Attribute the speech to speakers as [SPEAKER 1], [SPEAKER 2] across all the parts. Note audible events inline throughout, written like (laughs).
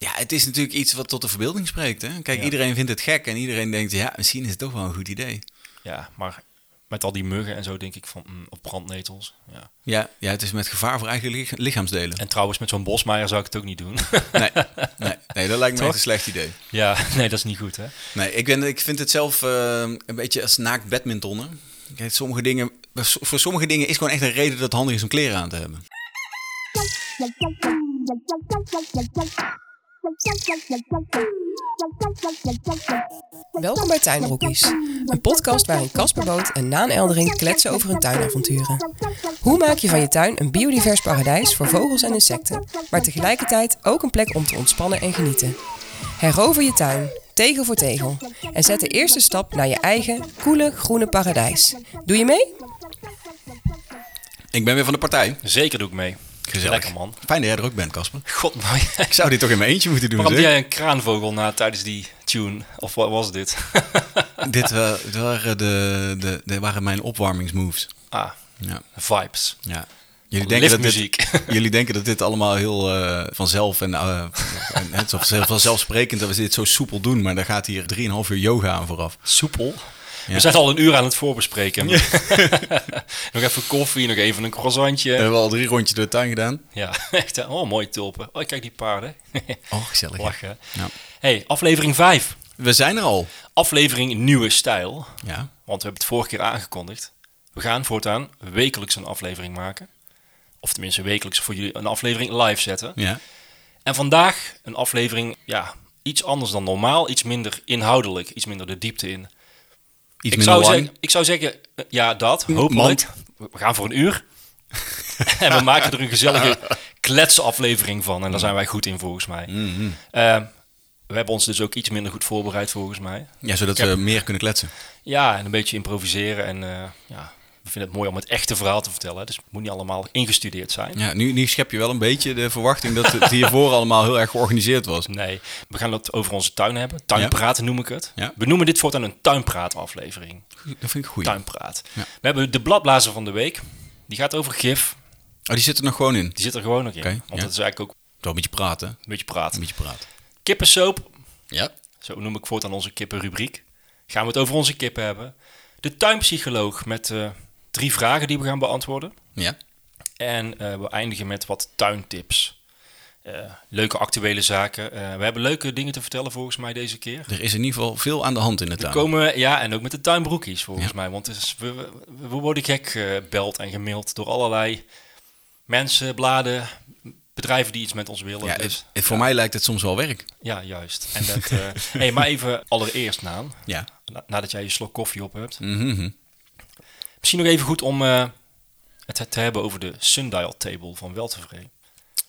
[SPEAKER 1] het is natuurlijk iets wat tot de verbeelding spreekt. Hè? Kijk,
[SPEAKER 2] Ja.
[SPEAKER 1] iedereen vindt het gek en iedereen denkt, ja, misschien is het toch wel een goed idee.
[SPEAKER 2] Ja, maar met al die muggen en zo denk ik van, mm, op brandnetels. Ja.
[SPEAKER 1] Ja, ja, het is met gevaar voor eigen lich- lichaamsdelen.
[SPEAKER 2] En trouwens, met zo'n bosmaaier zou ik het ook niet doen. (laughs)
[SPEAKER 1] Nee, nee, nee dat lijkt me
[SPEAKER 2] Toch?
[SPEAKER 1] echt een slecht idee.
[SPEAKER 2] ja, nee, dat is niet goed, hè?
[SPEAKER 1] Nee, ik, ben, ik vind het zelf eh, een beetje als naakt badmintonnen. Kijk, sommige dingen, voor sommige dingen is gewoon echt een reden dat het handig is om kleren aan te hebben.
[SPEAKER 3] Welkom bij Tuinbroekies, een podcast waarin Casper Boot en Naan Eldering kletsen over hun tuinavonturen. Hoe maak je van je tuin een biodivers paradijs voor vogels en insecten, maar tegelijkertijd ook een plek om te ontspannen en genieten? Herover je tuin, tegel voor tegel, en zet de eerste stap naar je eigen koele groene paradijs. Doe je mee?
[SPEAKER 1] Ik ben weer van de partij.
[SPEAKER 2] Zeker doe ik mee.
[SPEAKER 1] Gezellig.
[SPEAKER 2] Lekker, man.
[SPEAKER 1] Fijn dat jij er ook bent, Casper.
[SPEAKER 2] God, nou maar
[SPEAKER 1] Ik zou dit toch in mijn eentje moeten doen,
[SPEAKER 2] (laughs) waarom
[SPEAKER 1] zeg?
[SPEAKER 2] deed jij een kraanvogel na tijdens die tune? Of wat was dit?
[SPEAKER 1] Dit, eh, dit waren, de, de, dit waren mijn opwarmingsmoves.
[SPEAKER 2] (laughs) ah,
[SPEAKER 1] Ja,
[SPEAKER 2] vibes.
[SPEAKER 1] ja. Jullie denken, dat dit,
[SPEAKER 2] Liftmuziek.
[SPEAKER 1] (laughs) jullie denken dat dit allemaal heel eh, vanzelf en, eh, en het is heel vanzelfsprekend dat we dit zo soepel doen, maar daar gaat hier 3,5 uur yoga aan vooraf.
[SPEAKER 2] Soepel. We zijn al een uur aan het (laughs) voorbespreken. nog even koffie, nog even een croissantje.
[SPEAKER 1] We hebben al drie rondjes door de tuin gedaan.
[SPEAKER 2] Ja, (laughs) echt. hè? Oh, mooie tulpen. Oh, kijk die paarden. (laughs)
[SPEAKER 1] Oh, gezellig.
[SPEAKER 2] Lachen.
[SPEAKER 1] Ja.
[SPEAKER 2] Hey, aflevering 5.
[SPEAKER 1] We zijn er al.
[SPEAKER 2] Aflevering Nieuwe Stijl.
[SPEAKER 1] Ja.
[SPEAKER 2] Want we hebben het vorige keer aangekondigd. We gaan voortaan wekelijks een aflevering maken. Of tenminste wekelijks voor jullie een aflevering live zetten.
[SPEAKER 1] Ja.
[SPEAKER 2] En vandaag een aflevering, ja, iets anders dan normaal. Iets minder inhoudelijk, iets minder de diepte in.
[SPEAKER 1] Iets
[SPEAKER 2] ik, zou zeggen, ik zou zeggen, eh, ja, dat, hopelijk. We gaan voor een uur. en we maken er een gezellige kletsaflevering van. En daar zijn wij goed in, volgens mij. Eh, we hebben ons dus ook iets minder goed voorbereid, volgens mij.
[SPEAKER 1] Ja, zodat we meer kunnen kletsen.
[SPEAKER 2] Ja, en een beetje improviseren. En eh, ja, we vinden het mooi om het echte verhaal te vertellen. Dus het moet niet allemaal ingestudeerd zijn.
[SPEAKER 1] Ja, nu, nu schep je wel een beetje de verwachting dat het hiervoor allemaal heel erg georganiseerd was.
[SPEAKER 2] Nee, we gaan het over onze tuin hebben. Tuinpraat noem ik het.
[SPEAKER 1] Ja.
[SPEAKER 2] We noemen dit voortaan een tuinpraataflevering.
[SPEAKER 1] Dat vind ik goed. Oh,
[SPEAKER 2] Tuinpraat.
[SPEAKER 1] Ja.
[SPEAKER 2] We hebben de bladblazer van de week. Die gaat over gif.
[SPEAKER 1] Oh, die zit er nog gewoon in.
[SPEAKER 2] Die zit er gewoon ook in.
[SPEAKER 1] Oké,
[SPEAKER 2] want
[SPEAKER 1] ja.
[SPEAKER 2] dat is eigenlijk ook
[SPEAKER 1] Toch een beetje praten.
[SPEAKER 2] een beetje praat.
[SPEAKER 1] Een beetje praten.
[SPEAKER 2] Kippensoap,
[SPEAKER 1] Ja.
[SPEAKER 2] zo noem ik voortaan onze kippenrubriek. Gaan we het over onze kippen hebben. De tuinpsycholoog met eh, drie vragen die we gaan beantwoorden.
[SPEAKER 1] Ja.
[SPEAKER 2] En eh, we eindigen met wat tuintips. Eh, leuke actuele zaken. Eh, we hebben leuke dingen te vertellen volgens mij deze keer.
[SPEAKER 1] Er is in ieder geval veel aan de hand in de tuin.
[SPEAKER 2] Komen we, ja, en ook met de tuinbroekies volgens mij. Want het is- we, we- we worden gek eh, gebeld en gemaild door allerlei mensen, bladen, bedrijven die iets met ons willen.
[SPEAKER 1] ja,
[SPEAKER 2] Dus-
[SPEAKER 1] het- het- voor mij lijkt het soms wel werk.
[SPEAKER 2] ja juist. En
[SPEAKER 1] (laughs)
[SPEAKER 2] dat, eh, hey, maar even allereerst, Naan,
[SPEAKER 1] Ja.
[SPEAKER 2] na- nadat jij je slok koffie op hebt.
[SPEAKER 1] Mhm.
[SPEAKER 2] Misschien nog even goed om eh, het te hebben over de sundial table van Weltevree.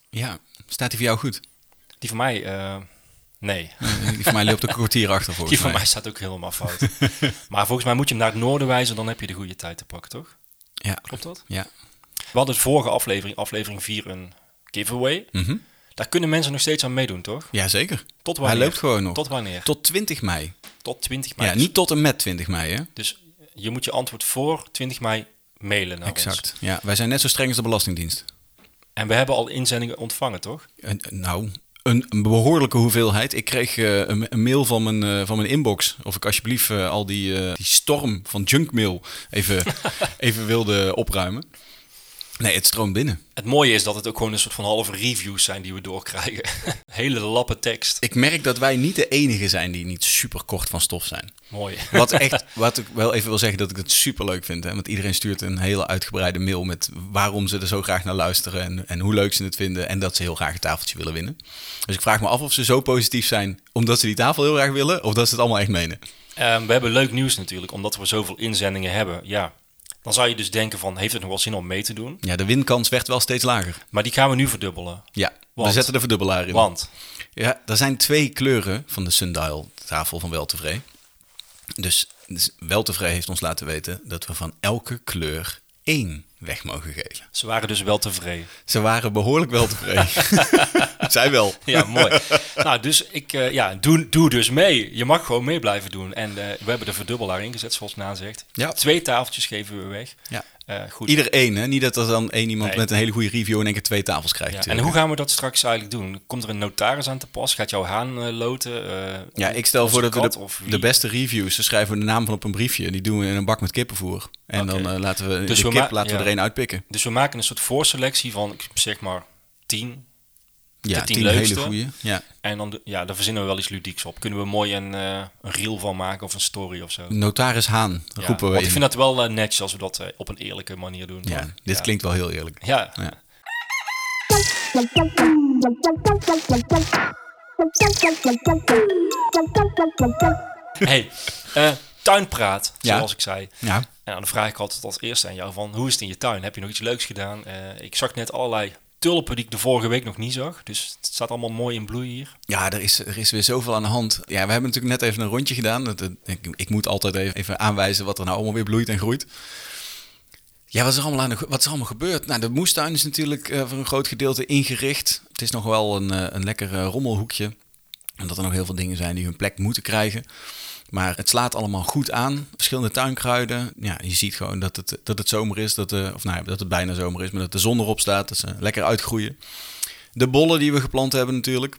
[SPEAKER 1] Ja. Staat die voor jou goed?
[SPEAKER 2] Die van mij, eh, nee.
[SPEAKER 1] Die van mij loopt ook een kwartier achter volgens
[SPEAKER 2] Die van
[SPEAKER 1] mij.
[SPEAKER 2] mij staat ook helemaal fout. (laughs) maar volgens mij moet je hem naar het noorden wijzen, dan heb je de goede tijd te pakken, toch?
[SPEAKER 1] Ja.
[SPEAKER 2] Klopt dat?
[SPEAKER 1] Ja.
[SPEAKER 2] We hadden de vorige aflevering, aflevering 4, een giveaway.
[SPEAKER 1] Mhm.
[SPEAKER 2] Daar kunnen mensen nog steeds aan meedoen, toch?
[SPEAKER 1] ja, zeker.
[SPEAKER 2] Tot
[SPEAKER 1] Hij
[SPEAKER 2] wanneer?
[SPEAKER 1] loopt gewoon nog.
[SPEAKER 2] Tot wanneer? Tot,
[SPEAKER 1] Tot 20 mei.
[SPEAKER 2] 20 mei.
[SPEAKER 1] Ja, niet tot en met 20 mei, hè?
[SPEAKER 2] Dus je moet je antwoord voor 20 mei mailen naar ons.
[SPEAKER 1] Exact. Ja, wij zijn net zo streng als de Belastingdienst.
[SPEAKER 2] En we hebben al inzendingen ontvangen, toch?
[SPEAKER 1] Een- een- nou, een, een behoorlijke hoeveelheid. Ik kreeg eh, een, een mail van mijn, eh, van mijn inbox. Of ik alsjeblieft eh, al die, eh, die storm van junkmail even,
[SPEAKER 2] (laughs)
[SPEAKER 1] even wilde opruimen. Nee, het stroomt binnen.
[SPEAKER 2] Het mooie is dat het ook gewoon een soort van halve reviews zijn die we doorkrijgen. (laughs) Hele lappe tekst.
[SPEAKER 1] Ik merk dat wij niet de enige zijn die niet super kort van stof zijn.
[SPEAKER 2] Mooi.
[SPEAKER 1] Wat, echt, wat ik wel even wil zeggen dat ik het super leuk vind. Hè? Want iedereen stuurt een hele uitgebreide mail met waarom ze er zo graag naar luisteren. En, en hoe leuk ze het vinden. En dat ze heel graag een tafeltje willen winnen. Dus ik vraag me af of ze zo positief zijn omdat ze die tafel heel graag willen. Of dat ze het allemaal echt menen.
[SPEAKER 2] Ehm, we hebben leuk nieuws natuurlijk, omdat we zoveel inzendingen hebben. Ja, dan zou je dus denken van, heeft het nog wel zin om mee te doen?
[SPEAKER 1] Ja, de winkans werd wel steeds lager.
[SPEAKER 2] Maar die gaan we nu verdubbelen.
[SPEAKER 1] Ja,
[SPEAKER 2] Want-
[SPEAKER 1] we zetten de verdubbelaar in.
[SPEAKER 2] Want,
[SPEAKER 1] Ja, er zijn twee kleuren van de sundial tafel van Weltevree. Dus, dus Weltevree heeft ons laten weten dat we van elke kleur één weg mogen geven. (laughs)
[SPEAKER 2] ze waren dus wel tevreden. (laughs)
[SPEAKER 1] Ze waren behoorlijk wel tevreden. Zij wel.
[SPEAKER 2] Ja, mooi. (laughs) nou, dus ik, eh, ja, doe, doe dus mee. Je mag gewoon mee blijven doen. En eh, we hebben de verdubbelaar ingezet, zoals Naan zegt.
[SPEAKER 1] Ja.
[SPEAKER 2] Twee tafeltjes geven we weg.
[SPEAKER 1] Ja.
[SPEAKER 2] Eh, goed.
[SPEAKER 1] Ieder één, hè? Niet dat er dan één iemand
[SPEAKER 2] Nee.
[SPEAKER 1] met een hele goede review in één keer twee tafels krijgt.
[SPEAKER 2] Ja, en
[SPEAKER 1] natuurlijk.
[SPEAKER 2] hoe gaan we dat straks eigenlijk doen? Komt er een notaris aan te pas? Gaat jouw haan eh, loten? Eh,
[SPEAKER 1] Ja, ik stel
[SPEAKER 2] onze
[SPEAKER 1] voor dat we
[SPEAKER 2] kat
[SPEAKER 1] de,
[SPEAKER 2] of wie?
[SPEAKER 1] de beste reviews, daar schrijven we de naam van op een briefje. Die doen we in een bak met kippenvoer. En
[SPEAKER 2] Oké.
[SPEAKER 1] dan eh, laten we
[SPEAKER 2] Dus
[SPEAKER 1] de
[SPEAKER 2] we
[SPEAKER 1] kip
[SPEAKER 2] ma-
[SPEAKER 1] laten we
[SPEAKER 2] ja.
[SPEAKER 1] er één uitpikken.
[SPEAKER 2] Dus we maken een soort voorselectie van ik zeg maar tien.
[SPEAKER 1] Ja,
[SPEAKER 2] De tien
[SPEAKER 1] tien, hele
[SPEAKER 2] leukste.
[SPEAKER 1] goede. Ja.
[SPEAKER 2] En dan, de- ja, daar verzinnen we wel iets ludieks op. Kunnen we mooi een, eh, een reel van maken of een story of zo.
[SPEAKER 1] Notaris Haan
[SPEAKER 2] Ja,
[SPEAKER 1] roepen we
[SPEAKER 2] want
[SPEAKER 1] in.
[SPEAKER 2] ik vind dat wel eh, netjes als we dat eh, op een eerlijke manier doen.
[SPEAKER 1] ja,
[SPEAKER 2] toch?
[SPEAKER 1] dit
[SPEAKER 2] Ja.
[SPEAKER 1] klinkt wel heel eerlijk.
[SPEAKER 2] Ja.
[SPEAKER 1] Ja.
[SPEAKER 2] Hey, eh, tuinpraat,
[SPEAKER 1] Ja.
[SPEAKER 2] zoals ik zei.
[SPEAKER 1] Ja.
[SPEAKER 2] En dan vraag ik altijd als eerste aan jou van, hoe is het in je tuin? Heb je nog iets leuks gedaan? Eh, ik zag net allerlei tulpen die ik de vorige week nog niet zag. Dus het staat allemaal mooi in bloei hier.
[SPEAKER 1] Ja, er is, er is weer zoveel aan de hand. Ja, we hebben natuurlijk net even een rondje gedaan. Dat, dat- ik, ik moet altijd even, even aanwijzen wat er nou allemaal weer bloeit en groeit. Ja, wat is er allemaal, aan de, ge- wat is er allemaal gebeurd? Nou, de moestuin is natuurlijk eh, voor een groot gedeelte ingericht. Het is nog wel een, eh, een lekker eh, rommelhoekje. Omdat er nog heel veel dingen zijn die hun plek moeten krijgen. Maar het slaat allemaal goed aan. Verschillende tuinkruiden. Ja, je ziet gewoon dat het, dat het zomer is. Dat, de, of nou, ja, dat het bijna zomer is, maar dat de zon erop staat. Dat ze lekker uitgroeien. De bollen die we geplant hebben natuurlijk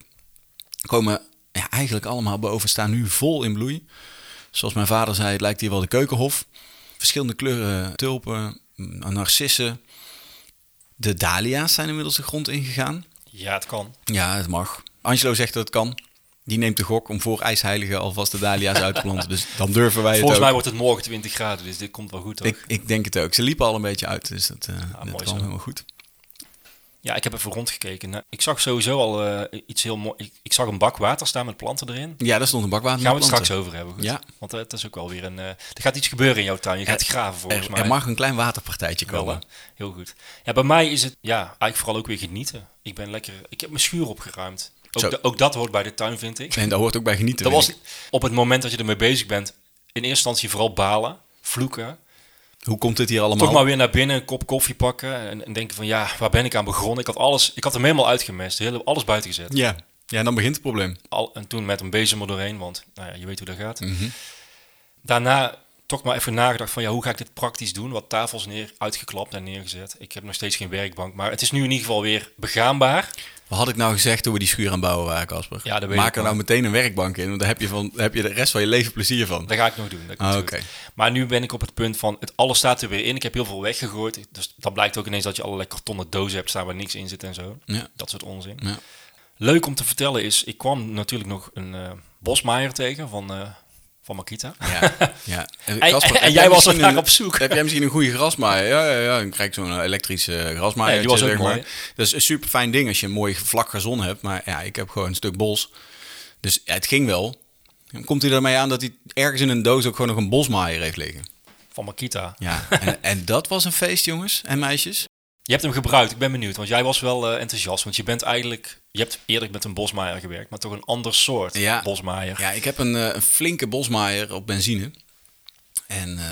[SPEAKER 1] komen ja, eigenlijk allemaal boven, staan nu vol in bloei. Zoals mijn vader zei, het lijkt hier wel de keukenhof. Verschillende kleuren tulpen, mm, narcissen. De dahlia's zijn inmiddels de grond ingegaan.
[SPEAKER 2] Ja, het kan.
[SPEAKER 1] Ja, het mag. Angelo zegt dat het kan. Die neemt de gok om voor ijsheiligen alvast de dahlia's uit te planten. Dus dan durven wij het
[SPEAKER 2] Volgens mij
[SPEAKER 1] ook.
[SPEAKER 2] wordt het morgen 20 graden, dus dit komt wel goed. Toch?
[SPEAKER 1] Ik, ik denk het ook. Ze liepen al een beetje uit, dus dat, eh dat
[SPEAKER 2] Ah, mooi
[SPEAKER 1] kwam
[SPEAKER 2] zo.
[SPEAKER 1] helemaal goed.
[SPEAKER 2] Ja, ik heb even rondgekeken. Nou, Ik zag sowieso al eh, iets heel mooi. Ik, ik zag een bak water staan met planten erin.
[SPEAKER 1] Ja, daar stond een bakwater.
[SPEAKER 2] Gaan we
[SPEAKER 1] met
[SPEAKER 2] het straks
[SPEAKER 1] planten.
[SPEAKER 2] over hebben. Goed?
[SPEAKER 1] Ja.
[SPEAKER 2] Want eh, het is ook wel weer een. eh, er gaat iets gebeuren in jouw tuin. Je gaat graven volgens
[SPEAKER 1] Er,
[SPEAKER 2] mij.
[SPEAKER 1] er mag een klein waterpartijtje
[SPEAKER 2] wel.
[SPEAKER 1] komen.
[SPEAKER 2] hè? Heel goed. Ja, bij mij is het ja, eigenlijk vooral ook weer genieten. Ik ben lekker. Ik heb mijn schuur opgeruimd.
[SPEAKER 1] Zo.
[SPEAKER 2] Ook, da- ook dat hoort bij de tuin, vind ik.
[SPEAKER 1] En daar hoort ook bij genieten.
[SPEAKER 2] Dat
[SPEAKER 1] vind
[SPEAKER 2] was op het moment dat je ermee bezig bent. In eerste instantie vooral balen, vloeken.
[SPEAKER 1] ik. Hoe komt dit hier allemaal?
[SPEAKER 2] Toch maar weer naar binnen, een kop koffie pakken. En, en denken van ja, waar ben ik aan begonnen? Ik had alles. Ik had hem helemaal uitgemest. Heel, alles buiten gezet.
[SPEAKER 1] Ja. ja, dan begint het probleem.
[SPEAKER 2] Al, en toen met een bezem er doorheen, want nou ja, je weet hoe dat gaat.
[SPEAKER 1] Mhm.
[SPEAKER 2] Daarna toch maar even nagedacht van ja, hoe ga ik dit praktisch doen? Wat tafels neer, uitgeklapt en neergezet. Ik heb nog steeds geen werkbank, maar het is nu in ieder geval weer begaanbaar.
[SPEAKER 1] Wat had ik nou gezegd toen we die schuur aan het bouwen waren, Casper?
[SPEAKER 2] Ja, dat weet
[SPEAKER 1] Maak
[SPEAKER 2] ik
[SPEAKER 1] er
[SPEAKER 2] wel.
[SPEAKER 1] nou meteen een werkbank in, want daar heb je, van, daar heb je de rest van je leven plezier van.
[SPEAKER 2] Dat ga ik nog doen. dat komt
[SPEAKER 1] Ah,
[SPEAKER 2] goed.
[SPEAKER 1] oké.
[SPEAKER 2] Maar nu ben ik op het punt van het alles staat er weer in. Ik heb heel veel weggegooid. Dus dan blijkt ook ineens dat je allerlei kartonnen dozen hebt staan waar niks in zit en zo.
[SPEAKER 1] Ja.
[SPEAKER 2] Dat soort onzin.
[SPEAKER 1] Ja.
[SPEAKER 2] Leuk om te vertellen is, ik kwam natuurlijk nog een eh bosmaaier tegen van, eh, van Makita.
[SPEAKER 1] Ja, ja.
[SPEAKER 2] en
[SPEAKER 1] Casper, heb
[SPEAKER 2] jij was
[SPEAKER 1] misschien
[SPEAKER 2] er naar
[SPEAKER 1] een-
[SPEAKER 2] op zoek.
[SPEAKER 1] Heb jij misschien een goede grasmaaier? Ja, ja, ja. Dan krijg ik zo'n eh, elektrische grasmaaier.
[SPEAKER 2] Ja, die was ook
[SPEAKER 1] zeg maar.
[SPEAKER 2] mooi.
[SPEAKER 1] Dat is een super fijn ding als je een mooi vlak gazon hebt. Maar ja, ik heb gewoon een stuk bos. Dus ja, het ging wel. Dan komt hij ermee aan dat hij ergens in een doos ook gewoon nog een bosmaaier heeft liggen.
[SPEAKER 2] (laughs) Van Makita.
[SPEAKER 1] Ja,
[SPEAKER 2] (laughs)
[SPEAKER 1] en, en dat was een feest, jongens en meisjes.
[SPEAKER 2] Je hebt hem gebruikt, ik ben benieuwd. Want jij was wel eh, enthousiast. Want je bent eigenlijk, je hebt eerlijk met een bosmaaier gewerkt, maar toch een ander soort
[SPEAKER 1] Ja.
[SPEAKER 2] bosmaaier.
[SPEAKER 1] Ja, ik heb een, eh, een flinke bosmaaier op benzine. En eh,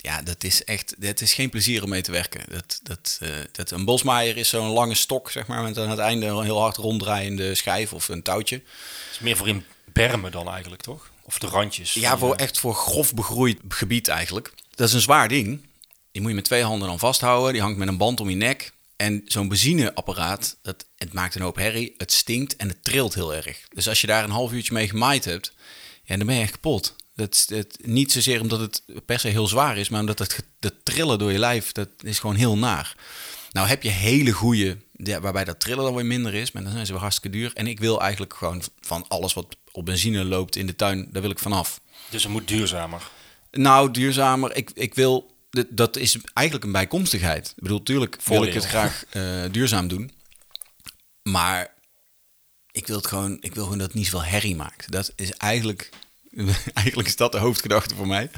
[SPEAKER 1] ja, dat is echt, dat is geen plezier om mee te werken. Dat, dat, eh, dat, een bosmaaier is zo'n lange stok, zeg maar, met aan het einde een heel hard ronddraaiende schijf of een touwtje.
[SPEAKER 2] Dat is meer voor in bermen dan eigenlijk, toch? Of de randjes.
[SPEAKER 1] Ja,
[SPEAKER 2] van,
[SPEAKER 1] voor
[SPEAKER 2] eh,
[SPEAKER 1] echt voor grof begroeid gebied eigenlijk. Dat is een zwaar ding. Die moet je met twee handen dan vasthouden. Die hangt met een band om je nek. En zo'n benzineapparaat, dat, het maakt een hoop herrie. Het stinkt en het trilt heel erg. Dus als je daar een half uurtje mee gemaaid hebt, ja, dan ben je echt kapot. Dat, is- dat, niet zozeer omdat het per se heel zwaar is, maar omdat het, ge- dat trillen door je lijf, dat is gewoon heel naar. Nou heb je hele goede, ja, waarbij dat trillen dan weer minder is, maar dan zijn ze weer hartstikke duur. En ik wil eigenlijk gewoon van alles wat op benzine loopt in de tuin, daar wil ik vanaf.
[SPEAKER 2] Dus het moet duurzamer.
[SPEAKER 1] Nou, duurzamer. Ik, ik wil. d- Dat is eigenlijk een bijkomstigheid. Ik bedoel, tuurlijk wil ik
[SPEAKER 2] Voordeel.
[SPEAKER 1] het graag eh, duurzaam doen. Maar ik wil het gewoon. Ik wil gewoon dat het niet zoveel herrie maakt. Dat is eigenlijk. (laughs) Eigenlijk is dat de hoofdgedachte voor mij.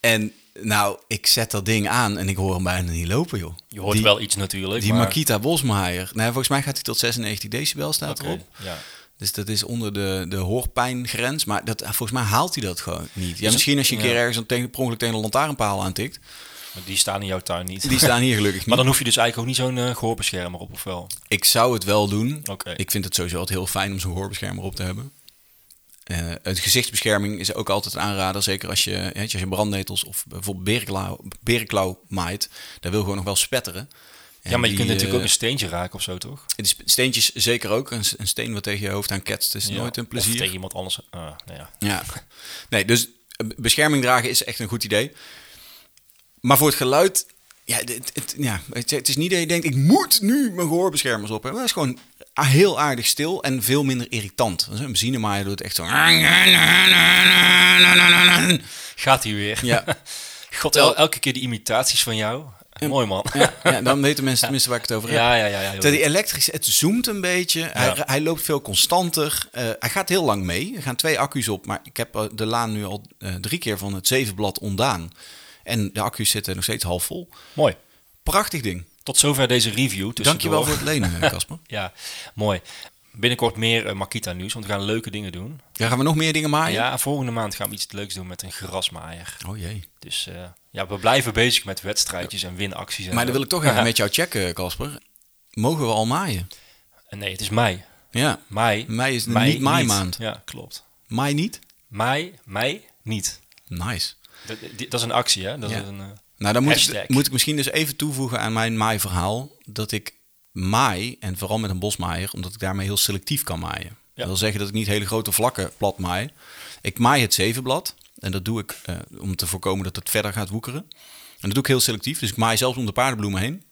[SPEAKER 1] En nou, ik zet dat ding aan en ik hoor hem bijna niet lopen, joh.
[SPEAKER 2] Je hoort
[SPEAKER 1] die,
[SPEAKER 2] wel iets natuurlijk.
[SPEAKER 1] Die
[SPEAKER 2] maar-
[SPEAKER 1] Makita Bosmaaier. Nou, volgens mij gaat hij tot 96 decibel, staat
[SPEAKER 2] Oké,
[SPEAKER 1] erop.
[SPEAKER 2] Ja.
[SPEAKER 1] Dus dat is onder de, de hoorpijngrens. Maar dat, volgens mij haalt hij dat gewoon niet. Ja,
[SPEAKER 2] Dus-
[SPEAKER 1] misschien als je een keer
[SPEAKER 2] ja. (laughs)
[SPEAKER 1] ergens een tegen, per ongeluk tegen een lantaarnpaal aantikt.
[SPEAKER 2] Maar die staan in jouw tuin niet.
[SPEAKER 1] Die staan hier gelukkig niet.
[SPEAKER 2] (laughs) maar dan hoef je dus eigenlijk ook niet zo'n eh, gehoorbeschermer op, of wel?
[SPEAKER 1] Ik zou het wel doen.
[SPEAKER 2] Oké.
[SPEAKER 1] Ik vind het sowieso altijd heel fijn om zo'n hoorbeschermer op te hebben. Eh het gezichtsbescherming is ook altijd een aanrader. Zeker als je, hè, als je brandnetels of bijvoorbeeld berenklauw, berenklauw maait. Daar wil gewoon nog wel spetteren. En
[SPEAKER 2] ja, maar
[SPEAKER 1] die,
[SPEAKER 2] je kunt natuurlijk ook
[SPEAKER 1] eh,
[SPEAKER 2] een steentje raken of zo, toch?
[SPEAKER 1] de sp- Steentjes zeker ook. Een, s- een steen wat tegen je hoofd aan ketst is
[SPEAKER 2] Ja.
[SPEAKER 1] nooit een
[SPEAKER 2] Of
[SPEAKER 1] plezier.
[SPEAKER 2] tegen iemand anders. Ah, nou ja.
[SPEAKER 1] Ja. Nee, dus eh, bescherming dragen is echt een goed idee. Maar voor het geluid... Ja, het, het- ja, het, het is niet dat je denkt, ik moet nu mijn gehoorbeschermers op hebben. Dat is gewoon a- heel aardig stil en veel minder irritant. Dus Een benzinemaaier doet echt zo...
[SPEAKER 2] Gaat hij weer.
[SPEAKER 1] Ja,
[SPEAKER 2] (laughs) God, el- elke keer die imitaties van jou. Mooi man.
[SPEAKER 1] ja, ja, dan weten mensen tenminste waar ik het over heb.
[SPEAKER 2] Ja, ja, ja. ja, heel
[SPEAKER 1] Terwijl
[SPEAKER 2] goed.
[SPEAKER 1] die elektrische, het zoomt een beetje. Hij, hij loopt veel constanter. Eh, hij gaat heel lang mee. Er gaan twee accu's op. Maar ik heb eh, de laan nu al eh, drie keer van het zevenblad ontdaan. En de accu's zitten nog steeds half vol.
[SPEAKER 2] (laughs) Mooi.
[SPEAKER 1] Prachtig ding.
[SPEAKER 2] Tot zover deze review.
[SPEAKER 1] Dankjewel
[SPEAKER 2] tussendoor.
[SPEAKER 1] voor het lenen, eh,
[SPEAKER 2] (laughs)
[SPEAKER 1] Casper.
[SPEAKER 2] Ja, mooi. Binnenkort meer eh, Makita nieuws, want we gaan leuke dingen doen.
[SPEAKER 1] Ah, Ja, gaan we nog meer dingen maaien?
[SPEAKER 2] Ja, volgende maand gaan we iets leuks doen met een grasmaaier.
[SPEAKER 1] Oh jee.
[SPEAKER 2] Dus eh, ja, we blijven bezig met wedstrijdjes en winacties. En
[SPEAKER 1] Maar
[SPEAKER 2] zo.
[SPEAKER 1] dan wil ik toch even met jou checken, eh, Casper. Mogen we al maaien?
[SPEAKER 2] (laughs) Nee, het is mei.
[SPEAKER 1] Ja.
[SPEAKER 2] Mei.
[SPEAKER 1] Mei is niet maaimaand.
[SPEAKER 2] Ja, klopt.
[SPEAKER 1] Maai niet?
[SPEAKER 2] Mei, mei, niet.
[SPEAKER 1] Nice.
[SPEAKER 2] Dat, die- dat is een actie, hè? Dat
[SPEAKER 1] Ja.
[SPEAKER 2] is een, eh,
[SPEAKER 1] Nou, dan moet
[SPEAKER 2] Hashtag.
[SPEAKER 1] ik, moet ik misschien dus even toevoegen aan mijn maaiverhaal dat ik maai, en vooral met een bosmaaier, omdat ik daarmee heel selectief kan maaien. Dat wil zeggen dat ik niet hele grote vlakken plat maai. Ik maai het zevenblad, en dat doe ik eh, om te voorkomen dat het verder gaat woekeren. En dat doe ik heel selectief, dus ik maai zelfs om de paardenbloemen heen.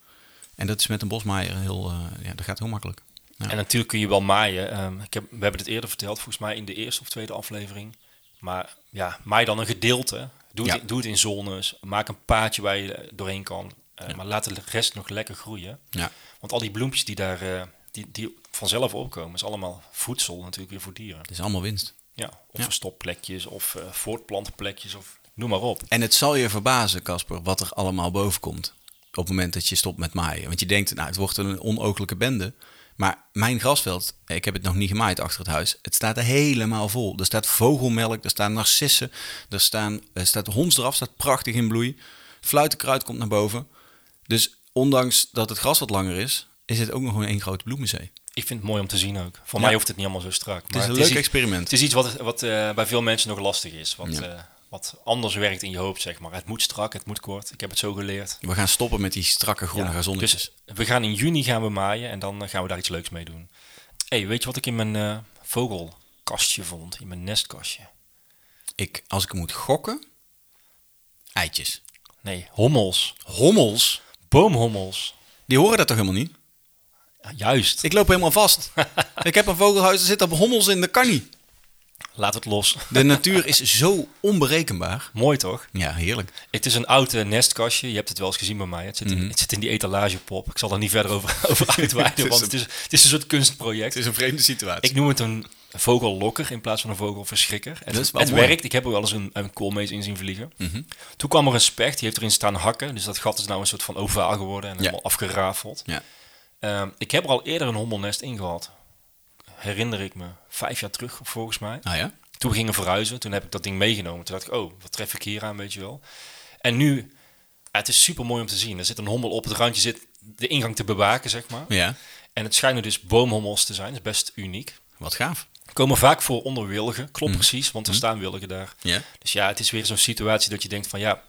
[SPEAKER 1] En dat is met een bosmaaier heel, eh, ja, dat gaat heel makkelijk. Ja.
[SPEAKER 2] En natuurlijk kun je wel maaien. Ehm, ik heb, we hebben het eerder verteld, volgens mij in de eerste of tweede aflevering. Maar ja, maai dan een gedeelte. Doe, het,
[SPEAKER 1] Ja.
[SPEAKER 2] doe het in zones. Maak een paadje waar je eh, doorheen kan. Eh, Maar laat de rest nog lekker groeien.
[SPEAKER 1] Ja.
[SPEAKER 2] Want al die bloempjes die daar eh, die, die vanzelf opkomen, is allemaal voedsel natuurlijk weer voor dieren.
[SPEAKER 1] Het is allemaal winst.
[SPEAKER 2] Ja, of
[SPEAKER 1] Ja.
[SPEAKER 2] verstopplekjes, of eh voortplantplekjes, of noem maar op.
[SPEAKER 1] En het zal je verbazen, Casper, wat er allemaal boven komt. Op het moment dat je stopt met maaien. Want je denkt, nou, het wordt een onooglijke bende. Maar mijn grasveld, ik heb het nog niet gemaaid achter het huis. Het staat helemaal vol. Er staat vogelmelk, er staan narcissen, er, staan, er staat hondsdraf, staat prachtig in bloei. Fluitenkruid komt naar boven. Dus ondanks dat het gras wat langer is, is het ook nog gewoon één grote bloemenzee.
[SPEAKER 2] Ik vind het mooi om te zien ook. Voor
[SPEAKER 1] Ja.
[SPEAKER 2] mij hoeft het niet allemaal zo strak.
[SPEAKER 1] is een
[SPEAKER 2] het
[SPEAKER 1] leuk
[SPEAKER 2] iets-
[SPEAKER 1] experiment.
[SPEAKER 2] Het is iets wat, wat eh, bij veel mensen nog lastig is. Wat,
[SPEAKER 1] Ja.
[SPEAKER 2] eh, wat anders werkt in je hoofd, zeg maar. Het moet strak, het moet kort. Ik heb het zo geleerd.
[SPEAKER 1] We gaan stoppen met die strakke groene
[SPEAKER 2] Ja,
[SPEAKER 1] gazonnetjes.
[SPEAKER 2] Dus we gaan in juni gaan we maaien en dan eh, gaan we daar iets leuks mee doen. hey, weet je wat ik in mijn eh, vogelkastje vond? In mijn nestkastje?
[SPEAKER 1] Ik, als ik moet gokken, eitjes.
[SPEAKER 2] Nee, hommels.
[SPEAKER 1] Hommels,
[SPEAKER 2] Boomhommels.
[SPEAKER 1] die horen dat toch helemaal niet?
[SPEAKER 2] Ja, juist.
[SPEAKER 1] Ik loop helemaal vast.
[SPEAKER 2] (laughs)
[SPEAKER 1] ik heb een vogelhuis, er zitten hommels in, dat kan niet.
[SPEAKER 2] Laat het los. (laughs)
[SPEAKER 1] De natuur is zo onberekenbaar.
[SPEAKER 2] Mooi toch?
[SPEAKER 1] Ja, heerlijk.
[SPEAKER 2] Het is een oud eh, nestkastje. Je hebt het wel eens gezien bij mij. Het zit, in, het zit in die etalagepop. Ik zal daar niet verder over, (laughs) over
[SPEAKER 1] Mhm. (laughs) Het is
[SPEAKER 2] uitweiden, want
[SPEAKER 1] een-
[SPEAKER 2] het is, het is een soort kunstproject.
[SPEAKER 1] is een vreemde situatie.
[SPEAKER 2] Ik noem het een vogellokker in plaats van een vogelverschrikker. Het,
[SPEAKER 1] Dat is wel
[SPEAKER 2] het
[SPEAKER 1] mooi. Mhm.
[SPEAKER 2] werkt. Ik heb er wel eens een, een koolmees in zien vliegen. Toen kwam er een specht, die heeft erin staan hakken. Dus dat gat is nou een soort van ovaal geworden en helemaal afgerafeld.
[SPEAKER 1] ja.
[SPEAKER 2] Ehm, ik heb er al eerder een hommelnest in gehad. Herinner ik me. Vijf jaar terug volgens mij.
[SPEAKER 1] Nou ja.
[SPEAKER 2] Toen we gingen verhuizen, toen heb ik dat ding meegenomen. Toen dacht ik, oh, wat tref ik hier aan, weet je wel. En nu, het is super mooi om te zien. Er zit een hommel op het randje, zit de ingang te bewaken, zeg maar.
[SPEAKER 1] ja,
[SPEAKER 2] En het schijnen dus boomhommels te zijn. Dat is best uniek.
[SPEAKER 1] wat gaaf.
[SPEAKER 2] Komen vaak voor onder wilgen. Klopt precies, want er staan wilgen daar.
[SPEAKER 1] Mhm. Ja.
[SPEAKER 2] Dus ja, het is weer zo'n situatie dat je denkt van ja...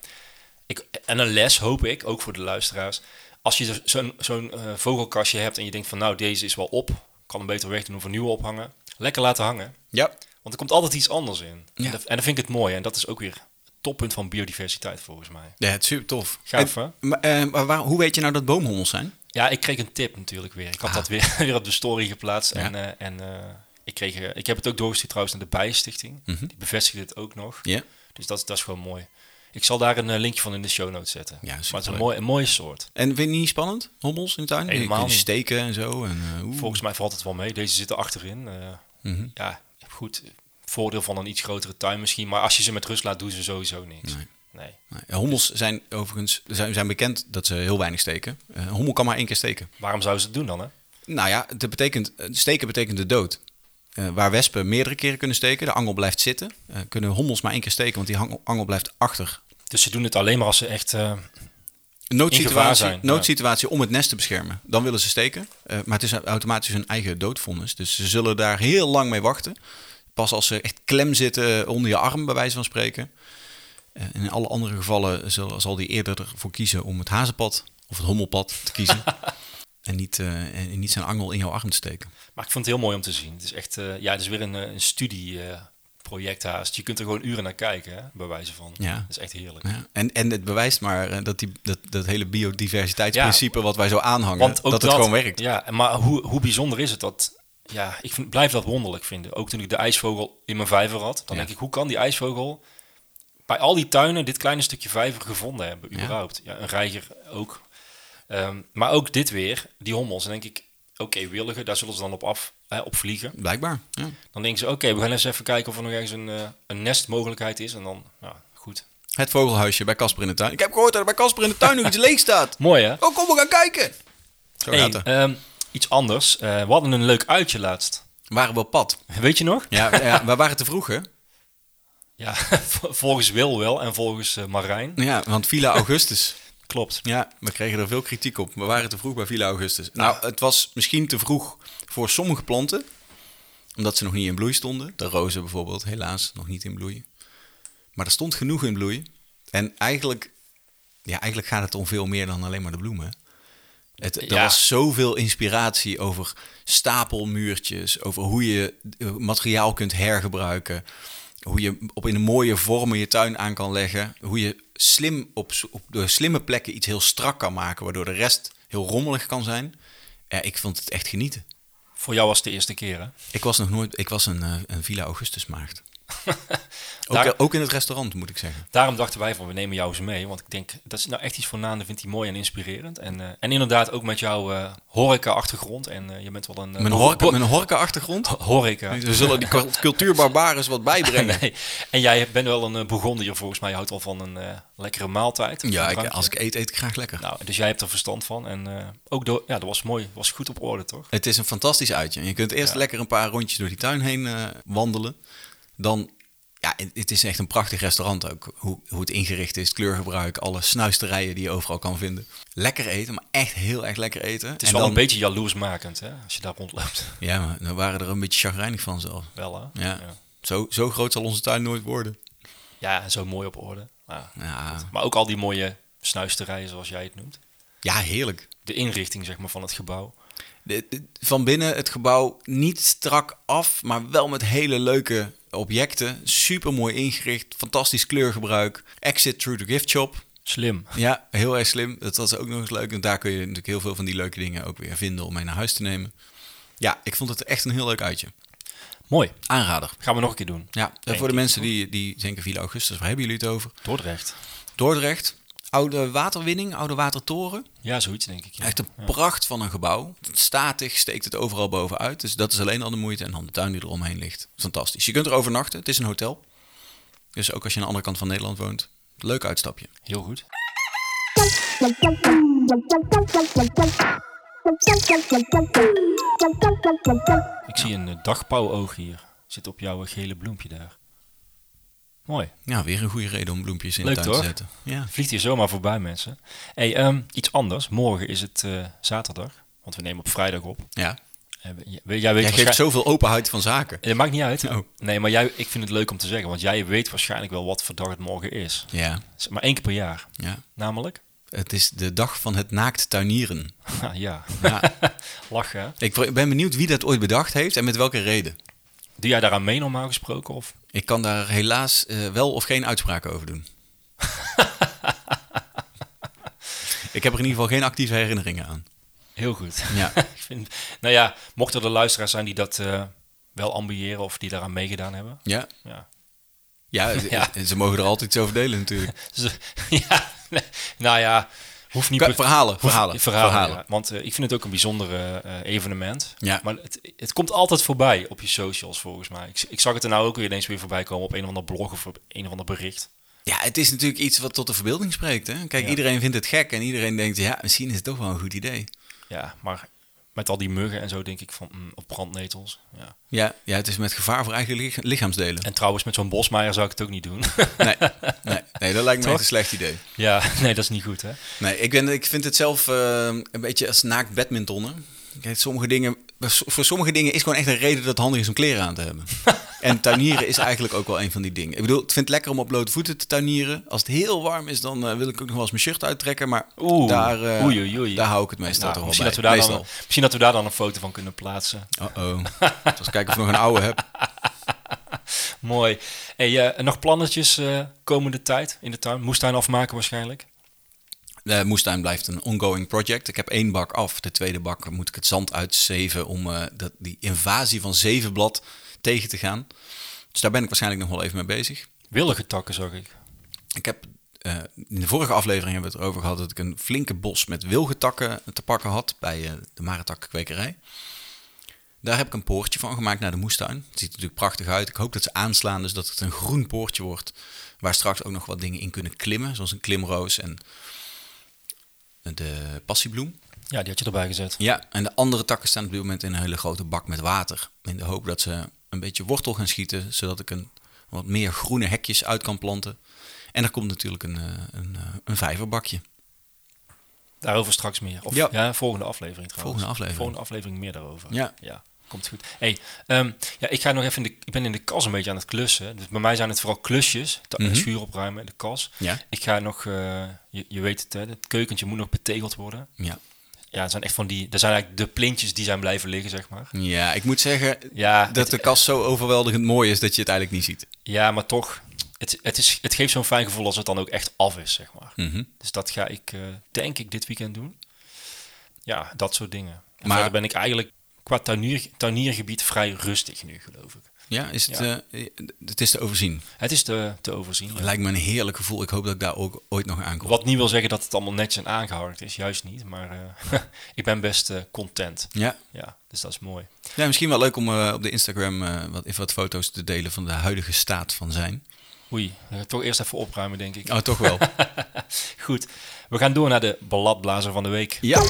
[SPEAKER 2] Ik, en een les hoop ik, ook voor de luisteraars. Als je er zo'n zo'n eh, vogelkastje hebt en je denkt van nou, deze is wel op. Kan hem beter weg doen of een nieuwe ophangen. Lekker laten hangen.
[SPEAKER 1] Ja.
[SPEAKER 2] Want er komt altijd iets anders in.
[SPEAKER 1] Ja.
[SPEAKER 2] En, dat, en dat vind ik het mooi. En dat is ook weer het toppunt van biodiversiteit volgens mij.
[SPEAKER 1] Ja, het is super tof.
[SPEAKER 2] Gaaf,
[SPEAKER 1] En-
[SPEAKER 2] hè?
[SPEAKER 1] maar, eh, maar waar- hoe weet je nou dat boomhommels zijn?
[SPEAKER 2] Ja, ik kreeg een tip natuurlijk weer. Ik had dat weer, (laughs) weer op de story geplaatst.
[SPEAKER 1] Ah. Ja.
[SPEAKER 2] En, eh, en eh, ik, kreeg, eh, ik heb het ook doorgestuurd trouwens naar de Bijenstichting.
[SPEAKER 1] Mhm.
[SPEAKER 2] Die bevestigde het ook nog.
[SPEAKER 1] Ja.
[SPEAKER 2] Dus dat, dat is gewoon mooi. Ik zal daar een eh, linkje van in de show notes zetten.
[SPEAKER 1] Ja,
[SPEAKER 2] maar het is een,
[SPEAKER 1] superleuk.
[SPEAKER 2] mooi, een mooie soort.
[SPEAKER 1] En vind je het niet spannend? Hommels in de tuin?
[SPEAKER 2] Helemaal
[SPEAKER 1] Kun je
[SPEAKER 2] niet.
[SPEAKER 1] steken en zo. En, eh, oeh.
[SPEAKER 2] Volgens mij valt het wel mee. Deze zitten achterin. eh,
[SPEAKER 1] Mhm.
[SPEAKER 2] Ja, goed. Voordeel van een iets grotere tuin misschien. Maar als je ze met rust laat, doen ze sowieso niks.
[SPEAKER 1] Nee.
[SPEAKER 2] nee.
[SPEAKER 1] Nee, Hommels zijn overigens zijn, zijn bekend dat ze heel weinig steken. Eh, een hommel kan maar één keer steken.
[SPEAKER 2] Waarom zouden ze het doen dan, hè?
[SPEAKER 1] Nou ja, dat betekent, eh, steken betekent de dood. Eh, waar wespen meerdere keren kunnen steken, de angel blijft zitten. Eh, kunnen hommels maar één keer steken, want die hang- angel blijft achter.
[SPEAKER 2] Dus ze doen het alleen maar als ze echt eh, gevaar
[SPEAKER 1] noodsituatie,
[SPEAKER 2] zijn, ja.
[SPEAKER 1] noodsituatie om het nest te beschermen. Dan willen ze steken. Eh, maar het is automatisch hun eigen doodvonnis. Dus ze zullen daar heel lang mee wachten. Pas als ze echt klem zitten onder je arm, bij wijze van spreken. Eh, in alle andere gevallen zal, zal die eerder ervoor kiezen om het hazenpad of het hommelpad te
[SPEAKER 2] (laughs)
[SPEAKER 1] kiezen. en, niet, eh, en niet zijn angel in jouw arm te steken.
[SPEAKER 2] Maar ik vond het heel mooi om te zien. Het is echt, eh, ja, het is weer een, eh, een studieproject haast. Je kunt er gewoon uren naar kijken, hè, bij wijze van.
[SPEAKER 1] Ja.
[SPEAKER 2] Dat is echt heerlijk.
[SPEAKER 1] Ja, en, en het bewijst maar eh, dat, die, dat, dat hele biodiversiteitsprincipe wat wij zo aanhangen,
[SPEAKER 2] Want ook
[SPEAKER 1] dat het gewoon werkt.
[SPEAKER 2] Ja, maar hoe, hoe bijzonder is het dat... Ja, ik vind, blijf dat wonderlijk vinden. Ook toen ik de ijsvogel in mijn vijver had. Dan
[SPEAKER 1] Ja.
[SPEAKER 2] denk ik, hoe kan die ijsvogel bij al die tuinen dit kleine stukje vijver gevonden hebben, überhaupt? Ja, een reiger ook. Ehm, maar ook dit weer, die hommels. Dan denk ik, oké, willigen, daar zullen ze dan op, af, hè, op vliegen.
[SPEAKER 1] Blijkbaar. Ja.
[SPEAKER 2] Dan denken ze, oké, we gaan eens even kijken of er nog ergens een, eh, een nestmogelijkheid is. En dan, nou, goed.
[SPEAKER 1] Het vogelhuisje bij Casper in de tuin. Ik heb gehoord dat er bij Casper in de tuin nog iets leeg staat.
[SPEAKER 2] Mooi, hè?
[SPEAKER 1] Oh, kom, we gaan kijken. Zo
[SPEAKER 2] Hey,
[SPEAKER 1] gaat het.
[SPEAKER 2] ehm, iets anders. Eh, we hadden een leuk uitje laatst.
[SPEAKER 1] We waren wel pad.
[SPEAKER 2] Weet je nog?
[SPEAKER 1] Ja, ja, we waren te vroeg, hè?
[SPEAKER 2] Ja, (laughs) volgens Wil wel en volgens eh, Marijn.
[SPEAKER 1] Ja, want Villa Augustus.
[SPEAKER 2] Klopt.
[SPEAKER 1] Ja, we kregen er veel kritiek op. We waren te vroeg bij Villa Augustus. Nou, het was misschien te vroeg voor sommige planten. Omdat ze nog niet in bloei stonden. De rozen bijvoorbeeld, helaas, nog niet in bloei. Maar er stond genoeg in bloei. En eigenlijk, ja, eigenlijk gaat het om veel meer dan alleen maar de bloemen. hè. Het, er
[SPEAKER 2] Ja.
[SPEAKER 1] was zoveel inspiratie over stapelmuurtjes, over hoe je eh, materiaal kunt hergebruiken, hoe je op in een mooie vormen je tuin aan kan leggen, hoe je slim op, s- op de slimme plekken iets heel strak kan maken, waardoor de rest heel rommelig kan zijn. Ja, ik vond het echt genieten.
[SPEAKER 2] Voor jou was het de eerste keer, hè?
[SPEAKER 1] Ik was nog nooit, ik was een, eh, een Villa Augustus maagd. ook,
[SPEAKER 2] Daar-
[SPEAKER 1] eh, ook in het restaurant moet ik zeggen.
[SPEAKER 2] Daarom dachten wij van, we nemen jou eens mee. Want ik denk, dat is nou echt iets voor Naan. Dat vindt hij mooi en inspirerend. En, eh, en inderdaad ook met jouw eh, horeca-achtergrond. En eh, je bent wel een... eh,
[SPEAKER 1] Mijn
[SPEAKER 2] bo-
[SPEAKER 1] horken,
[SPEAKER 2] bo-
[SPEAKER 1] mijn horken achtergrond.
[SPEAKER 2] Horeca.
[SPEAKER 1] We zullen die cu- cultuurbarbaar eens wat bijbrengen.
[SPEAKER 2] (laughs) Nee. En jij bent wel een eh, Bourgondier volgens mij. Je houdt al van een eh, lekkere maaltijd.
[SPEAKER 1] Ja,
[SPEAKER 2] Een
[SPEAKER 1] ik,
[SPEAKER 2] drankje.
[SPEAKER 1] als ik eet, eet ik graag lekker.
[SPEAKER 2] Nou, dus jij hebt er verstand van. En eh, ook door, ja, dat was mooi. was goed op orde, toch?
[SPEAKER 1] Het is een fantastisch uitje. En Je kunt eerst lekker een paar rondjes door die tuin heen eh, wandelen. Dan, ja, het- het is echt een prachtig restaurant ook. Hoe, hoe het ingericht is, het kleurgebruik, alle snuisterijen die je overal kan vinden. Lekker eten, maar echt heel erg lekker eten.
[SPEAKER 2] Het is wel een beetje jaloersmakend, hè? Als je daar rondloopt. (laughs)
[SPEAKER 1] Ja, maar we waren er een beetje chagrijnig van zelf.
[SPEAKER 2] wel, hè?
[SPEAKER 1] Ja. Zo, zo groot zal onze tuin nooit worden.
[SPEAKER 2] Ja, en zo mooi op orde. Ja.
[SPEAKER 1] Ja,
[SPEAKER 2] Maar ook al die mooie snuisterijen, zoals jij het noemt.
[SPEAKER 1] ja heerlijk.
[SPEAKER 2] De inrichting, zeg maar, van het gebouw.
[SPEAKER 1] De- de- van binnen het gebouw niet strak af, maar wel met hele leuke objecten. Super mooi ingericht, fantastisch kleurgebruik. Exit through the gift shop.
[SPEAKER 2] Slim.
[SPEAKER 1] Ja, heel erg slim. Dat was ook nog eens leuk. En daar kun je natuurlijk heel veel van die leuke dingen ook weer vinden om mee naar huis te nemen. Ja, ik vond het echt een heel leuk uitje.
[SPEAKER 2] Mooi.
[SPEAKER 1] Aanrader.
[SPEAKER 2] Gaan we nog een keer doen.
[SPEAKER 1] Ja, en
[SPEAKER 2] Denk
[SPEAKER 1] voor de
[SPEAKER 2] ik.
[SPEAKER 1] mensen die, die denken 4 augustus, waar hebben jullie het over?
[SPEAKER 2] Dordrecht.
[SPEAKER 1] Dordrecht, oude waterwinning, oude watertoren.
[SPEAKER 2] Ja, zoiets denk ik. Ja.
[SPEAKER 1] Echt een pracht van een gebouw. Statig steekt het overal bovenuit. Dus dat is alleen al de moeite. En dan de tuin die eromheen ligt. Fantastisch. Je kunt er overnachten. Het is een hotel. Dus ook als je aan de andere kant van Nederland woont. Leuk uitstapje.
[SPEAKER 2] Heel goed. Ik zie een eh, dagpauwoog hier. Zit op jouw eh, gele bloempje daar. Mooi.
[SPEAKER 1] Ja, weer een goede reden om bloempjes in
[SPEAKER 2] Leuk,
[SPEAKER 1] de tuin
[SPEAKER 2] toch?
[SPEAKER 1] te zetten. Ja.
[SPEAKER 2] Vliegt hier zomaar voorbij, mensen. hey, ehm, iets anders. Morgen is het eh, zaterdag. Want we nemen op vrijdag op.
[SPEAKER 1] ja.
[SPEAKER 2] En we- we- jij weet
[SPEAKER 1] Jij geeft
[SPEAKER 2] waarschijn-
[SPEAKER 1] zoveel openheid van zaken.
[SPEAKER 2] Eh, maakt niet uit.
[SPEAKER 1] Oh.
[SPEAKER 2] Nee, maar jij, ik vind het leuk om te zeggen. Want jij weet waarschijnlijk wel wat voor dag het morgen is.
[SPEAKER 1] Ja,
[SPEAKER 2] Is Maar één keer per jaar.
[SPEAKER 1] ja.
[SPEAKER 2] Namelijk?
[SPEAKER 1] Het is de dag van het naakt tuinieren.
[SPEAKER 2] (laughs) Ah, ja.
[SPEAKER 1] Ja.
[SPEAKER 2] Lachen. hè?
[SPEAKER 1] ik ben benieuwd wie dat ooit bedacht heeft en met welke reden.
[SPEAKER 2] Doe jij daaraan mee normaal gesproken? Of?
[SPEAKER 1] Ik kan daar helaas eh, wel of geen uitspraken over doen. (laughs) ik heb er in ieder geval geen actieve herinneringen aan.
[SPEAKER 2] Heel (laughs) goed.
[SPEAKER 1] Ja.
[SPEAKER 2] ik vind, nou ja, mochten er luisteraars zijn die dat eh, wel ambiëren of die daaraan meegedaan hebben.
[SPEAKER 1] Ja,
[SPEAKER 2] Ja.
[SPEAKER 1] ja, (laughs)
[SPEAKER 2] Ja.
[SPEAKER 1] ze- ze mogen er altijd iets over delen natuurlijk.
[SPEAKER 2] Dus, (laughs) ja, nee, nou ja, hoeft niet...
[SPEAKER 1] Ka-
[SPEAKER 2] per-
[SPEAKER 1] Verhalen,
[SPEAKER 2] hoeft-
[SPEAKER 1] verhalen,
[SPEAKER 2] verhalen,
[SPEAKER 1] verhalen.
[SPEAKER 2] ja. Want eh, ik vind het ook een bijzonder eh, eh, evenement.
[SPEAKER 1] Ja.
[SPEAKER 2] Maar het, het komt altijd voorbij op je socials volgens mij. Ik, ik zag het er nou ook weer ineens weer voorbij komen op een of ander blog of op een of ander bericht.
[SPEAKER 1] Ja, het is natuurlijk iets wat tot de verbeelding spreekt. Hè? Kijk,
[SPEAKER 2] Ja.
[SPEAKER 1] iedereen vindt het gek en iedereen denkt, ja, misschien is het toch wel een goed idee.
[SPEAKER 2] Ja, maar Met al die muggen en zo denk ik van, mm, of brandnetels. Ja.
[SPEAKER 1] Ja, ja, het is met gevaar voor eigen lich- lichaamsdelen.
[SPEAKER 2] En trouwens, met zo'n bosmaaier zou ik het ook niet doen. (laughs)
[SPEAKER 1] (laughs) Nee, nee, nee dat lijkt me
[SPEAKER 2] Toch?
[SPEAKER 1] echt een slecht idee.
[SPEAKER 2] ja, nee, dat is niet goed hè.
[SPEAKER 1] Nee, ik, ben, ik vind het zelf eh, een beetje als naakt badmintonnen. Kijk, sommige dingen, voor sommige dingen is gewoon echt een reden dat het handig is om kleren aan te
[SPEAKER 2] (laughs)
[SPEAKER 1] hebben. en tuinieren is eigenlijk ook wel een van die dingen. Ik bedoel, ik vind het lekker om op blote voeten te tuinieren. Als het heel warm is, dan eh, wil ik ook nog wel eens mijn shirt uittrekken. Maar
[SPEAKER 2] Oeh,
[SPEAKER 1] daar, eh,
[SPEAKER 2] oei, oei, oei.
[SPEAKER 1] daar hou ik het meestal
[SPEAKER 2] Nou,
[SPEAKER 1] toch wel bij.
[SPEAKER 2] misschien, dat we daar dan,
[SPEAKER 1] Meestal.
[SPEAKER 2] misschien dat we daar dan een foto van kunnen plaatsen.
[SPEAKER 1] Uh-oh. Ik was kijken of ik nog een oude heb.
[SPEAKER 2] Mooi. Hey, eh, en nog plannetjes eh, komende tijd in de tuin? Moestuin afmaken waarschijnlijk?
[SPEAKER 1] De moestuin blijft een ongoing project. Ik heb één bak af. De tweede bak moet ik het zand uitzeven om eh, dat, die invasie van zevenblad tegen te gaan. Dus daar ben ik waarschijnlijk nog wel even mee bezig.
[SPEAKER 2] Willige takken zag ik.
[SPEAKER 1] Ik heb eh, in de vorige aflevering hebben we het erover gehad dat ik een flinke bos met wilgetakken te pakken had bij eh, de Maratakkenkwekerij. Daar heb ik een poortje van gemaakt naar de moestuin. Het ziet er natuurlijk prachtig uit. Ik hoop dat ze aanslaan, dus dat het een groen poortje wordt. Waar straks ook nog wat dingen in kunnen klimmen, zoals een klimroos en de passiebloem.
[SPEAKER 2] Ja, die had je erbij gezet.
[SPEAKER 1] Ja, en de andere takken staan op dit moment in een hele grote bak met water. In de hoop dat ze een beetje wortel gaan schieten, zodat ik een, wat meer groene hekjes uit kan planten. En er komt natuurlijk een, eh, een, eh, een vijverbakje.
[SPEAKER 2] Daarover straks meer. Of, ja.
[SPEAKER 1] Ja.
[SPEAKER 2] volgende aflevering trouwens.
[SPEAKER 1] Volgende aflevering.
[SPEAKER 2] Volgende aflevering meer daarover.
[SPEAKER 1] Ja.
[SPEAKER 2] komt goed. Hey, ehm, ja, ik ga nog even in de, ik ben in de kas een beetje aan het klussen. Dus bij mij zijn het vooral klusjes. De
[SPEAKER 1] Mhm.
[SPEAKER 2] schuur opruimen en de kas.
[SPEAKER 1] Ja.
[SPEAKER 2] Ik ga nog, eh, je, je weet het hè, het keukentje moet nog betegeld worden.
[SPEAKER 1] Ja.
[SPEAKER 2] Ja, het zijn echt van die, er zijn eigenlijk de plintjes die zijn blijven liggen, zeg maar.
[SPEAKER 1] ja, ik moet zeggen
[SPEAKER 2] Ja,
[SPEAKER 1] dat
[SPEAKER 2] het-
[SPEAKER 1] de kast zo overweldigend mooi is dat je het eigenlijk niet ziet.
[SPEAKER 2] Ja, maar toch, het, het, is, het geeft zo'n fijn gevoel als het dan ook echt af is, zeg maar.
[SPEAKER 1] Mhm.
[SPEAKER 2] Dus dat ga ik, eh, denk ik, dit weekend doen. Ja, dat soort dingen. En
[SPEAKER 1] Maar-
[SPEAKER 2] verder ben ik eigenlijk qua tuinier, tuiniergebied vrij rustig nu, geloof ik.
[SPEAKER 1] Ja, is het,
[SPEAKER 2] Ja.
[SPEAKER 1] eh, het is te overzien.
[SPEAKER 2] Het is te, te overzien.
[SPEAKER 1] Het lijkt me een heerlijk gevoel. Ik hoop dat ik daar ook ooit nog aankom.
[SPEAKER 2] Wat niet wil zeggen dat het allemaal netjes en aangeharkt is, juist niet. Maar eh, (laughs) ik ben best eh, content.
[SPEAKER 1] Ja.
[SPEAKER 2] Ja, dus dat is mooi.
[SPEAKER 1] ja, misschien wel leuk om eh, op de Instagram eh, wat, even wat foto's te delen van de huidige staat van zijn.
[SPEAKER 2] Oei, eh, toch eerst even opruimen, denk ik.
[SPEAKER 1] Oh, toch wel.
[SPEAKER 2] Goed, we gaan door naar de balladblazer van de week.
[SPEAKER 1] (laughs) ja.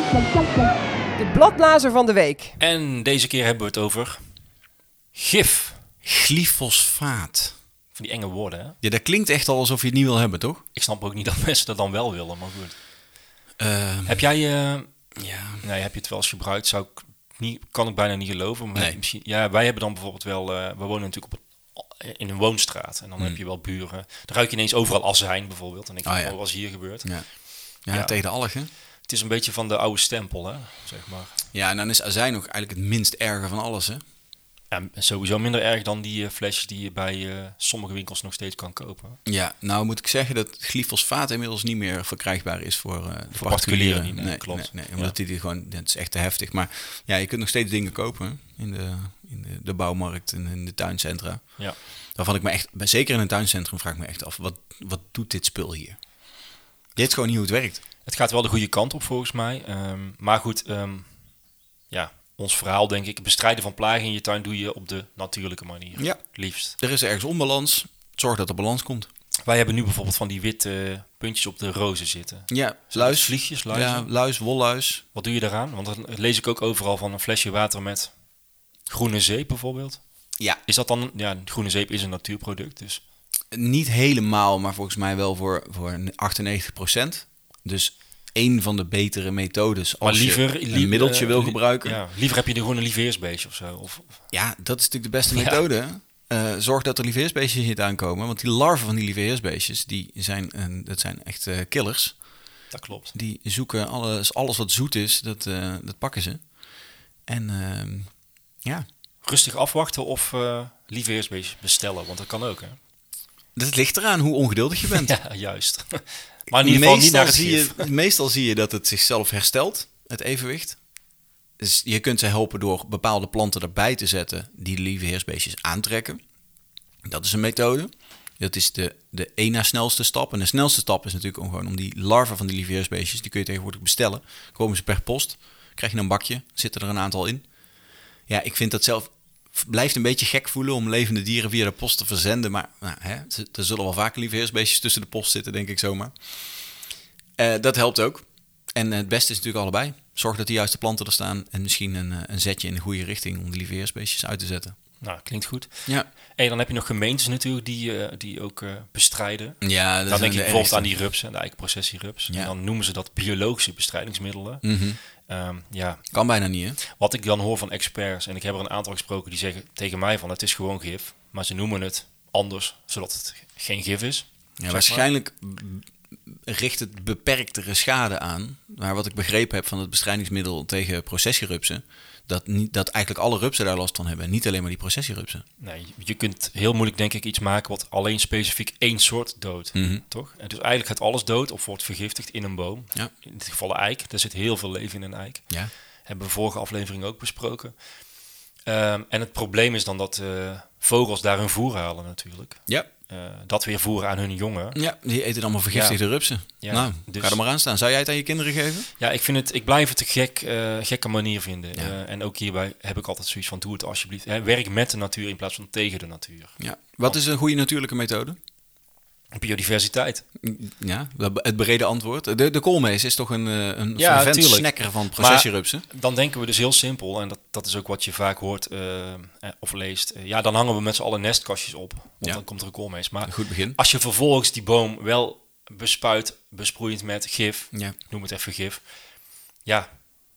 [SPEAKER 3] De bladblazer van de week.
[SPEAKER 2] En deze keer hebben we het over gif.
[SPEAKER 1] Glyfosfaat.
[SPEAKER 2] Van die enge woorden, hè?
[SPEAKER 1] Ja, dat klinkt echt al alsof je het niet wil hebben, toch?
[SPEAKER 2] Ik snap ook niet (laughs) dat mensen dat dan wel willen, maar goed.
[SPEAKER 1] Ehm,
[SPEAKER 2] Heb jij, eh,
[SPEAKER 1] ja.
[SPEAKER 2] nee, heb je het wel eens gebruikt? Zou ik niet, kan ik bijna niet geloven. Maar
[SPEAKER 1] Nee.
[SPEAKER 2] misschien, ja, wij hebben dan bijvoorbeeld wel, eh we wonen natuurlijk op een, in een woonstraat. En dan heb je wel buren. Dan ruik je ineens overal azijn bijvoorbeeld. En ik
[SPEAKER 1] Hmm.
[SPEAKER 2] denk,
[SPEAKER 1] Ah,
[SPEAKER 2] je,
[SPEAKER 1] ja.
[SPEAKER 2] oh, wat is hier gebeurd?
[SPEAKER 1] Ja. Ja,
[SPEAKER 2] Ja.
[SPEAKER 1] tegen de algen.
[SPEAKER 2] Het is een beetje van de oude stempel, hè, zeg maar.
[SPEAKER 1] Ja, en dan is azijn nog eigenlijk het minst erge van alles, hè?
[SPEAKER 2] Ja, sowieso minder erg dan die eh, flesjes die je bij eh, sommige winkels nog steeds kan kopen.
[SPEAKER 1] Ja, nou moet ik zeggen dat glyfosfaat inmiddels niet meer verkrijgbaar is voor, eh, voor particulieren.
[SPEAKER 2] particulieren niet, nee,
[SPEAKER 1] nee,
[SPEAKER 2] klopt.
[SPEAKER 1] Nee, nee, omdat die die gewoon, het is echt te heftig. Maar ja, je kunt nog steeds dingen kopen hè, in de, in de, de bouwmarkt en in de tuincentra.
[SPEAKER 2] Ja.
[SPEAKER 1] Waarvan ik me echt, bij- zeker in een tuincentrum, vraag ik me echt af, wat, wat doet dit spul hier? Dit is gewoon niet hoe het werkt.
[SPEAKER 2] Het gaat wel de goede kant op volgens mij. Ehm, maar goed, ehm, ja, ons verhaal denk ik. Het bestrijden van plagen in je tuin doe je op de natuurlijke manier.
[SPEAKER 1] Ja.
[SPEAKER 2] het Liefst.
[SPEAKER 1] Er is ergens onbalans. Zorg dat er balans komt.
[SPEAKER 2] Wij hebben nu bijvoorbeeld van die witte puntjes op de rozen zitten.
[SPEAKER 1] Ja,
[SPEAKER 2] dat
[SPEAKER 1] luis.
[SPEAKER 2] vliegjes, luizen?
[SPEAKER 1] Ja, luis, wolluis.
[SPEAKER 2] Wat doe je daaraan? Want dan lees ik ook overal van een flesje water met groene zeep bijvoorbeeld.
[SPEAKER 1] Ja,
[SPEAKER 2] Is dat dan... Ja, groene zeep is een natuurproduct, dus...
[SPEAKER 1] niet helemaal, maar volgens mij wel voor, voor 98%. Dus één van de betere methodes als
[SPEAKER 2] Maar liever...
[SPEAKER 1] je
[SPEAKER 2] lie-
[SPEAKER 1] een middeltje
[SPEAKER 2] eh,
[SPEAKER 1] wil
[SPEAKER 2] li-
[SPEAKER 1] gebruiken. Ja.
[SPEAKER 2] Ja, liever heb je er gewoon een lieveheersbeestje of zo. Of, of-
[SPEAKER 1] dat is natuurlijk de beste methode. hè? Eh, zorg dat er lieveheersbeestjes in je tuin komen. Want die larven van die lieveheersbeestjes, die zijn, een- dat zijn echt eh, killers.
[SPEAKER 2] dat klopt.
[SPEAKER 1] Die zoeken alles, alles wat zoet is, dat, eh, dat pakken ze. En ehm, ja,
[SPEAKER 2] Rustig afwachten of eh lieveheersbeestje bestellen, want dat kan
[SPEAKER 1] (clears throat)
[SPEAKER 2] ook, hè?
[SPEAKER 1] dat ligt eraan hoe ongeduldig je bent.
[SPEAKER 2] Ja, juist. (laughs) Maar in ieder geval niet naar het
[SPEAKER 1] zie
[SPEAKER 2] gif.
[SPEAKER 1] je, meestal zie je dat het zichzelf herstelt, het evenwicht. Dus je kunt ze helpen door bepaalde planten erbij te zetten die de lieve heersbeestjes aantrekken. Dat is een methode. Dat is de, de één na snelste stap. En de snelste stap is natuurlijk om gewoon om die larven van die lieve heersbeestjes, die kun je tegenwoordig bestellen. Komen ze per post, krijg je een bakje, zitten er een aantal in. Ja, ik vind dat zelf blijft een beetje gek voelen om levende dieren via de post te verzenden. Maar nou, hè, er zullen wel vaker lieveheersbeestjes tussen de post zitten, denk ik zomaar. Eh, dat helpt ook. En het beste is natuurlijk allebei. Zorg dat de juiste planten er staan en misschien een, eh, een zetje in de goede richting om de lieveheersbeestjes uit te zetten.
[SPEAKER 2] Nou, klinkt goed.
[SPEAKER 1] Ja,
[SPEAKER 2] En dan heb je nog gemeentes natuurlijk die, eh, die ook eh, bestrijden.
[SPEAKER 1] ja dat
[SPEAKER 2] Dan
[SPEAKER 1] zijn
[SPEAKER 2] denk
[SPEAKER 1] de
[SPEAKER 2] ik bijvoorbeeld
[SPEAKER 1] ergste.
[SPEAKER 2] aan die rups, aan de eikenprocessierups.
[SPEAKER 1] Ja.
[SPEAKER 2] En dan noemen ze dat biologische bestrijdingsmiddelen.
[SPEAKER 1] Mhm.
[SPEAKER 2] Ehm, ja,
[SPEAKER 1] Kan bijna niet, hè?
[SPEAKER 2] wat ik dan hoor van experts, en ik heb er een aantal gesproken die zeggen tegen mij van het is gewoon gif. Maar ze noemen het anders, zodat het geen gif is.
[SPEAKER 1] Ja, waarschijnlijk b- richt het beperktere schade aan. Maar wat ik begrepen heb van het bestrijdingsmiddel tegen processierupsen... dat, niet, dat eigenlijk alle rupsen daar last van hebben. Niet alleen maar die processierupsen.
[SPEAKER 2] Nee, je- je kunt heel moeilijk denk ik iets maken wat alleen specifiek één soort
[SPEAKER 1] Mhm.
[SPEAKER 2] doodt, toch? En dus eigenlijk gaat alles dood of wordt vergiftigd in een boom.
[SPEAKER 1] Ja.
[SPEAKER 2] In dit geval een eik. Er zit heel veel leven in een eik.
[SPEAKER 1] Ja.
[SPEAKER 2] Hebben we vorige aflevering ook besproken. Ehm, en het probleem is dan dat eh, vogels daar hun voer halen natuurlijk.
[SPEAKER 1] Ja,
[SPEAKER 2] Eh, dat weer voeren aan hun jongen.
[SPEAKER 1] ja die eten allemaal vergiftigde rupsen.
[SPEAKER 2] Ja,
[SPEAKER 1] nou,
[SPEAKER 2] dus-
[SPEAKER 1] ga er maar aan staan. Zou jij het aan je kinderen geven?
[SPEAKER 2] Ja, ik, vind het, ik blijf het een gek, eh, gekke manier vinden. Eh, en ook hierbij heb ik altijd zoiets van doe het alsjeblieft. Hè, werk met de natuur in plaats van tegen de natuur.
[SPEAKER 1] Ja. Wat is een goede natuurlijke methode?
[SPEAKER 2] Biodiversiteit.
[SPEAKER 1] Ja, het brede antwoord. De, de koolmees is toch een, eh, een
[SPEAKER 2] Ja,
[SPEAKER 1] fervent
[SPEAKER 2] tuurlijk.
[SPEAKER 1] snacker van processierupsen?
[SPEAKER 2] Dan denken we dus heel simpel, en dat, dat is ook wat je vaak hoort eh, eh, of leest. eh, ja, dan hangen we met z'n allen nestkastjes op, want
[SPEAKER 1] Ja.
[SPEAKER 2] dan komt er een koolmees. Maar
[SPEAKER 1] Een goed begin.
[SPEAKER 2] als je vervolgens die boom wel bespuit, besproeiend met gif,
[SPEAKER 1] Ja.
[SPEAKER 2] noem het even gif. Ja,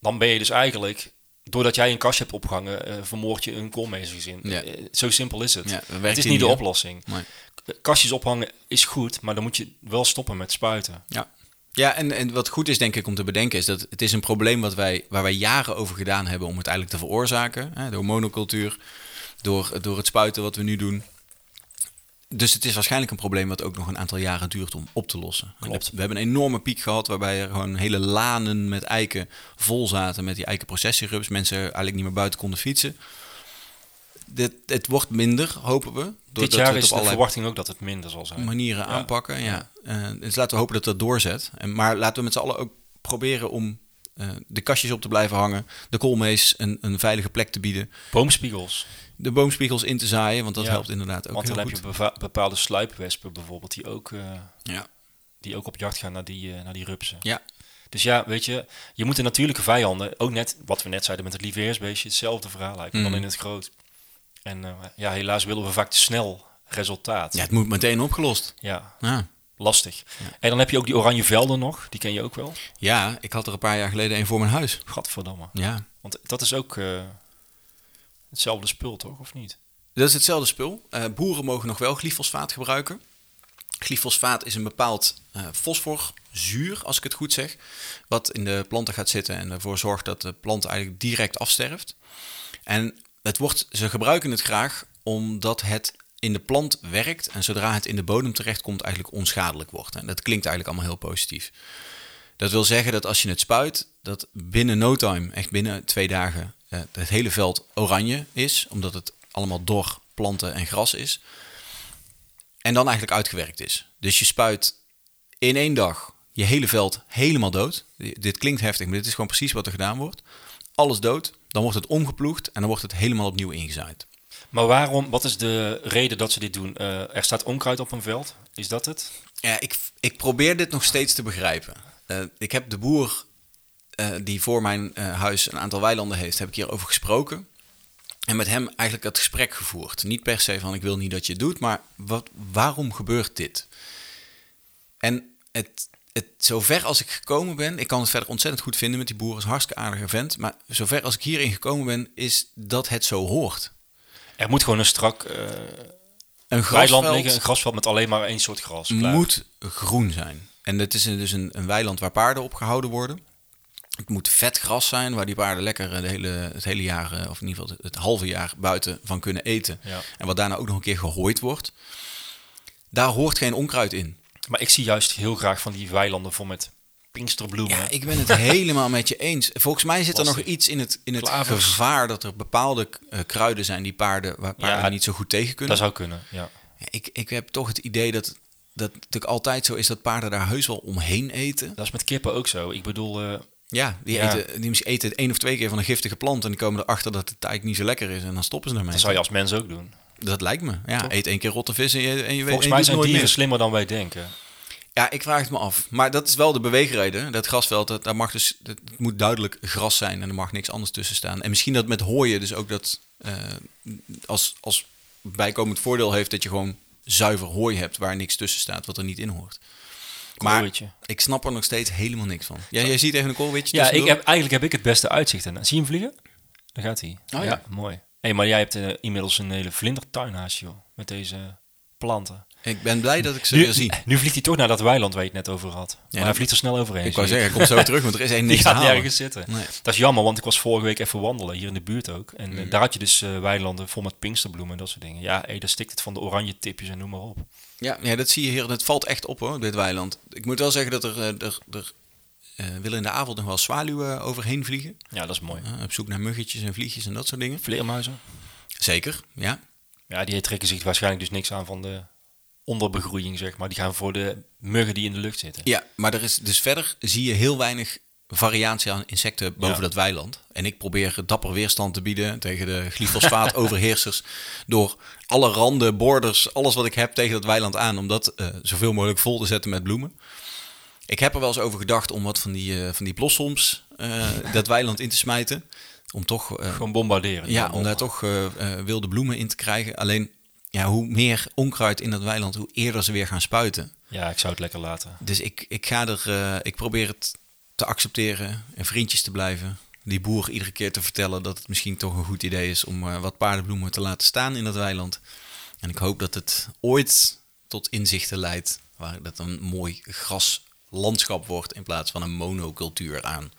[SPEAKER 2] dan ben je dus eigenlijk, doordat jij een kastje hebt opgehangen, eh, vermoord je een koolmeesgezin.
[SPEAKER 1] Ja.
[SPEAKER 2] Eh, zo simpel is het.
[SPEAKER 1] Ja, dat werkt
[SPEAKER 2] het is
[SPEAKER 1] hier
[SPEAKER 2] niet de
[SPEAKER 1] niet, hè?
[SPEAKER 2] oplossing.
[SPEAKER 1] Mooi.
[SPEAKER 2] Kastjes ophangen is goed, maar dan moet je wel stoppen met spuiten.
[SPEAKER 1] Ja. Ja, en, en wat goed is denk ik om te bedenken is dat het is een probleem wat wij, waar wij jaren over gedaan hebben om het eigenlijk te veroorzaken. Hè, door monocultuur, door, door het spuiten wat we nu doen. Dus het is waarschijnlijk een probleem wat ook nog een aantal jaren duurt om op te lossen.
[SPEAKER 2] Klopt.
[SPEAKER 1] We hebben een enorme piek gehad waarbij er gewoon hele lanen met eiken vol zaten met die eikenprocessierups. Mensen eigenlijk niet meer buiten konden fietsen. Dit, het wordt minder, hopen we. doordat
[SPEAKER 2] Dit
[SPEAKER 1] we
[SPEAKER 2] jaar
[SPEAKER 1] het
[SPEAKER 2] is
[SPEAKER 1] op
[SPEAKER 2] de
[SPEAKER 1] allerlei
[SPEAKER 2] verwachting ook dat het minder zal zijn.
[SPEAKER 1] manieren
[SPEAKER 2] Ja.
[SPEAKER 1] aanpakken. Ja. Eh, dus laten we hopen dat dat doorzet. En, maar laten we met z'n allen ook proberen om eh, de kastjes op te blijven hangen. De koolmees een, een veilige plek te bieden.
[SPEAKER 2] Boomspiegels.
[SPEAKER 1] De boomspiegels in te zaaien, want dat
[SPEAKER 2] Ja.
[SPEAKER 1] helpt inderdaad ook
[SPEAKER 2] Want dan
[SPEAKER 1] heel
[SPEAKER 2] heb
[SPEAKER 1] goed.
[SPEAKER 2] je beva- bepaalde sluipwespen bijvoorbeeld die ook, eh,
[SPEAKER 1] Ja.
[SPEAKER 2] die ook op jacht gaan naar die, eh, naar die rupsen.
[SPEAKER 1] Ja.
[SPEAKER 2] Dus ja, weet je, je moet de natuurlijke vijanden, ook net wat we net zeiden met het lieveheersbeestje, hetzelfde verhaal lijkt, maar
[SPEAKER 1] Mm.
[SPEAKER 2] dan in het groot. En eh, ja, helaas willen we vaak te snel resultaat.
[SPEAKER 1] ja, het moet meteen opgelost.
[SPEAKER 2] Ja,
[SPEAKER 1] Ja.
[SPEAKER 2] lastig. En dan heb je ook die oranje velden nog, die ken je ook wel.
[SPEAKER 1] ja, ik had er een paar jaar geleden een voor mijn huis.
[SPEAKER 2] Gadverdamme.
[SPEAKER 1] Ja.
[SPEAKER 2] Want dat is ook eh, hetzelfde spul, toch? Of niet?
[SPEAKER 1] Dat is hetzelfde spul. Eh, boeren mogen nog wel glyfosfaat gebruiken. Glyfosfaat is een bepaald eh, fosforzuur, als ik het goed zeg, wat in de planten gaat zitten en ervoor zorgt dat de plant eigenlijk direct afsterft. En het wordt, ze gebruiken het graag omdat het in de plant werkt en zodra het in de bodem terechtkomt eigenlijk onschadelijk wordt. En dat klinkt eigenlijk allemaal heel positief. Dat wil zeggen dat als je het spuit, dat binnen no time, echt binnen twee dagen, eh, het hele veld oranje is, omdat het allemaal door planten en gras is. En dan eigenlijk uitgewerkt is. Dus je spuit in één dag je hele veld helemaal dood. Dit klinkt heftig, maar dit is gewoon precies wat er gedaan wordt. Alles dood, dan wordt het omgeploegd en dan wordt het helemaal opnieuw ingezaaid.
[SPEAKER 2] Maar waarom, wat is de reden dat ze dit doen? Eh, er staat onkruid op een veld, is dat het?
[SPEAKER 1] Ja, ik, ik probeer dit nog steeds te begrijpen. Eh, ik heb de boer eh, die voor mijn eh, huis een aantal weilanden heeft, heb ik hierover gesproken. En met hem eigenlijk het gesprek gevoerd. Niet per se van ik wil niet dat je het doet, maar wat, waarom gebeurt dit? En het, het, zover als ik gekomen ben, ik kan het verder ontzettend goed vinden met die boeren, is een hartstikke aardige vent. Maar zover als ik hierin gekomen ben, is dat het zo hoort.
[SPEAKER 2] Er moet gewoon een strak eh
[SPEAKER 1] Een
[SPEAKER 2] weiland
[SPEAKER 1] grasveld,
[SPEAKER 2] liggen, een grasveld met alleen maar één soort gras. Klaar.
[SPEAKER 1] moet groen zijn. En het is een- dus een, een weiland waar paarden op gehouden worden. Het moet vet gras zijn waar die paarden lekker eh, de hele, het hele jaar, eh, of in ieder geval het halve jaar buiten van kunnen eten.
[SPEAKER 2] Ja.
[SPEAKER 1] En wat daarna ook nog een keer gehooid wordt. Daar hoort geen onkruid in.
[SPEAKER 2] Maar ik zie juist heel graag van die weilanden vol met pinksterbloemen.
[SPEAKER 1] Ja, ik ben het (laughs) helemaal met je eens. Volgens mij zit er
[SPEAKER 2] Lastig.
[SPEAKER 1] nog iets in het, in het
[SPEAKER 2] Klavers.
[SPEAKER 1] gevaar dat er bepaalde eh, kruiden zijn die paarden, waar paarden
[SPEAKER 2] Ja,
[SPEAKER 1] niet zo goed tegen kunnen.
[SPEAKER 2] Dat zou kunnen, ja.
[SPEAKER 1] Ik, ik heb toch het idee dat, dat het natuurlijk altijd zo is dat paarden daar heus wel omheen eten.
[SPEAKER 2] Dat is met kippen ook zo. Ik bedoel, eh,
[SPEAKER 1] Ja, die,
[SPEAKER 2] Ja.
[SPEAKER 1] Eten, die misschien eten één of twee keer van een giftige plant en die komen erachter dat de taik niet zo lekker is en dan stoppen ze ermee.
[SPEAKER 2] Dat
[SPEAKER 1] Dat,
[SPEAKER 2] zou je als mens ook doen.
[SPEAKER 1] lijkt me. Ja, eet één keer rotte vis en je, en je weet en
[SPEAKER 2] Volgens
[SPEAKER 1] je
[SPEAKER 2] mij
[SPEAKER 1] doet
[SPEAKER 2] zijn
[SPEAKER 1] nooit
[SPEAKER 2] dieren
[SPEAKER 1] meer.
[SPEAKER 2] slimmer dan wij denken.
[SPEAKER 1] Ja, ik vraag het me af. Maar dat is wel de beweegreden. Dat grasveld, dat, daar mag dus, dat moet duidelijk gras zijn en er mag niks anders tussen staan. En misschien dat met hooien dus ook dat eh, als, als bijkomend voordeel heeft dat je gewoon zuiver hooi hebt waar niks tussen staat wat er niet in hoort. Maar
[SPEAKER 2] Koolwitje.
[SPEAKER 1] ik snap er nog steeds helemaal niks van. Ja, jij ziet even een koolwitje
[SPEAKER 2] Ja, ik
[SPEAKER 1] tussendoor?
[SPEAKER 2] heb, eigenlijk heb ik het beste uitzicht. En, zie je hem vliegen? Daar gaat hij.
[SPEAKER 1] Oh, ja.
[SPEAKER 2] mooi. hey, maar jij hebt eh, inmiddels een hele vlindertuinhuis, joh. Met deze planten.
[SPEAKER 1] ik ben blij dat ik ze
[SPEAKER 2] Nu,
[SPEAKER 1] weer zie.
[SPEAKER 2] nu vliegt hij toch naar dat weiland waar je het net over had. Maar
[SPEAKER 1] dat-
[SPEAKER 2] hij vliegt er snel overheen.
[SPEAKER 1] Ik wou
[SPEAKER 2] zie
[SPEAKER 1] zeggen, ik kom
[SPEAKER 2] (laughs)
[SPEAKER 1] zo terug, want er is echt niks
[SPEAKER 2] Die
[SPEAKER 1] te
[SPEAKER 2] gaat
[SPEAKER 1] halen.
[SPEAKER 2] nergens zitten.
[SPEAKER 1] Nee. Mm.
[SPEAKER 2] Dat is jammer, want ik was vorige week even wandelen, hier in de buurt ook. En eh, daar had je dus eh, weilanden vol met pinksterbloemen en dat soort dingen. Ja, hey, daar stikt het van de oranje tipjes en noem maar op.
[SPEAKER 1] Ja, ja, dat zie je hier. En het valt echt op hoor, dit weiland. Ik moet wel zeggen dat er, eh, er, er eh, willen in de avond nog wel zwaluwen overheen vliegen.
[SPEAKER 2] Ja, dat is mooi.
[SPEAKER 1] Eh, op zoek naar muggetjes en vliegjes en dat soort dingen.
[SPEAKER 2] Vleermuizen.
[SPEAKER 1] Zeker, ja.
[SPEAKER 2] Ja, die trekken zich waarschijnlijk dus niks aan van de onderbegroeiing, zeg maar. Die gaan voor de muggen die in de lucht zitten.
[SPEAKER 1] Ja, maar er is, dus verder zie je heel weinig variatie aan insecten boven
[SPEAKER 2] Ja.
[SPEAKER 1] dat weiland. En ik probeer dapper weerstand te bieden tegen de glyfosaat-overheersers. door alle randen, borders, alles wat ik heb tegen dat weiland aan. Om dat eh, zoveel mogelijk vol te zetten met bloemen. Ik heb er wel eens over gedacht om wat van die, eh, van die blossoms eh, dat weiland in te smijten. Om toch eh,
[SPEAKER 2] Gewoon bombarderen.
[SPEAKER 1] Ja,
[SPEAKER 2] Gewoon
[SPEAKER 1] om daar toch eh, eh, wilde bloemen in te krijgen. Alleen, ja, hoe meer onkruid in dat weiland, hoe eerder ze weer gaan spuiten.
[SPEAKER 2] Ja, ik zou het lekker laten.
[SPEAKER 1] Dus ik, ik ga er, eh, ik probeer het te accepteren en vriendjes te blijven. Die boer iedere keer te vertellen dat het misschien toch een goed idee is om eh, wat paardenbloemen te laten staan in dat weiland. En ik hoop dat het ooit tot inzichten leidt waar dat een mooi graslandschap wordt in plaats van een monocultuur aan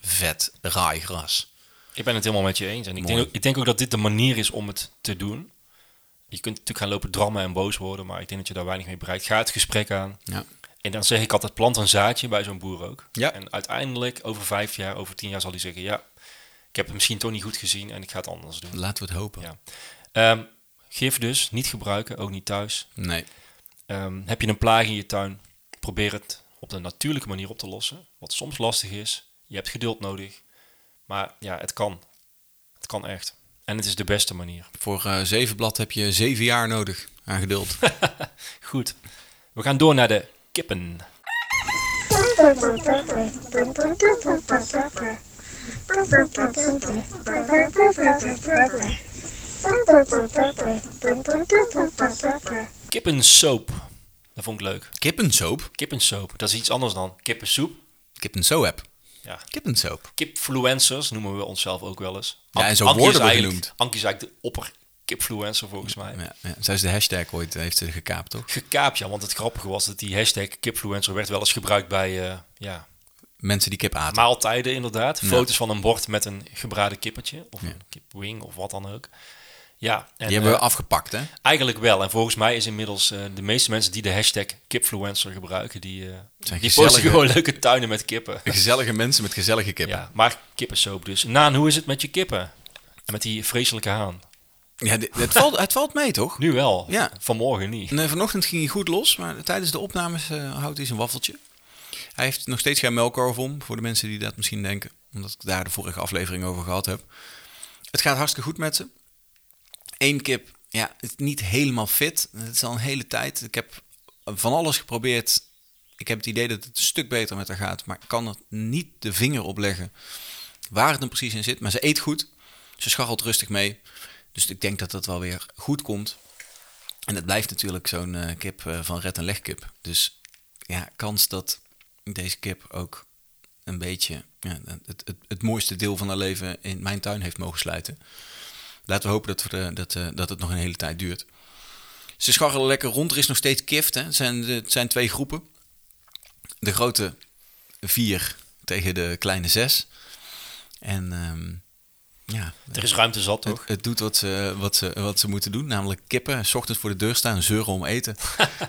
[SPEAKER 1] vet raai gras.
[SPEAKER 2] Ik ben het helemaal met je eens. En ik denk,
[SPEAKER 1] Mooi.
[SPEAKER 2] ook, ik denk ook dat dit de manier is om het te doen. Je kunt natuurlijk gaan lopen drammen en boos worden, maar ik denk dat je daar weinig mee bereikt. Ga het gesprek aan.
[SPEAKER 1] Ja.
[SPEAKER 2] En dan zeg ik altijd, plant een zaadje bij zo'n boer ook.
[SPEAKER 1] Ja.
[SPEAKER 2] En uiteindelijk, over vijf jaar, over tien jaar zal hij zeggen... ja, ik heb het misschien toch niet goed gezien en ik ga het anders doen.
[SPEAKER 1] Laten we het hopen.
[SPEAKER 2] Ja. Ehm, gif dus, niet gebruiken, ook niet thuis.
[SPEAKER 1] Nee.
[SPEAKER 2] Ehm, heb je een plaag in je tuin, probeer het op de natuurlijke manier op te lossen. Wat soms lastig is, je hebt geduld nodig. Maar ja, het kan. Het kan echt. En het is de beste manier.
[SPEAKER 1] Voor eh, zeven blad heb je zeven jaar nodig aan
[SPEAKER 2] (laughs)
[SPEAKER 1] geduld.
[SPEAKER 2] Goed, we gaan door naar de kippen. Kippensoep. Dat vond ik leuk.
[SPEAKER 1] Kippensoep?
[SPEAKER 2] Kippensoep, dat is iets anders dan kippensoep.
[SPEAKER 1] Kippensoep.
[SPEAKER 2] Ja.
[SPEAKER 1] Kippensoep.
[SPEAKER 2] Kipfluencers noemen we onszelf ook wel eens.
[SPEAKER 1] Ja, en zo
[SPEAKER 2] Ankie is
[SPEAKER 1] worden we
[SPEAKER 2] eigenlijk-
[SPEAKER 1] genoemd.
[SPEAKER 2] Ankie is eigenlijk de opperkipfluencer volgens mij.
[SPEAKER 1] Ja, ja. Zij is de hashtag ooit, eh, heeft ze gekaapt, toch?
[SPEAKER 2] Gekaapt, ja, want het grappige was dat die hashtag kipfluencer werd wel eens gebruikt bij eh, ja,
[SPEAKER 1] Mensen die kip aten.
[SPEAKER 2] maaltijden inderdaad. Foto's van een bord met een gebraden kippertje of een kipwing of wat dan ook. Ja, en,
[SPEAKER 1] die hebben we
[SPEAKER 2] eh,
[SPEAKER 1] afgepakt, hè?
[SPEAKER 2] eigenlijk wel. En volgens mij is inmiddels eh, de meeste mensen die de hashtag kipfluencer gebruiken, die, eh, die posten
[SPEAKER 1] gezellige-
[SPEAKER 2] gewoon leuke tuinen met kippen.
[SPEAKER 1] Gezellige mensen met gezellige kippen. Ja,
[SPEAKER 2] Ja, maar kippensoep dus. Naan, hoe is het met je kippen? En met die vreselijke haan.
[SPEAKER 1] dit- het, valt, het valt mee, toch?
[SPEAKER 2] Nu wel.
[SPEAKER 1] Ja.
[SPEAKER 2] Vanmorgen niet.
[SPEAKER 1] Nee, vanochtend ging hij goed los, maar tijdens de opnames eh, houdt hij zijn waffeltje. Hij heeft nog steeds geen melkorf om, voor de mensen die dat misschien denken. Omdat ik daar de vorige aflevering over gehad heb. Het gaat hartstikke goed met ze. Eén kip, ja, het is niet helemaal fit. Het is al een hele tijd. Ik heb van alles geprobeerd. Ik heb het idee dat het een stuk beter met haar gaat. Maar ik kan er niet de vinger op leggen waar het dan precies in zit. Maar ze eet goed. Ze scharrelt rustig mee. Dus ik denk dat dat wel weer goed komt. En het blijft natuurlijk zo'n eh, kip eh, van red- en legkip. Dus ja, kans dat deze kip ook een beetje ja, het, het, het mooiste deel van haar leven in mijn tuin heeft mogen sluiten. Laten we hopen dat, we, eh, dat, eh, dat het nog een hele tijd duurt. Ze scharrelen lekker rond. Er is nog steeds kift. Hè. Het, zijn, het zijn twee groepen. De grote vier tegen de kleine zes. En ehm, ja,
[SPEAKER 2] Er is ruimte zat, toch?
[SPEAKER 1] het, het doet wat ze, wat, ze, wat ze moeten doen, namelijk kippen. S ochtends voor de deur staan, zeuren om
[SPEAKER 2] (laughs)
[SPEAKER 1] eten.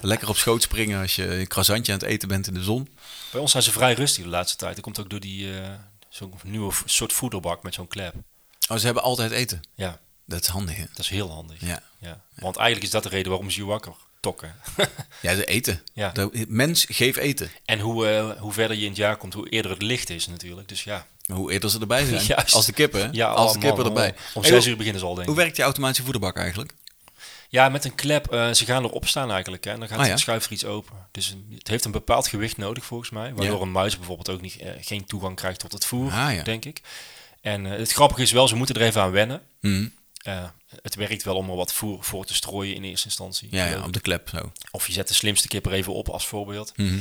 [SPEAKER 1] Lekker op schoot springen als je een croissantje aan het eten bent in de zon.
[SPEAKER 2] Bij ons zijn ze vrij rustig de laatste tijd. Dat komt ook door die eh, zo'n nieuwe v- soort voederbak met zo'n klep.
[SPEAKER 1] Oh, ze hebben altijd eten.
[SPEAKER 2] Ja,
[SPEAKER 1] Dat is handig, hè?
[SPEAKER 2] dat is heel handig.
[SPEAKER 1] Ja.
[SPEAKER 2] Want eigenlijk is dat de reden waarom ze je wakker tokken. (laughs)
[SPEAKER 1] Ja, de eten.
[SPEAKER 2] Ja.
[SPEAKER 1] De, mens, geef eten.
[SPEAKER 2] En hoe, eh, hoe verder je in het jaar komt, hoe eerder het licht is natuurlijk. Dus ja,
[SPEAKER 1] Hoe eerder ze erbij zijn.
[SPEAKER 2] (laughs) Juist.
[SPEAKER 1] Als de kippen, hè?
[SPEAKER 2] ja
[SPEAKER 1] als de
[SPEAKER 2] oh,
[SPEAKER 1] kippen
[SPEAKER 2] man,
[SPEAKER 1] erbij.
[SPEAKER 2] oh. Om
[SPEAKER 1] Hey,
[SPEAKER 2] zes
[SPEAKER 1] hoe-
[SPEAKER 2] uur beginnen ze al, denk
[SPEAKER 1] Hoe
[SPEAKER 2] ik.
[SPEAKER 1] werkt die automatische voederbak eigenlijk?
[SPEAKER 2] Ja, met een klep. eh, ze gaan erop staan eigenlijk. Hè, en dan gaat
[SPEAKER 1] Ah, ja.
[SPEAKER 2] het schuifje iets open. Dus een- het heeft een bepaald gewicht nodig volgens mij. Waardoor
[SPEAKER 1] Ja.
[SPEAKER 2] een muis bijvoorbeeld ook niet, eh, geen toegang krijgt tot het voer,
[SPEAKER 1] Ah, ja.
[SPEAKER 2] denk ik. En eh, het grappige is wel, ze moeten er even aan wennen.
[SPEAKER 1] Hm.
[SPEAKER 2] Eh, het werkt wel om er wat voer voor te strooien in eerste instantie.
[SPEAKER 1] Ja, ja,
[SPEAKER 2] Eh,
[SPEAKER 1] op de klep zo. Oh,
[SPEAKER 2] Of je zet de slimste kip er even op als voorbeeld.
[SPEAKER 1] Mhm.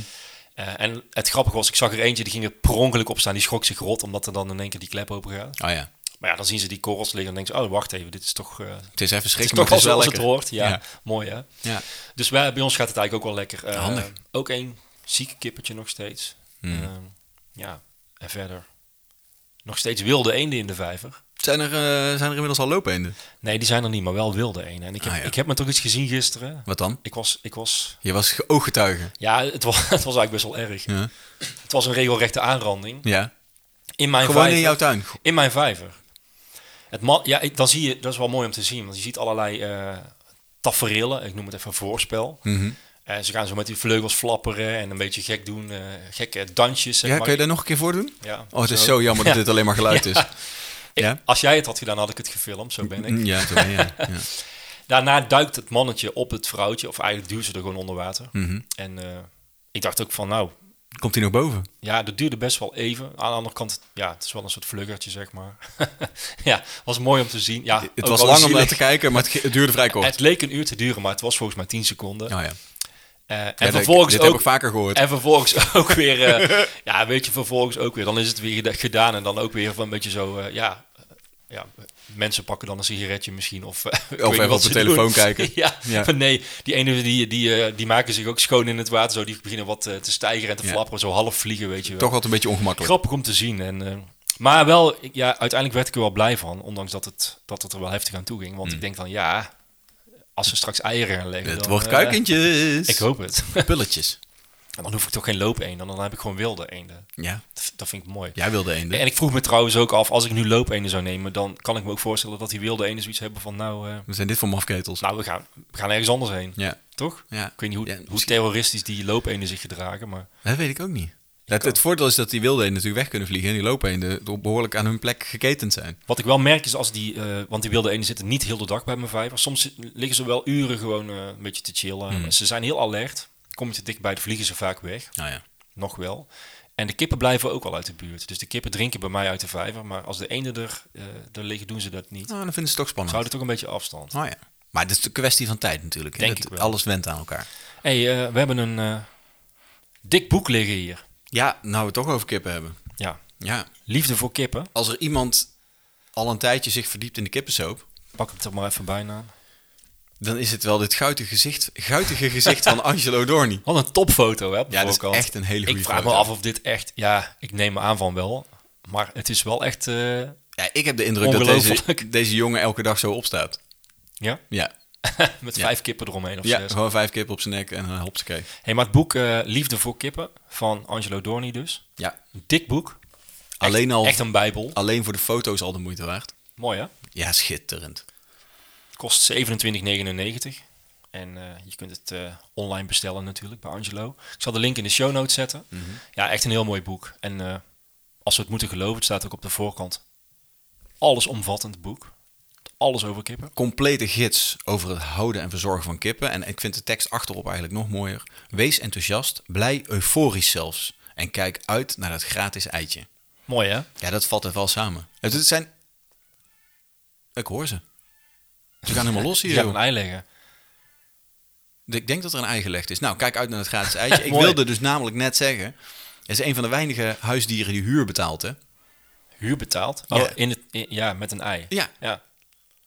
[SPEAKER 2] Eh, en het grappige was, ik zag er eentje, die ging er per ongeluk op staan. Die schrok zich rot, omdat er dan in één keer die klep open gaat.
[SPEAKER 1] Oh ja.
[SPEAKER 2] Maar ja, dan zien ze die korrels liggen en denken ze, oh wacht even, dit is toch, eh het
[SPEAKER 1] Het is even
[SPEAKER 2] is
[SPEAKER 1] schrikken,
[SPEAKER 2] toch
[SPEAKER 1] maar
[SPEAKER 2] wel
[SPEAKER 1] het is wel
[SPEAKER 2] zoals het
[SPEAKER 1] lekker.
[SPEAKER 2] hoort. Ja,
[SPEAKER 1] Ja.
[SPEAKER 2] mooi hè.
[SPEAKER 1] Ja.
[SPEAKER 2] Dus wij, bij ons gaat het eigenlijk ook wel lekker. Eh,
[SPEAKER 1] Handig.
[SPEAKER 2] Ook één zieke kippertje nog steeds.
[SPEAKER 1] Hmm.
[SPEAKER 2] Ehm, ja, en verder. Nog steeds wilde eenden in de vijver.
[SPEAKER 1] Zijn, er, eh, zijn er inmiddels al loopeenden?
[SPEAKER 2] Nee, die zijn er niet, maar wel wilde eenden. En ik heb,
[SPEAKER 1] Ah, ja.
[SPEAKER 2] ik heb me toch iets gezien gisteren.
[SPEAKER 1] Wat dan?
[SPEAKER 2] Ik was, ik was,
[SPEAKER 1] Je was ge- ooggetuige.
[SPEAKER 2] ja, het was, (laughs) het was eigenlijk best wel erg.
[SPEAKER 1] Ja.
[SPEAKER 2] Het was een regelrechte aanranding.
[SPEAKER 1] ja.
[SPEAKER 2] In mijn
[SPEAKER 1] Gewoon
[SPEAKER 2] vijver.
[SPEAKER 1] in jouw tuin.
[SPEAKER 2] In mijn vijver. Het man, ja, ik- dan zie je, dat is wel mooi om te zien, want je ziet allerlei eh tafereelen, ik noem het even voorspel.
[SPEAKER 1] Mhm.
[SPEAKER 2] Eh, ze gaan zo met die vleugels flapperen en een beetje gek doen, eh, gekke dansjes. Zeg
[SPEAKER 1] Ja,
[SPEAKER 2] maar.
[SPEAKER 1] kun je dat nog een keer voordoen?
[SPEAKER 2] Ja,
[SPEAKER 1] Oh, het is zo jammer dat
[SPEAKER 2] Ja.
[SPEAKER 1] dit alleen maar geluid is.
[SPEAKER 2] Ik-
[SPEAKER 1] Ja?
[SPEAKER 2] Als jij het had gedaan, had ik het gefilmd, zo ben ik.
[SPEAKER 1] Mm, Ja, zo ben jij,
[SPEAKER 2] (laughs)
[SPEAKER 1] ja.
[SPEAKER 2] Daarna duikt het mannetje op het vrouwtje, of eigenlijk duwt ze er gewoon onder water.
[SPEAKER 1] Mhm.
[SPEAKER 2] En eh, ik dacht ook van, nou,
[SPEAKER 1] Komt hij nog boven?
[SPEAKER 2] ja, dat duurde best wel even. Aan de andere kant, ja, het is wel een soort vluggertje, zeg maar. (laughs) ja, was mooi om te zien. Ja,
[SPEAKER 1] Het
[SPEAKER 2] ook
[SPEAKER 1] was
[SPEAKER 2] wel
[SPEAKER 1] lang om
[SPEAKER 2] zielig.
[SPEAKER 1] naar te kijken, maar het, ge- het duurde vrij kort.
[SPEAKER 2] Het leek een uur te duren, maar het was volgens mij 10 seconden.
[SPEAKER 1] Oh, ja.
[SPEAKER 2] Eh,
[SPEAKER 1] Ja,
[SPEAKER 2] en,
[SPEAKER 1] dat-
[SPEAKER 2] vervolgens
[SPEAKER 1] dit heb
[SPEAKER 2] ook,
[SPEAKER 1] ik vaker gehoord.
[SPEAKER 2] en
[SPEAKER 1] (laughs)
[SPEAKER 2] vervolgens ook weer, eh, ja, weet je, vervolgens ook weer. Dan is het weer geda- gedaan en dan ook weer van een beetje zo, eh, ja, eh, ja, mensen pakken dan een sigaretje misschien. Of, eh, ik weet niet
[SPEAKER 1] even
[SPEAKER 2] wat
[SPEAKER 1] op de
[SPEAKER 2] ze
[SPEAKER 1] telefoon
[SPEAKER 2] doen.
[SPEAKER 1] kijken.
[SPEAKER 2] (laughs) ja,
[SPEAKER 1] Ja.
[SPEAKER 2] maar nee, die ene die, die, eh, die maken zich ook schoon in het water. Zo, die beginnen wat eh, te stijgen en te
[SPEAKER 1] Ja.
[SPEAKER 2] flapperen, zo half vliegen, weet je wel.
[SPEAKER 1] Toch altijd een beetje ongemakkelijk.
[SPEAKER 2] Grappig om te zien. En, eh, maar wel, ik- ja, uiteindelijk werd ik er wel blij van. Ondanks dat het, dat het er wel heftig aan toe ging. Want ik denk dan, ja, als ze straks eieren gaan leggen...
[SPEAKER 1] Hmm. Het
[SPEAKER 2] dan,
[SPEAKER 1] wordt
[SPEAKER 2] eh,
[SPEAKER 1] kuikentjes.
[SPEAKER 2] ik hoop het. (laughs)
[SPEAKER 1] Pulletjes.
[SPEAKER 2] En dan hoef ik toch geen loopeenden. Dan heb ik gewoon wilde eenden.
[SPEAKER 1] Ja,
[SPEAKER 2] Dat- Dat vind ik mooi.
[SPEAKER 1] jij wilde eenden.
[SPEAKER 2] En ik vroeg me trouwens ook af, als ik nu loopeenden zou nemen... dan kan ik me ook voorstellen dat die wilde eenden zoiets hebben van... nou, eh,
[SPEAKER 1] We zijn dit voor mafketels.
[SPEAKER 2] nou we, gaan, we gaan ergens anders heen.
[SPEAKER 1] ja.
[SPEAKER 2] Toch?
[SPEAKER 1] ja,
[SPEAKER 2] Ik weet niet hoe,
[SPEAKER 1] Ja,
[SPEAKER 2] hoe
[SPEAKER 1] misschien-
[SPEAKER 2] terroristisch die loopeenden zich gedragen, maar...
[SPEAKER 1] dat weet ik ook niet. Het, het voordeel is dat die wilde eenden natuurlijk weg kunnen vliegen en die loopeenden door- behoorlijk aan hun plek geketend zijn.
[SPEAKER 2] Wat ik wel merk is als die, eh, want die wilde eenden zitten niet heel de dag bij mijn vijver. Soms zi- liggen ze wel uren gewoon eh, een beetje te chillen. Ze zijn heel alert. Kom je te dichtbij, dan vliegen ze vaak weg.
[SPEAKER 1] Nou ja.
[SPEAKER 2] Nog wel. En de kippen blijven ook al uit de buurt. Dus de kippen drinken bij mij uit de vijver. Maar als de eenden er, eh, er liggen, doen ze dat niet. Ze
[SPEAKER 1] Nou, dan vinden ze het toch spannend.
[SPEAKER 2] houden toch een beetje afstand.
[SPEAKER 1] Oh ja. Maar het is een kwestie van tijd natuurlijk. hè.
[SPEAKER 2] Denk
[SPEAKER 1] Dat
[SPEAKER 2] ik wel.
[SPEAKER 1] Alles went aan elkaar.
[SPEAKER 2] hey, eh, we hebben een eh, dik boek liggen hier.
[SPEAKER 1] Ja, nou we het toch over kippen hebben.
[SPEAKER 2] Ja,
[SPEAKER 1] Ja,
[SPEAKER 2] Liefde voor kippen.
[SPEAKER 1] als er iemand al een tijdje zich verdiept in de kippensoep,
[SPEAKER 2] Pak het er maar even bijna.
[SPEAKER 1] dan is het wel dit guitige gezicht, guitige gezicht
[SPEAKER 2] (laughs)
[SPEAKER 1] van Angelo Dorni.
[SPEAKER 2] Wat een topfoto, hè? op de
[SPEAKER 1] Ja, dat is
[SPEAKER 2] voorkant.
[SPEAKER 1] echt een hele goede
[SPEAKER 2] Ik vraag me
[SPEAKER 1] foto.
[SPEAKER 2] af of dit echt... Ja, ik neem me aan van wel. Maar het is wel echt... eh,
[SPEAKER 1] Ja, ik heb de indruk dat deze,
[SPEAKER 2] Ongelooflijk.
[SPEAKER 1] deze jongen elke dag zo opstaat.
[SPEAKER 2] ja, (laughs)
[SPEAKER 1] Ja,
[SPEAKER 2] met
[SPEAKER 1] Ja.
[SPEAKER 2] vijf kippen eromheen of
[SPEAKER 1] ja
[SPEAKER 2] zes.
[SPEAKER 1] gewoon vijf kippen op zijn nek en een hopsakee.
[SPEAKER 2] Hey, maar het boek eh, Liefde voor kippen van Angelo Dorni dus.
[SPEAKER 1] Ja,
[SPEAKER 2] Een dik boek. Echt-
[SPEAKER 1] alleen al
[SPEAKER 2] Echt een bijbel.
[SPEAKER 1] alleen voor de foto's al de moeite waard.
[SPEAKER 2] Mooi hè?
[SPEAKER 1] Ja, schitterend.
[SPEAKER 2] Het kost 27,99. En eh, je kunt het eh, online bestellen natuurlijk bij Angelo. Ik zal de link in de show notes zetten.
[SPEAKER 1] Mhm.
[SPEAKER 2] Ja, echt een heel mooi boek. En eh, als we het moeten geloven, het staat ook op de voorkant. Allesomvattend boek. Alles over kippen.
[SPEAKER 1] Complete gids over het houden en verzorgen van kippen. En ik vind de tekst achterop eigenlijk nog mooier. Wees enthousiast, blij, euforisch zelfs. En kijk uit naar dat gratis eitje.
[SPEAKER 2] Mooi hè?
[SPEAKER 1] Ja, dat valt er wel samen. Het het zijn... Ik hoor ze. Ze gaan helemaal
[SPEAKER 2] (laughs)
[SPEAKER 1] los hier.
[SPEAKER 2] Je gaat
[SPEAKER 1] joh.
[SPEAKER 2] een ei leggen.
[SPEAKER 1] Ik denk dat er een ei gelegd is. Nou, kijk uit naar het
[SPEAKER 2] (laughs)
[SPEAKER 1] gratis eitje. Ik
[SPEAKER 2] Mooi.
[SPEAKER 1] wilde dus namelijk net zeggen... Het is een van de weinige huisdieren die huur betaalt, hè? Ik
[SPEAKER 2] Huur betaald.
[SPEAKER 1] Ja.
[SPEAKER 2] Oh, in het, in- ja, met een ei.
[SPEAKER 1] Ja.
[SPEAKER 2] ja.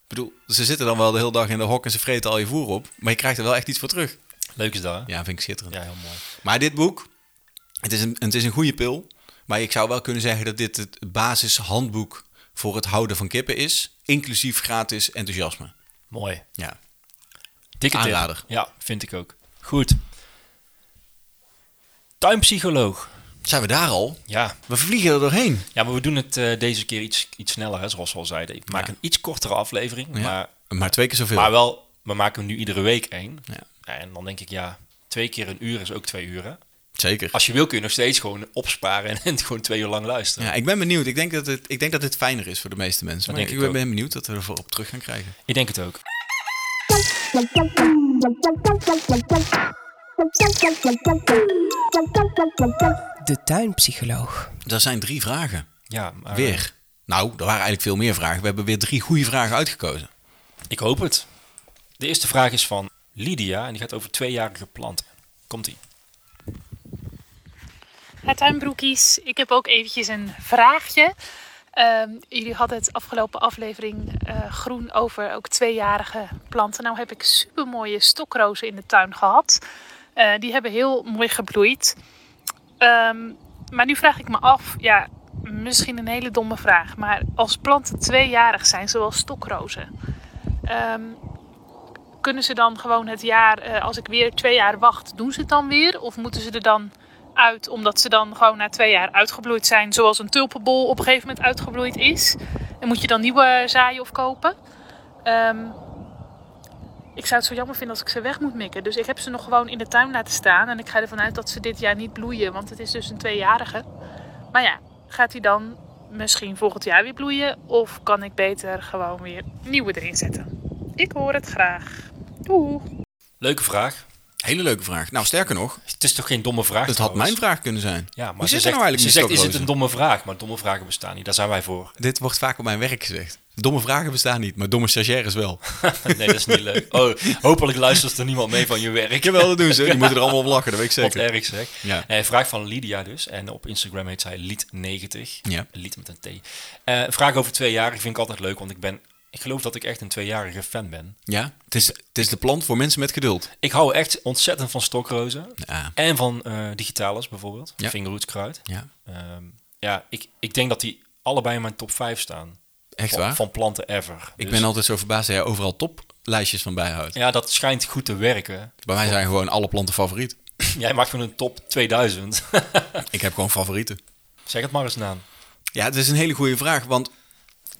[SPEAKER 1] bedoel, ze zitten dan wel de hele dag in de hok en ze vreten al je voer op. Maar je krijgt er wel echt iets voor terug.
[SPEAKER 2] Leuk is dat. hè?
[SPEAKER 1] Ja, vind ik schitterend.
[SPEAKER 2] Ja, heel mooi.
[SPEAKER 1] Maar dit boek, het is, een, het is een goede pil. Maar ik zou wel kunnen zeggen dat dit het basishandboek voor het houden van kippen is. Inclusief gratis enthousiasme.
[SPEAKER 2] Mooi.
[SPEAKER 1] Ja.
[SPEAKER 2] Dikke tip.
[SPEAKER 1] Aanrader.
[SPEAKER 2] Ja, vind ik ook. Goed. Tuinpsycholoog.
[SPEAKER 1] Zijn we daar al?
[SPEAKER 2] Ja.
[SPEAKER 1] We vliegen er doorheen.
[SPEAKER 2] ja, maar we doen het eh, deze keer iets, iets sneller, hè, zoals we al zeiden. Ik maak
[SPEAKER 1] Ja.
[SPEAKER 2] een iets kortere aflevering,
[SPEAKER 1] Ja.
[SPEAKER 2] maar,
[SPEAKER 1] Maar, twee keer zoveel.
[SPEAKER 2] maar wel, we maken hem nu iedere week één.
[SPEAKER 1] Ja.
[SPEAKER 2] En dan denk ik, ja, twee keer een uur is ook twee uren.
[SPEAKER 1] Zeker.
[SPEAKER 2] Als je wil kun je nog steeds gewoon opsparen en, (laughs) en gewoon twee uur lang luisteren.
[SPEAKER 1] Ja, ik ben benieuwd. Ik denk dat, het, ik denk dat dit fijner is voor de meeste mensen. Maar
[SPEAKER 2] denk
[SPEAKER 1] ik,
[SPEAKER 2] ik
[SPEAKER 1] ben benieuwd dat we ervoor op terug gaan krijgen.
[SPEAKER 2] Ik denk het ook.
[SPEAKER 3] De tuinpsycholoog.
[SPEAKER 1] Dat zijn drie vragen.
[SPEAKER 2] Ah, Ja, maar- eh,
[SPEAKER 1] Weer. Nou, er waren eigenlijk veel meer vragen. We hebben weer drie goede vragen uitgekozen.
[SPEAKER 2] Ik hoop het. De eerste vraag is van Lydia en die gaat over tweejarige planten. Komt ie.
[SPEAKER 4] Het tuinbroekies, ik heb ook eventjes een vraagje. Ehm, jullie hadden het afgelopen aflevering eh, groen over ook tweejarige planten. Nou heb ik super mooie stokrozen in de tuin gehad. Eh, die hebben heel mooi gebloeid. Ehm, maar nu vraag ik me af, ja, misschien een hele domme vraag, maar als planten tweejarig zijn, zoals stokrozen, ehm, kunnen ze dan gewoon het jaar, eh, als ik weer twee jaar wacht, doen ze het dan weer? Of moeten ze er dan uit omdat ze dan gewoon na twee jaar uitgebloeid zijn, zoals een tulpenbol op een gegeven moment uitgebloeid is? En moet je dan nieuwe zaaien of kopen? Ehm, ik zou het zo jammer vinden als ik ze weg moet mikken. Dus ik heb ze nog gewoon in de tuin laten staan. En ik ga ervan uit dat ze dit jaar niet bloeien, want het is dus een tweejarige. Maar ja, gaat die dan misschien volgend jaar weer bloeien? Of kan ik beter gewoon weer nieuwe erin zetten? Ik hoor het graag. Doeg!
[SPEAKER 2] Leuke vraag.
[SPEAKER 1] Hele leuke vraag. Nou, sterker nog,
[SPEAKER 2] Het is toch geen domme
[SPEAKER 1] het
[SPEAKER 2] vraag?
[SPEAKER 1] had
[SPEAKER 2] trouwens?
[SPEAKER 1] mijn vraag kunnen zijn.
[SPEAKER 2] Ja, maar
[SPEAKER 1] Hoe zit
[SPEAKER 2] ze
[SPEAKER 1] het
[SPEAKER 2] zegt,
[SPEAKER 1] nou eigenlijk
[SPEAKER 2] ze
[SPEAKER 1] met
[SPEAKER 2] zegt is het
[SPEAKER 1] stokrozen?
[SPEAKER 2] een domme vraag? Maar domme vragen bestaan niet. Daar zijn wij voor.
[SPEAKER 1] Dit wordt vaak op mijn werk gezegd. Domme vragen bestaan niet, maar domme stagiaires wel.
[SPEAKER 2] (laughs) nee, dat is niet leuk. Oh, hopelijk luistert er niemand mee van je
[SPEAKER 1] (laughs)
[SPEAKER 2] werk.
[SPEAKER 1] Jawel, dat doen ze.
[SPEAKER 2] (laughs)
[SPEAKER 1] Die moeten er allemaal op lachen, dat weet ik
[SPEAKER 2] Wat
[SPEAKER 1] zeker.
[SPEAKER 2] erg zeg.
[SPEAKER 1] Ja.
[SPEAKER 2] Eh, vraag van Lydia dus. En op Instagram heet zij Lied90.
[SPEAKER 1] Ja.
[SPEAKER 2] Lied met een T. Eh, vraag over tweejarig vind ik altijd leuk. Want ik ben... Ik geloof dat ik echt een tweejarige fan ben.
[SPEAKER 1] eh, Ja, het is, het is de plant voor mensen met geduld.
[SPEAKER 2] Ik hou echt ontzettend van stokrozen.
[SPEAKER 1] Ja.
[SPEAKER 2] En van eh digitalis bijvoorbeeld.
[SPEAKER 1] Ja.
[SPEAKER 2] Vingerhoedskruid.
[SPEAKER 1] Ja,
[SPEAKER 2] Ehm, ja, ik, ik denk dat die allebei in mijn top 5 staan.
[SPEAKER 1] echt
[SPEAKER 2] van,
[SPEAKER 1] waar.
[SPEAKER 2] Van planten ever.
[SPEAKER 1] Ik
[SPEAKER 2] Dus-
[SPEAKER 1] ben altijd zo verbaasd dat jij overal toplijstjes van bijhoudt.
[SPEAKER 2] Ja, dat schijnt goed te
[SPEAKER 1] (laughs)
[SPEAKER 2] werken.
[SPEAKER 1] Bij mij zijn gewoon alle planten favoriet.
[SPEAKER 2] Jij maakt gewoon een top 2000.
[SPEAKER 1] Ik heb gewoon favorieten.
[SPEAKER 2] zeg het maar eens na.
[SPEAKER 1] Ja, het is een hele goede vraag, want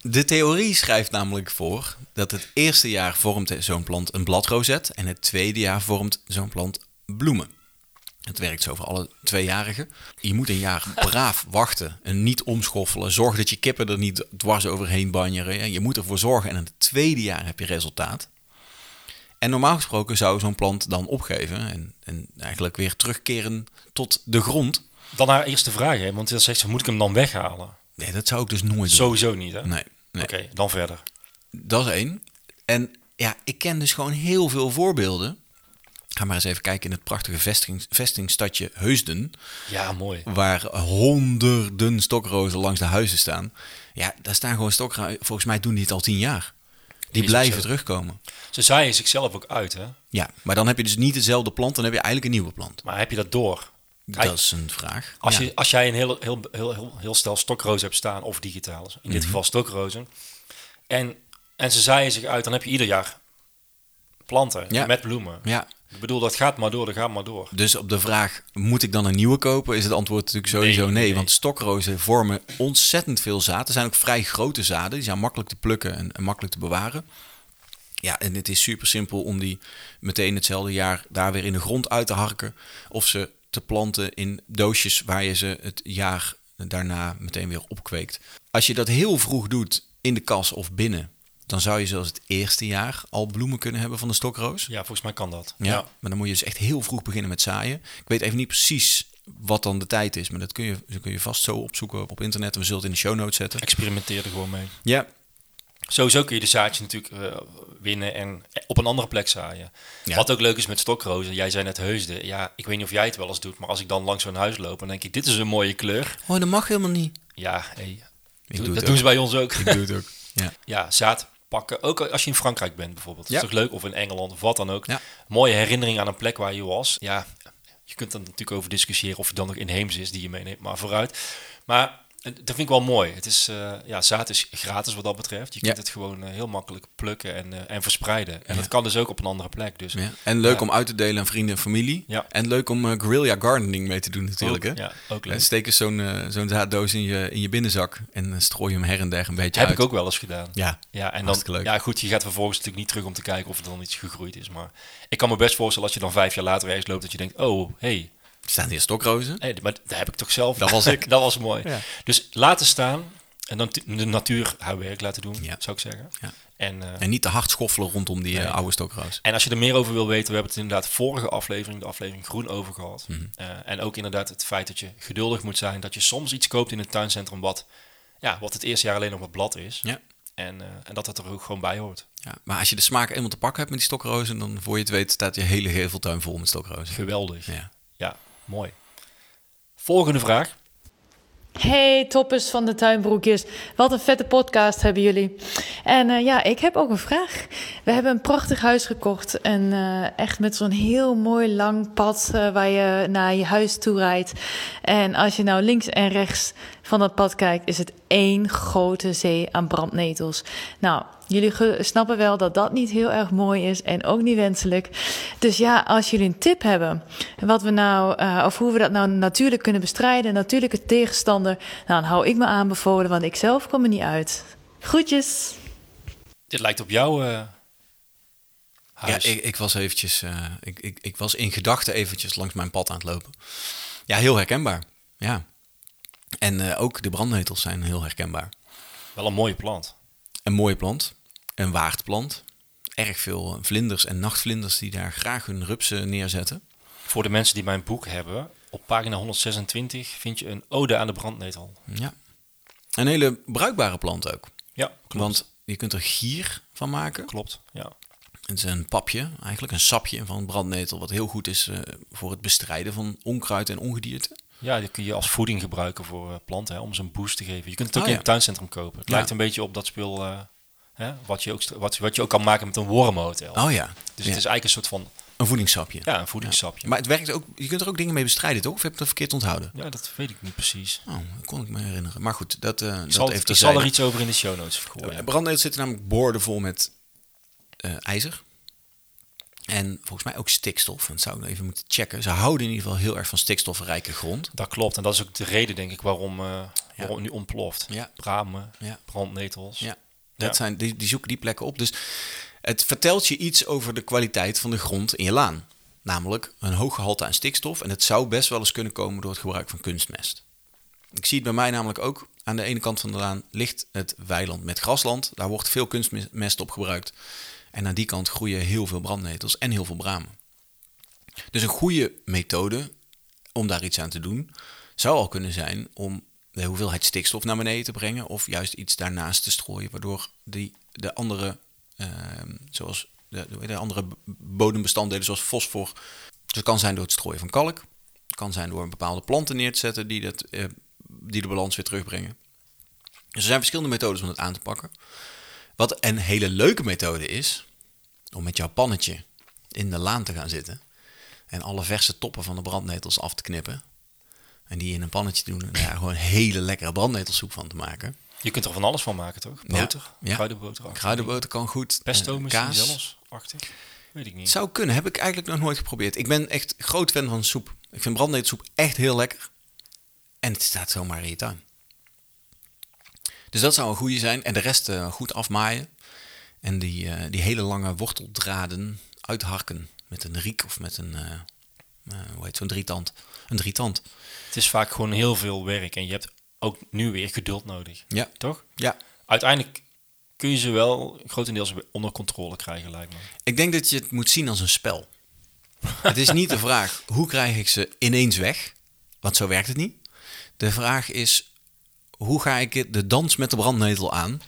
[SPEAKER 1] de theorie schrijft namelijk voor dat het eerste jaar vormt zo'n plant een bladrozet en het tweede jaar vormt zo'n plant bloemen. Het werkt zo voor alle tweejarigen. Je moet een jaar braaf wachten en niet omschoffelen. Zorg dat je kippen er niet dwars overheen banjeren. Ja, Je moet ervoor zorgen en in het tweede jaar heb je resultaat. En normaal gesproken zou zo'n plant dan opgeven en, en eigenlijk weer terugkeren tot de grond.
[SPEAKER 2] Dan haar eerste vraag, hè? want dan zegt ze, moet ik hem dan weghalen?
[SPEAKER 1] Nee, dat zou ik dus nooit doen.
[SPEAKER 2] Sowieso niet, hè?
[SPEAKER 1] Nee, nee.
[SPEAKER 2] Oké, dan verder.
[SPEAKER 1] Dat is één. En ja, ik ken dus gewoon heel veel voorbeelden. Ga maar eens even kijken in het prachtige vesting, vestingstadje Heusden.
[SPEAKER 2] Ja, mooi.
[SPEAKER 1] Waar honderden stokrozen langs de huizen staan. Ja, daar staan gewoon stokrozen. Volgens mij doen die het al tien jaar. Die
[SPEAKER 2] ook
[SPEAKER 1] blijven
[SPEAKER 2] zo.
[SPEAKER 1] terugkomen.
[SPEAKER 2] Ze zaaien zichzelf ook uit, hè?
[SPEAKER 1] Ja, maar dan heb je dus niet dezelfde plant. Dan heb je eigenlijk een nieuwe plant.
[SPEAKER 2] Maar heb je dat door? Kijk,
[SPEAKER 1] Dat is een vraag.
[SPEAKER 2] Als,
[SPEAKER 1] Ja.
[SPEAKER 2] je, als jij een heel, heel, heel, heel, heel stel stokrozen hebt staan, of digitaal, in
[SPEAKER 1] Mhm.
[SPEAKER 2] dit geval stokrozen, en, en ze zaaien zich uit, dan heb je ieder jaar planten
[SPEAKER 1] Ja.
[SPEAKER 2] met bloemen.
[SPEAKER 1] Ja,
[SPEAKER 2] Ik bedoel, dat gaat maar door, dat gaat maar door.
[SPEAKER 1] Dus op de vraag, moet ik dan een nieuwe kopen? Is het antwoord natuurlijk sowieso nee.
[SPEAKER 2] Nee, nee.
[SPEAKER 1] Want stokrozen vormen ontzettend veel zaden. Er zijn ook vrij grote zaden. Die zijn makkelijk te plukken en, en makkelijk te bewaren. Ja, en het is super simpel om die meteen hetzelfde jaar daar weer in de grond uit te harken. Of ze te planten in doosjes waar je ze het jaar daarna meteen weer opkweekt. Als je dat heel vroeg doet in de kas of binnen, dan zou je zelfs het eerste jaar al bloemen kunnen hebben van de stokroos.
[SPEAKER 2] Ja, volgens mij kan dat.
[SPEAKER 1] Ja, maar dan moet je dus echt heel vroeg beginnen met zaaien. Ik weet even niet precies wat dan de tijd is, maar dat kun je, dat kun je vast zo opzoeken op internet. We zullen het in de show notes zetten.
[SPEAKER 2] Experimenteer er gewoon mee.
[SPEAKER 1] Ja,
[SPEAKER 2] Sowieso kun je de zaadjes natuurlijk eh, winnen en op een andere plek zaaien.
[SPEAKER 1] Ja.
[SPEAKER 2] Wat ook leuk is met stokrozen, jij zei net heusden. Ja, ik weet niet of jij het wel eens doet, maar als ik dan langs zo'n huis loop, dan denk ik, dit is een mooie kleur.
[SPEAKER 1] oh, dat mag helemaal niet.
[SPEAKER 2] Ja, hey,
[SPEAKER 1] Ik
[SPEAKER 2] doe-
[SPEAKER 1] doe
[SPEAKER 2] dat
[SPEAKER 1] het
[SPEAKER 2] doen
[SPEAKER 1] ook.
[SPEAKER 2] ze bij ons ook.
[SPEAKER 1] Ik doe het ook. Ja.
[SPEAKER 2] ja, zaad pakken. Ook als je in Frankrijk bent bijvoorbeeld.
[SPEAKER 1] Ja.
[SPEAKER 2] Dat is toch leuk? Of in Engeland of wat dan ook.
[SPEAKER 1] Ja.
[SPEAKER 2] Mooie herinnering aan een plek waar je was. Ja, je kunt er natuurlijk over discussiëren of het dan nog inheems is die je meeneemt. Maar vooruit. Maar En dat vind ik wel mooi. Het is, eh, ja, zaad is gratis wat dat betreft. Je
[SPEAKER 1] Ja.
[SPEAKER 2] kunt het gewoon eh, heel makkelijk plukken en, eh, en verspreiden. En dat kan dus ook op een andere plek. Dus
[SPEAKER 1] Ja. En leuk
[SPEAKER 2] Ja.
[SPEAKER 1] om uit te delen aan vrienden en familie.
[SPEAKER 2] Ja.
[SPEAKER 1] En leuk om eh, guerrilla gardening mee te doen natuurlijk.
[SPEAKER 2] Ook-
[SPEAKER 1] hè?
[SPEAKER 2] ja, ook leuk.
[SPEAKER 1] En steek eens zo'n eh, zo'n zaaddoos in je, in je binnenzak en eh, strooi hem her en der een beetje
[SPEAKER 2] heb
[SPEAKER 1] uit.
[SPEAKER 2] ik ook wel eens gedaan.
[SPEAKER 1] Ja,
[SPEAKER 2] Ja, en dan,
[SPEAKER 1] Hartstikke leuk.
[SPEAKER 2] ja, goed, je gaat vervolgens natuurlijk niet terug om te kijken of er dan iets gegroeid is. Maar ik kan me best voorstellen als je dan vijf jaar later ergens loopt dat je denkt, oh, hey,
[SPEAKER 1] Er staan hier stokrozen.
[SPEAKER 2] hey, maar dat heb ik toch zelf.
[SPEAKER 1] Dat was ik.
[SPEAKER 2] (laughs) dat was mooi. Dus laten staan en dan t- de natuur haar werk laten doen,
[SPEAKER 1] Ja.
[SPEAKER 2] zou ik zeggen.
[SPEAKER 1] Ja.
[SPEAKER 2] En, eh,
[SPEAKER 1] En niet te hard schoffelen rondom die eh,
[SPEAKER 2] Nee.
[SPEAKER 1] oude stokroos.
[SPEAKER 2] en als je er meer over wil weten, we hebben het inderdaad vorige aflevering, de aflevering Groen, over gehad.
[SPEAKER 1] Mhm.
[SPEAKER 2] Eh, en ook inderdaad het feit dat je geduldig moet zijn, dat je soms iets koopt in een tuincentrum wat, ja, wat het eerste jaar alleen nog wat blad is.
[SPEAKER 1] Ja.
[SPEAKER 2] En, eh, en dat dat er ook gewoon bij hoort.
[SPEAKER 1] Ja, maar als je de smaak eenmaal te pakken hebt met die stokrozen, dan voor je het weet staat je hele geveltuin vol met stokrozen.
[SPEAKER 2] Geweldig.
[SPEAKER 1] Ja.
[SPEAKER 2] Ja, mooi. Volgende vraag.
[SPEAKER 5] Hey toppers van de tuinbroekjes, wat een vette podcast hebben jullie. En eh, ja, ik heb ook een vraag. We hebben een prachtig huis gekocht en eh, echt met zo'n heel mooi lang pad eh, waar je naar je huis toe rijdt. En als je nou links en rechts van dat pad kijkt, is het één grote zee aan brandnetels. Nou, jullie ge- snappen wel dat dat niet heel erg mooi is en ook niet wenselijk. Dus ja, als jullie een tip hebben, wat we nou, eh, of hoe we dat nou natuurlijk kunnen bestrijden, natuurlijke tegenstander, nou, dan hou ik me aanbevolen, want ik zelf kom er niet uit. Groetjes!
[SPEAKER 2] Dit lijkt op jouw eh,
[SPEAKER 1] Ja,
[SPEAKER 2] huis.
[SPEAKER 1] ik, ik was eventjes, eh, ik, ik, ik was in gedachten eventjes langs mijn pad aan het lopen. Ja, heel herkenbaar. Ja. En eh, ook de brandnetels zijn heel herkenbaar.
[SPEAKER 2] Wel een mooie plant.
[SPEAKER 1] Een mooie plant, een waardplant. Erg veel eh, vlinders en nachtvlinders die daar graag hun rupsen neerzetten.
[SPEAKER 2] Voor de mensen die mijn boek hebben, op pagina 126 vind je een ode aan de brandnetel.
[SPEAKER 1] Ja. Een hele bruikbare plant ook.
[SPEAKER 2] Ja, klopt.
[SPEAKER 1] Want je kunt er gier van maken.
[SPEAKER 2] klopt. Ja.
[SPEAKER 1] Het is een papje, eigenlijk een sapje van brandnetel, wat heel goed is eh, voor het bestrijden van onkruid en ongedierte.
[SPEAKER 2] ja, die kun je als voeding gebruiken voor eh, planten, hè, om ze een boost te geven. Je kunt het ook
[SPEAKER 1] Oh,
[SPEAKER 2] in
[SPEAKER 1] ja.
[SPEAKER 2] het tuincentrum kopen. Het
[SPEAKER 1] Ja.
[SPEAKER 2] lijkt een beetje op dat spul eh, hè, wat, je ook, st- wat, wat je ook kan maken met een wormhotel.
[SPEAKER 1] Oh ja,
[SPEAKER 2] Dus
[SPEAKER 1] Ja.
[SPEAKER 2] het is eigenlijk een soort van
[SPEAKER 1] een voedingssapje.
[SPEAKER 2] ja, een voedingssapje.
[SPEAKER 1] Maar het werkt ook, je kunt er ook dingen mee bestrijden, toch? Of heb ik dat verkeerd onthouden?
[SPEAKER 2] Ja, dat weet ik niet precies.
[SPEAKER 1] Oh, dat kon ik me herinneren. Maar goed, dat, eh
[SPEAKER 2] Ik
[SPEAKER 1] dat
[SPEAKER 2] zal,
[SPEAKER 1] even
[SPEAKER 2] ik zal er
[SPEAKER 1] terzijde.
[SPEAKER 2] iets over in de show notes gooien.
[SPEAKER 1] Brandnetel zitten namelijk boorden vol met eh, ijzer. En volgens mij ook stikstof. En dat zou ik nog even moeten checken. Ze houden in ieder geval heel erg van stikstofrijke grond.
[SPEAKER 2] Dat klopt. En dat is ook de reden, denk ik, waarom, eh, waarom het nu ontploft.
[SPEAKER 1] Ja.
[SPEAKER 2] Bramen,
[SPEAKER 1] Ja.
[SPEAKER 2] brandnetels.
[SPEAKER 1] Ja, dat
[SPEAKER 2] Ja.
[SPEAKER 1] Zijn, die, die zoeken die plekken op. Dus het vertelt je iets over de kwaliteit van de grond in je laan. Namelijk een hoog gehalte aan stikstof. En het zou best wel eens kunnen komen door het gebruik van kunstmest. Ik zie het bij mij namelijk ook. Aan de ene kant van de laan ligt het weiland met grasland. Daar wordt veel kunstmest op gebruikt. En aan die kant groeien heel veel brandnetels en heel veel bramen. Dus een goede methode om daar iets aan te doen zou al kunnen zijn om de hoeveelheid stikstof naar beneden te brengen of juist iets daarnaast te strooien, waardoor die, de andere, ehm, zoals de, de andere b- bodembestanddelen zoals fosfor, dus het kan zijn door het strooien van kalk, het kan zijn door een bepaalde planten neer te zetten die, dat, eh, die de balans weer terugbrengen. Dus er zijn verschillende methodes om het aan te pakken. Wat een hele leuke methode is, om met jouw pannetje in de laan te gaan zitten en alle verse toppen van de brandnetels af te knippen. En die in een pannetje doen en daar gewoon hele lekkere brandnetelsoep van te maken.
[SPEAKER 2] Je kunt er van alles van maken, toch? Boter,
[SPEAKER 1] Ja, ja.
[SPEAKER 2] kruidenboter.
[SPEAKER 1] Kruidenboter kan goed.
[SPEAKER 2] Pesto
[SPEAKER 1] eh,
[SPEAKER 2] misschien
[SPEAKER 1] kaas.
[SPEAKER 2] zelfs, achtig. Weet ik
[SPEAKER 1] Het
[SPEAKER 2] niet.
[SPEAKER 1] zou kunnen, heb ik eigenlijk nog nooit geprobeerd. Ik ben echt groot fan van soep. Ik vind brandnetelsoep echt heel lekker. En het staat zomaar in je tuin. Dus dat zou een goede zijn. En de rest eh, goed afmaaien. En die, eh, die hele lange worteldraden uitharken. Met een riek of met een, eh, eh, hoe heet zo'n drietand? Een drietand.
[SPEAKER 2] Het is vaak gewoon heel veel werk en je hebt ook nu weer geduld nodig.
[SPEAKER 1] Ja.
[SPEAKER 2] Toch?
[SPEAKER 1] Ja,
[SPEAKER 2] Uiteindelijk kun je ze wel grotendeels onder controle krijgen, lijkt me.
[SPEAKER 1] Ik denk dat je het moet zien als een spel. het is niet de vraag hoe krijg ik ze ineens weg, want zo werkt het niet. De vraag is hoe ga ik de dans met de brandnetel aan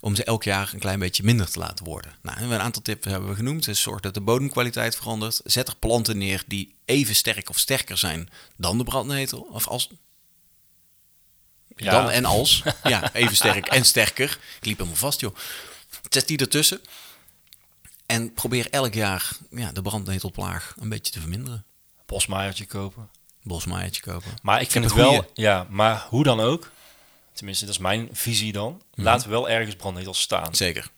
[SPEAKER 1] om ze elk jaar een klein beetje minder te laten worden. Nou, we hebben een aantal tips hebben we genoemd. Dus zorg dat de bodemkwaliteit verandert. Zet er planten neer die even sterk of sterker zijn dan de brandnetel. Of als,
[SPEAKER 2] Ja.
[SPEAKER 1] dan en als. Ja, even sterk en sterker. Ik liep helemaal vast, joh. Zet die ertussen. En probeer elk jaar ja, de brandnetelplaag een beetje te verminderen.
[SPEAKER 2] Bosmaaiertje kopen.
[SPEAKER 1] Bosmaaiertje kopen.
[SPEAKER 2] Maar ik vind
[SPEAKER 1] heb
[SPEAKER 2] het
[SPEAKER 1] een
[SPEAKER 2] wel,
[SPEAKER 1] goeie.
[SPEAKER 2] ja, maar hoe dan ook, Tenminste, dat is mijn visie dan. Laat wel ergens brandnetels staan.
[SPEAKER 1] Mhm. Zeker.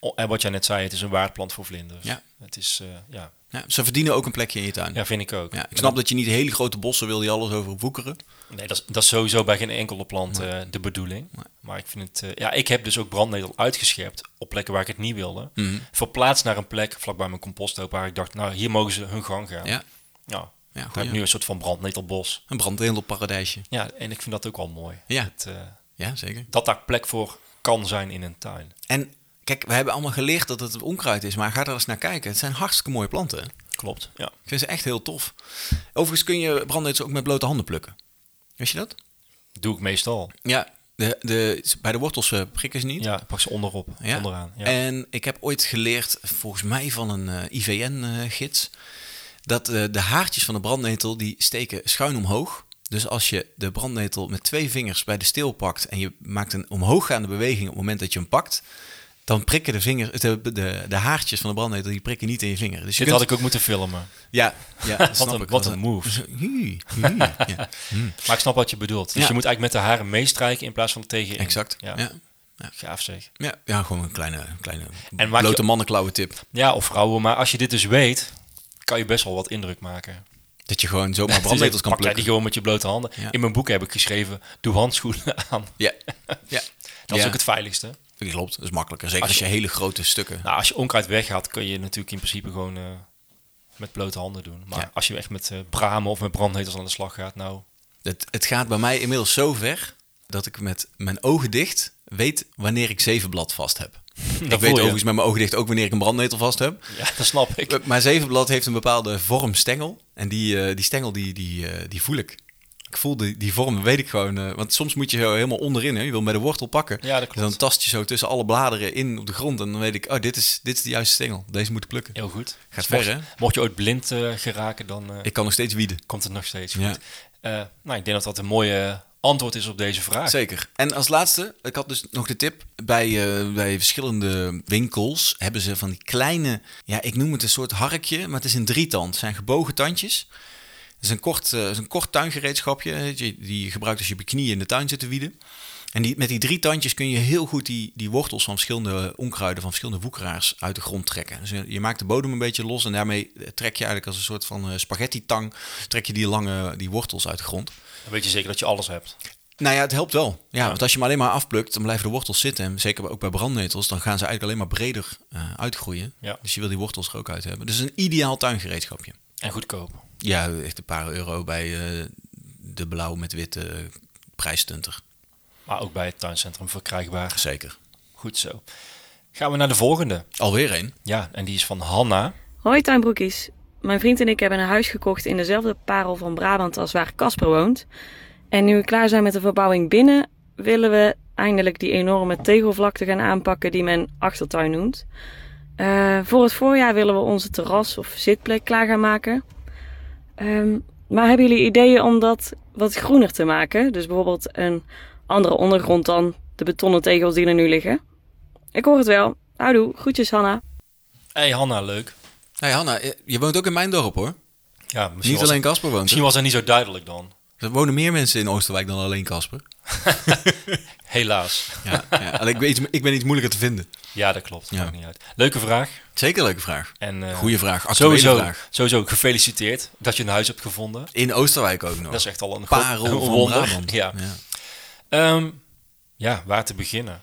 [SPEAKER 2] O- En wat jij net zei, het is een waardplant voor vlinders.
[SPEAKER 1] Ja.
[SPEAKER 2] Het is, eh, ja.
[SPEAKER 1] Ja, ze verdienen ook een plekje in je tuin.
[SPEAKER 2] ja, vind ik ook.
[SPEAKER 1] Ja, ik snap dat je niet hele grote bossen wil die alles over woekeren.
[SPEAKER 2] Nee, dat is, dat is sowieso bij geen enkele plant eh, de bedoeling. Maar ik vind het... eh, ja, ik heb dus ook brandnetel uitgescherpt op plekken waar ik het niet wilde.
[SPEAKER 1] Mhm.
[SPEAKER 2] Verplaatst naar een plek vlakbij mijn composthoop waar ik dacht, nou, hier mogen ze hun gang gaan.
[SPEAKER 1] Ja,
[SPEAKER 2] Ja.
[SPEAKER 1] Ja,
[SPEAKER 2] Dan
[SPEAKER 1] goeie.
[SPEAKER 2] heb ik nu een soort van brandnetelbos.
[SPEAKER 1] een brandnetelparadijsje.
[SPEAKER 2] Ja, en ik vind dat ook wel mooi.
[SPEAKER 1] Ja.
[SPEAKER 2] Het, eh,
[SPEAKER 1] Ja, zeker.
[SPEAKER 2] dat daar plek voor kan zijn in een tuin.
[SPEAKER 1] En kijk, we hebben allemaal geleerd dat het onkruid is, maar ga er eens naar kijken. Het zijn hartstikke mooie planten.
[SPEAKER 2] Klopt, ja.
[SPEAKER 1] Ik vind ze echt heel tof. Overigens kun je brandnetels ook met blote handen plukken. Weet je dat?
[SPEAKER 2] Doe ik meestal.
[SPEAKER 1] Ja, de, de, bij de wortels eh, prikken ze niet.
[SPEAKER 2] Ja, ik pak ze onderop,
[SPEAKER 1] Ja.
[SPEAKER 2] onderaan. Ja.
[SPEAKER 1] En ik heb ooit geleerd, volgens mij van een eh, IVN-gids, dat eh, de haartjes van de brandnetel die steken schuin omhoog. Dus als je de brandnetel met twee vingers bij de steel pakt en je maakt een omhooggaande beweging op het moment dat je hem pakt, dan prikken de, vingers, de, de, de haartjes van de brandnetel die prikken niet in je vinger. Dus je
[SPEAKER 2] Dit
[SPEAKER 1] kunt-
[SPEAKER 2] had ik ook moeten filmen.
[SPEAKER 1] Ja, ja dat snap
[SPEAKER 2] een-
[SPEAKER 1] ik.
[SPEAKER 2] (laughs) wat een move.
[SPEAKER 1] (laughs) Hi, hi, ja,
[SPEAKER 2] Maar ik snap wat je bedoelt. Dus
[SPEAKER 1] Hm. Ja.
[SPEAKER 2] je moet eigenlijk met de haren meestrijken in plaats van tegen.
[SPEAKER 1] exact.
[SPEAKER 2] Ja.
[SPEAKER 1] Ja. Ja.
[SPEAKER 2] Gaaf zeg.
[SPEAKER 1] Ja, gewoon een kleine, kleine
[SPEAKER 2] En maak je-
[SPEAKER 1] blote mannenklauwe tip.
[SPEAKER 2] Ja, of vrouwen. Maar als je dit dus weet, kan je best wel wat indruk maken.
[SPEAKER 1] Dat je gewoon
[SPEAKER 2] (laughs)
[SPEAKER 1] zomaar
[SPEAKER 2] Dus
[SPEAKER 1] brandnetels
[SPEAKER 2] ik
[SPEAKER 1] kan
[SPEAKER 2] pak jij
[SPEAKER 1] plukken.
[SPEAKER 2] die gewoon met je blote handen.
[SPEAKER 1] Ja.
[SPEAKER 2] In mijn boek heb ik geschreven, doe handschoenen (laughs) aan.
[SPEAKER 1] Ja. ja.
[SPEAKER 2] Dat
[SPEAKER 1] ja.
[SPEAKER 2] is ook het veiligste.
[SPEAKER 1] Dat Klopt, dat is makkelijker. Zeker
[SPEAKER 2] Als
[SPEAKER 1] als
[SPEAKER 2] je-
[SPEAKER 1] je, hele grote stukken...
[SPEAKER 2] Nou, als je onkruid weggaat, kun je natuurlijk in principe gewoon eh, met blote handen doen. Maar
[SPEAKER 1] Ja.
[SPEAKER 2] als je echt met eh, bramen of met brandnetels aan de slag gaat,
[SPEAKER 1] (laughs)
[SPEAKER 2] nou...
[SPEAKER 1] Het, het gaat bij mij inmiddels zo ver dat ik met mijn ogen dicht weet wanneer ik zevenblad vast heb. ik
[SPEAKER 2] voel
[SPEAKER 1] weet
[SPEAKER 2] je.
[SPEAKER 1] overigens met mijn ogen dicht ook wanneer ik een brandnetel vast heb.
[SPEAKER 2] (laughs) Ja, dat snap ik.
[SPEAKER 1] Eh, Maar zevenblad heeft een bepaalde vormstengel. En die, eh, die stengel, die, die, eh, die voel ik. Ik voel die, die vorm, weet ik gewoon. eh, want soms moet je zo helemaal onderin. Hè. Je wil met de wortel pakken.
[SPEAKER 2] Ja, dat
[SPEAKER 1] Dus
[SPEAKER 2] klopt.
[SPEAKER 1] dan tast je zo tussen alle bladeren in op de grond. En dan weet ik, oh, dit is, dit is de juiste stengel. Deze moet ik plukken.
[SPEAKER 2] Heel goed.
[SPEAKER 1] Gaat
[SPEAKER 2] mocht,
[SPEAKER 1] ver, hè?
[SPEAKER 2] Mocht je ooit blind eh, geraken, dan eh,
[SPEAKER 1] Ik kan nog steeds wieden.
[SPEAKER 2] komt het nog steeds goed.
[SPEAKER 1] Ja.
[SPEAKER 2] Eh, nou, ik denk dat dat een mooie antwoord is op deze vraag.
[SPEAKER 1] Zeker. En als laatste, ik had dus nog de tip. Bij, eh, bij verschillende winkels hebben ze van die kleine, ja, ik noem het een soort harkje, maar het is een drietand. Het zijn gebogen tandjes. Het is een kort, eh, het is een kort tuingereedschapje, eh, die die je gebruikt als je op je knieën in de tuin zit te wieden. En die, met die drie tandjes kun je heel goed die, die wortels van verschillende onkruiden, van verschillende woekeraars uit de grond trekken. Dus je- je maakt de bodem een beetje los en daarmee eh, trek je eigenlijk als een soort van spaghetti tang, trek je die lange die wortels uit de grond.
[SPEAKER 2] Dan weet je zeker dat je alles hebt.
[SPEAKER 1] Nou ja, het helpt wel. Ja, want als je hem alleen maar afplukt, dan blijven de wortels zitten. En zeker ook bij brandnetels, dan gaan ze eigenlijk alleen maar breder eh, uitgroeien.
[SPEAKER 2] Ja.
[SPEAKER 1] Dus je wil die wortels er ook uit hebben. Dus een ideaal tuingereedschapje.
[SPEAKER 2] En goedkoop.
[SPEAKER 1] Ja, echt een paar euro bij eh, de blauw met witte prijsstunter.
[SPEAKER 2] Maar ook bij het tuincentrum verkrijgbaar.
[SPEAKER 1] Zeker.
[SPEAKER 2] Goed zo. Gaan we naar de volgende.
[SPEAKER 1] Alweer één.
[SPEAKER 2] Ja, en die is van Hanna.
[SPEAKER 6] Hoi tuinbroekies. Mijn vriend en ik hebben een huis gekocht in dezelfde parel van Brabant als waar Casper woont. En nu we klaar zijn met de verbouwing binnen, willen we eindelijk die enorme tegelvlakte gaan aanpakken die men achtertuin noemt. Eh, voor het voorjaar willen we onze terras of zitplek klaar gaan maken. Ehm, maar hebben jullie ideeën om dat wat groener te maken? Dus bijvoorbeeld een andere ondergrond dan de betonnen tegels die er nu liggen. Ik hoor het wel. Houdoe, groetjes Hanna.
[SPEAKER 2] hey, Hanna, leuk.
[SPEAKER 1] Hey Hanna, eh, je woont ook in mijn dorp hoor.
[SPEAKER 2] Ja, misschien,
[SPEAKER 1] Niet
[SPEAKER 2] was,
[SPEAKER 1] alleen Casper woont.
[SPEAKER 2] misschien
[SPEAKER 1] hè?
[SPEAKER 2] was dat niet zo duidelijk dan.
[SPEAKER 1] Er wonen meer mensen in Oosterwijk dan alleen Casper.
[SPEAKER 2] Helaas.
[SPEAKER 1] Ja, ja. Alleen ik, weet, ik ben iets moeilijker te vinden.
[SPEAKER 2] Ja, dat klopt.
[SPEAKER 1] Ja.
[SPEAKER 2] Maakt niet uit. Leuke vraag.
[SPEAKER 1] Zeker leuke vraag.
[SPEAKER 2] En, eh,
[SPEAKER 1] Goeie vraag. Actuele
[SPEAKER 2] Sowieso,
[SPEAKER 1] vraag.
[SPEAKER 2] sowieso gefeliciteerd dat je een huis hebt gevonden.
[SPEAKER 1] In Oosterwijk ook nog.
[SPEAKER 2] Dat is echt al een gro-
[SPEAKER 1] parel
[SPEAKER 2] een
[SPEAKER 1] van
[SPEAKER 2] wonder.
[SPEAKER 1] Brabant.
[SPEAKER 2] Ja.
[SPEAKER 1] ja.
[SPEAKER 2] Ehm, ja, waar te beginnen?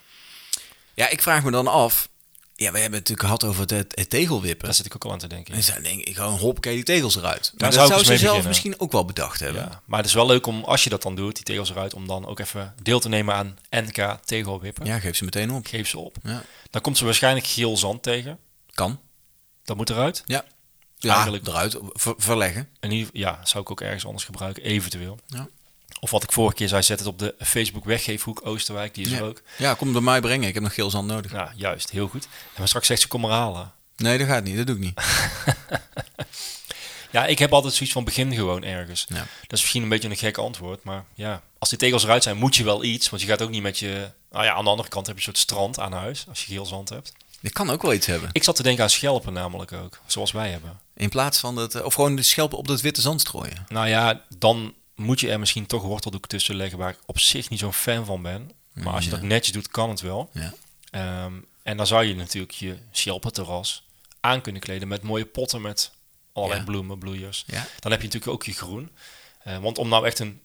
[SPEAKER 1] Ja, ik vraag me dan af. Ja, we hebben het natuurlijk gehad over het, het tegelwippen.
[SPEAKER 2] Daar zit ik ook al aan te denken.
[SPEAKER 1] En dan denk ik gewoon hoppakee die tegels eruit. Maar
[SPEAKER 2] Daar
[SPEAKER 1] dat
[SPEAKER 2] zou ik
[SPEAKER 1] zou,
[SPEAKER 2] eens
[SPEAKER 1] ze
[SPEAKER 2] mee
[SPEAKER 1] zelf
[SPEAKER 2] beginnen.
[SPEAKER 1] misschien ook wel bedacht hebben.
[SPEAKER 2] Ja, maar het is wel leuk om, als je dat dan doet, die tegels eruit, om dan ook even deel te nemen aan NK tegelwippen.
[SPEAKER 1] Ja, geef ze meteen op.
[SPEAKER 2] Geef ze op.
[SPEAKER 1] Ja.
[SPEAKER 2] Dan komt ze waarschijnlijk geel zand tegen.
[SPEAKER 1] Kan.
[SPEAKER 2] Dat moet eruit.
[SPEAKER 1] Ja. Ja,
[SPEAKER 2] Eigenlijk-
[SPEAKER 1] eruit. Ver- verleggen.
[SPEAKER 2] En ieder, ja, zou ik ook ergens anders gebruiken, eventueel.
[SPEAKER 1] Ja.
[SPEAKER 2] Of wat ik vorige keer zei, zet het op de Facebook weggeefhoek Oosterwijk, die is
[SPEAKER 1] Ja.
[SPEAKER 2] er ook.
[SPEAKER 1] ja, kom het bij mij brengen. Ik heb nog geel zand nodig.
[SPEAKER 2] Ja, juist, heel goed. En maar straks zegt ze, kom maar halen.
[SPEAKER 1] Nee, dat gaat niet. Dat doe ik
[SPEAKER 2] (laughs)
[SPEAKER 1] niet.
[SPEAKER 2] Ja, ik heb altijd zoiets van begin gewoon ergens.
[SPEAKER 1] Ja.
[SPEAKER 2] Dat is misschien een beetje een gek antwoord, maar ja. Als die tegels eruit zijn, moet je wel iets. Want je gaat ook niet met je... Nou ja, aan de andere kant heb je een soort strand aan huis, als je geel zand hebt.
[SPEAKER 1] Dat kan ook wel iets hebben.
[SPEAKER 2] Ik zat te denken aan schelpen namelijk ook, zoals wij hebben.
[SPEAKER 1] In plaats van dat... eh, Of gewoon de schelpen op dat witte zand strooien.
[SPEAKER 2] Nou ja, dan moet je er misschien toch worteldoek tussen leggen waar ik op zich niet zo'n fan van ben. Maar als je dat netjes doet, kan het wel.
[SPEAKER 1] Ja.
[SPEAKER 2] Ehm, en dan zou je natuurlijk je Sjelpenterras aan kunnen kleden met mooie potten met allerlei
[SPEAKER 1] Ja.
[SPEAKER 2] bloemen, bloeiers.
[SPEAKER 1] Ja.
[SPEAKER 2] Dan heb je natuurlijk ook je groen. Eh, want om nou echt een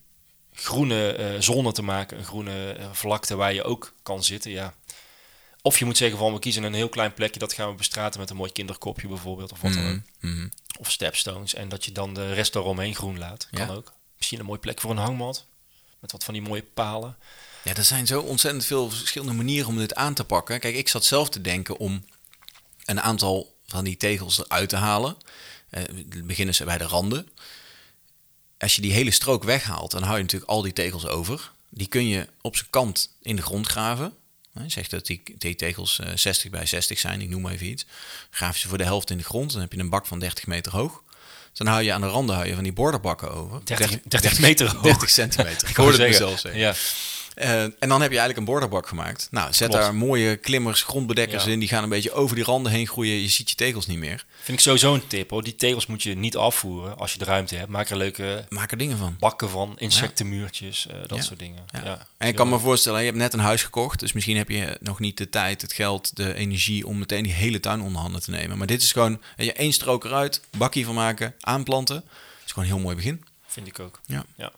[SPEAKER 2] groene eh, zone te maken, een groene eh, vlakte waar je ook kan zitten, ja. Of je moet zeggen van we kiezen een heel klein plekje, dat gaan we bestraten met een mooi kinderkopje bijvoorbeeld of wat dan ook.
[SPEAKER 1] Mhm.
[SPEAKER 2] Of stepstones en dat je dan de rest daaromheen groen laat. Kan
[SPEAKER 1] Ja.
[SPEAKER 2] ook. Misschien een mooie plek voor een hangmat met wat van die mooie palen.
[SPEAKER 1] Ja, er zijn zo ontzettend veel verschillende manieren om dit aan te pakken. Kijk, ik zat zelf te denken om een aantal van die tegels eruit te halen. Eh, we beginnen ze bij de randen. Als je die hele strook weghaalt, dan hou je natuurlijk al die tegels over. Die kun je op zijn kant in de grond graven. Hè, Zeg dat die, die tegels eh, 60 bij 60 zijn, ik noem maar even iets. Graaf je ze voor de helft in de grond, dan heb je een bak van 30 meter hoog. Dan hou je aan de randen hou je van die borderbakken over.
[SPEAKER 2] 30 30 meter hoog.
[SPEAKER 1] 30
[SPEAKER 2] (laughs)
[SPEAKER 1] centimeter. Ik hoorde het
[SPEAKER 2] Zeggen,
[SPEAKER 1] mezelf zeggen.
[SPEAKER 2] Ja.
[SPEAKER 1] Eh, en dan heb je eigenlijk een borderbak gemaakt. Nou, zet
[SPEAKER 2] Klopt.
[SPEAKER 1] daar mooie klimmers, grondbedekkers
[SPEAKER 2] Ja.
[SPEAKER 1] in. Die gaan een beetje over die randen heen groeien. Je ziet je tegels niet meer.
[SPEAKER 2] Vind ik sowieso een tip hoor. Die tegels moet je niet afvoeren als je de ruimte hebt. Maak er leuke
[SPEAKER 1] Maak er dingen van.
[SPEAKER 2] bakken van, insectenmuurtjes, eh, dat
[SPEAKER 1] Ja.
[SPEAKER 2] soort dingen.
[SPEAKER 1] Ja.
[SPEAKER 2] Ja.
[SPEAKER 1] en ik kan me voorstellen, je hebt net een huis gekocht. Dus misschien heb je nog niet de tijd, het geld, de energie om meteen die hele tuin onder handen te nemen. Maar dit is gewoon weet je, één strook eruit, bakkie van maken, aanplanten. Dat is gewoon een heel mooi begin.
[SPEAKER 2] Vind ik ook.
[SPEAKER 1] Ja.
[SPEAKER 2] ja.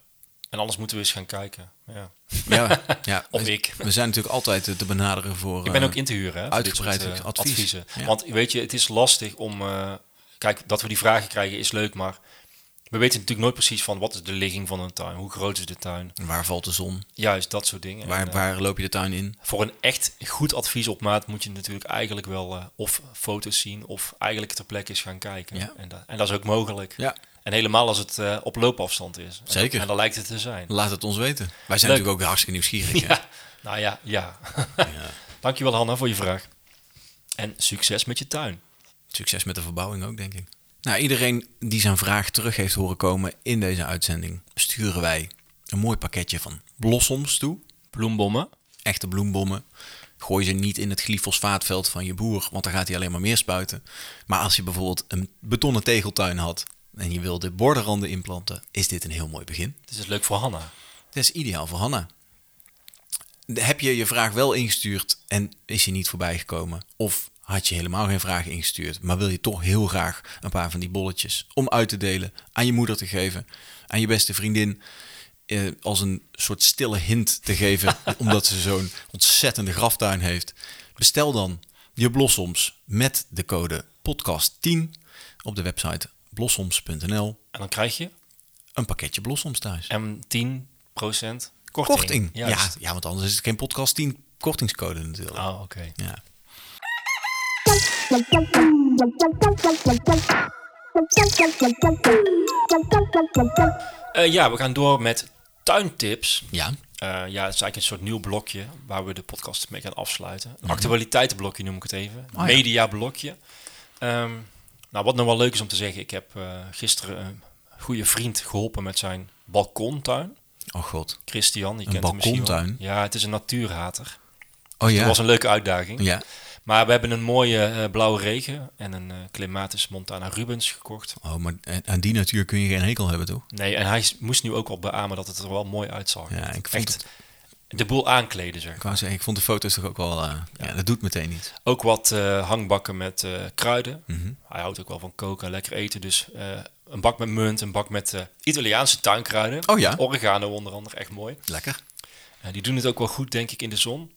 [SPEAKER 2] En anders moeten we eens gaan kijken. Ja. (laughs)
[SPEAKER 1] Ja, ja.
[SPEAKER 2] Of
[SPEAKER 1] we,
[SPEAKER 2] ik.
[SPEAKER 1] We zijn natuurlijk altijd eh, te benaderen voor.
[SPEAKER 2] Ik ben
[SPEAKER 1] eh,
[SPEAKER 2] ook in te huren. Hè, voor dit
[SPEAKER 1] uitgebreid
[SPEAKER 2] soort, eh,
[SPEAKER 1] advies.
[SPEAKER 2] adviezen.
[SPEAKER 1] Ja.
[SPEAKER 2] Want weet je, het is lastig om. eh, kijk, dat we die vragen krijgen is leuk, maar we weten natuurlijk nooit precies van wat is de ligging van een tuin, hoe groot is de tuin.
[SPEAKER 1] Waar valt de zon?
[SPEAKER 2] Juist dat soort dingen. En,
[SPEAKER 1] Waar,
[SPEAKER 2] eh,
[SPEAKER 1] waar loop je de tuin in?
[SPEAKER 2] voor een echt goed advies op maat moet je natuurlijk eigenlijk wel eh, of foto's zien of eigenlijk ter plekke eens gaan kijken.
[SPEAKER 1] Ja.
[SPEAKER 2] En, dat, en dat is ook mogelijk.
[SPEAKER 1] Ja,
[SPEAKER 2] En helemaal als het eh, op loopafstand is. En-
[SPEAKER 1] Zeker.
[SPEAKER 2] En dat lijkt het te zijn.
[SPEAKER 1] laat het ons weten. Wij zijn
[SPEAKER 2] Leuk.
[SPEAKER 1] natuurlijk ook hartstikke nieuwsgierig. hè?
[SPEAKER 2] (laughs) Ja. Nou ja, ja. (laughs) Dankjewel Hanna voor je vraag. En succes met je tuin.
[SPEAKER 1] Succes met de verbouwing ook, denk ik. Nou, iedereen die zijn vraag terug heeft horen komen in deze uitzending, sturen wij een mooi pakketje van blossoms toe.
[SPEAKER 2] Bloembommen.
[SPEAKER 1] Echte bloembommen. Gooi ze niet in het glyfosfaatveld van je boer, want dan gaat hij alleen maar meer spuiten. Maar als je bijvoorbeeld een betonnen tegeltuin had en je wil de bordenranden inplanten, is dit een heel mooi begin.
[SPEAKER 2] Het is dus leuk voor Hanna.
[SPEAKER 1] Dat is ideaal voor Hanna. De- Heb je je vraag wel ingestuurd en is je niet voorbij gekomen? Of had je helemaal geen vraag ingestuurd, maar wil je toch heel graag een paar van die bolletjes om uit te delen, aan je moeder te geven, aan je beste vriendin, eh, als een soort stille hint te geven, omdat ze zo'n ontzettende graftuin heeft? Bestel dan je blossoms met de code podcast10 op de website blossoms.nl.
[SPEAKER 2] En dan krijg je
[SPEAKER 1] Een pakketje blossoms thuis.
[SPEAKER 2] M10% korting.
[SPEAKER 1] Korting. Ja,
[SPEAKER 2] Juist.
[SPEAKER 1] ja, want anders is het geen podcast 10 kortingscode natuurlijk.
[SPEAKER 2] Oh, oké.
[SPEAKER 1] Ja.
[SPEAKER 2] Eh, ja, we gaan door met tuintips.
[SPEAKER 1] ja.
[SPEAKER 2] Eh, ja, het is eigenlijk een soort nieuw blokje waar we de podcast mee gaan afsluiten. Een actualiteitenblokje noem ik het even.
[SPEAKER 1] Mhm. Ah, ja.
[SPEAKER 2] Mediablokje. Ehm, nou, wat nou wel leuk is om te zeggen, ik heb eh, gisteren een goede vriend geholpen met zijn balkontuin.
[SPEAKER 1] Oh
[SPEAKER 2] Dus
[SPEAKER 1] god.
[SPEAKER 2] Christian, je
[SPEAKER 1] Een
[SPEAKER 2] kent hem misschien wel.
[SPEAKER 1] balkontuin?
[SPEAKER 2] Ja, het is een natuurhater.
[SPEAKER 1] Oh
[SPEAKER 2] Dat
[SPEAKER 1] ja.
[SPEAKER 2] was een leuke uitdaging.
[SPEAKER 1] Ja.
[SPEAKER 2] Maar we hebben een mooie eh, blauwe regen en een eh Clematis Montana Rubens gekocht.
[SPEAKER 1] Oh, maar aan- aan die natuur kun je geen hekel hebben, toch?
[SPEAKER 2] Nee, en hij is- moest nu ook wel beamen dat het er wel mooi uitzag.
[SPEAKER 1] Ja, ik vond
[SPEAKER 2] Echt
[SPEAKER 1] het-
[SPEAKER 2] de boel aankleden, zeg.
[SPEAKER 1] Ik wou zeggen, ik vond de foto's toch ook wel... eh, ja, dat doet meteen iets.
[SPEAKER 2] Ook wat eh, hangbakken met eh, kruiden.
[SPEAKER 1] Mhm.
[SPEAKER 2] Hij houdt ook wel van koken en lekker eten. Dus eh, een bak met munt, een bak met eh, Italiaanse tuinkruiden.
[SPEAKER 1] Oh ja.
[SPEAKER 2] Oregano onder andere, echt mooi.
[SPEAKER 1] Lekker.
[SPEAKER 2] Eh, die doen het ook wel goed, denk ik, in de zon.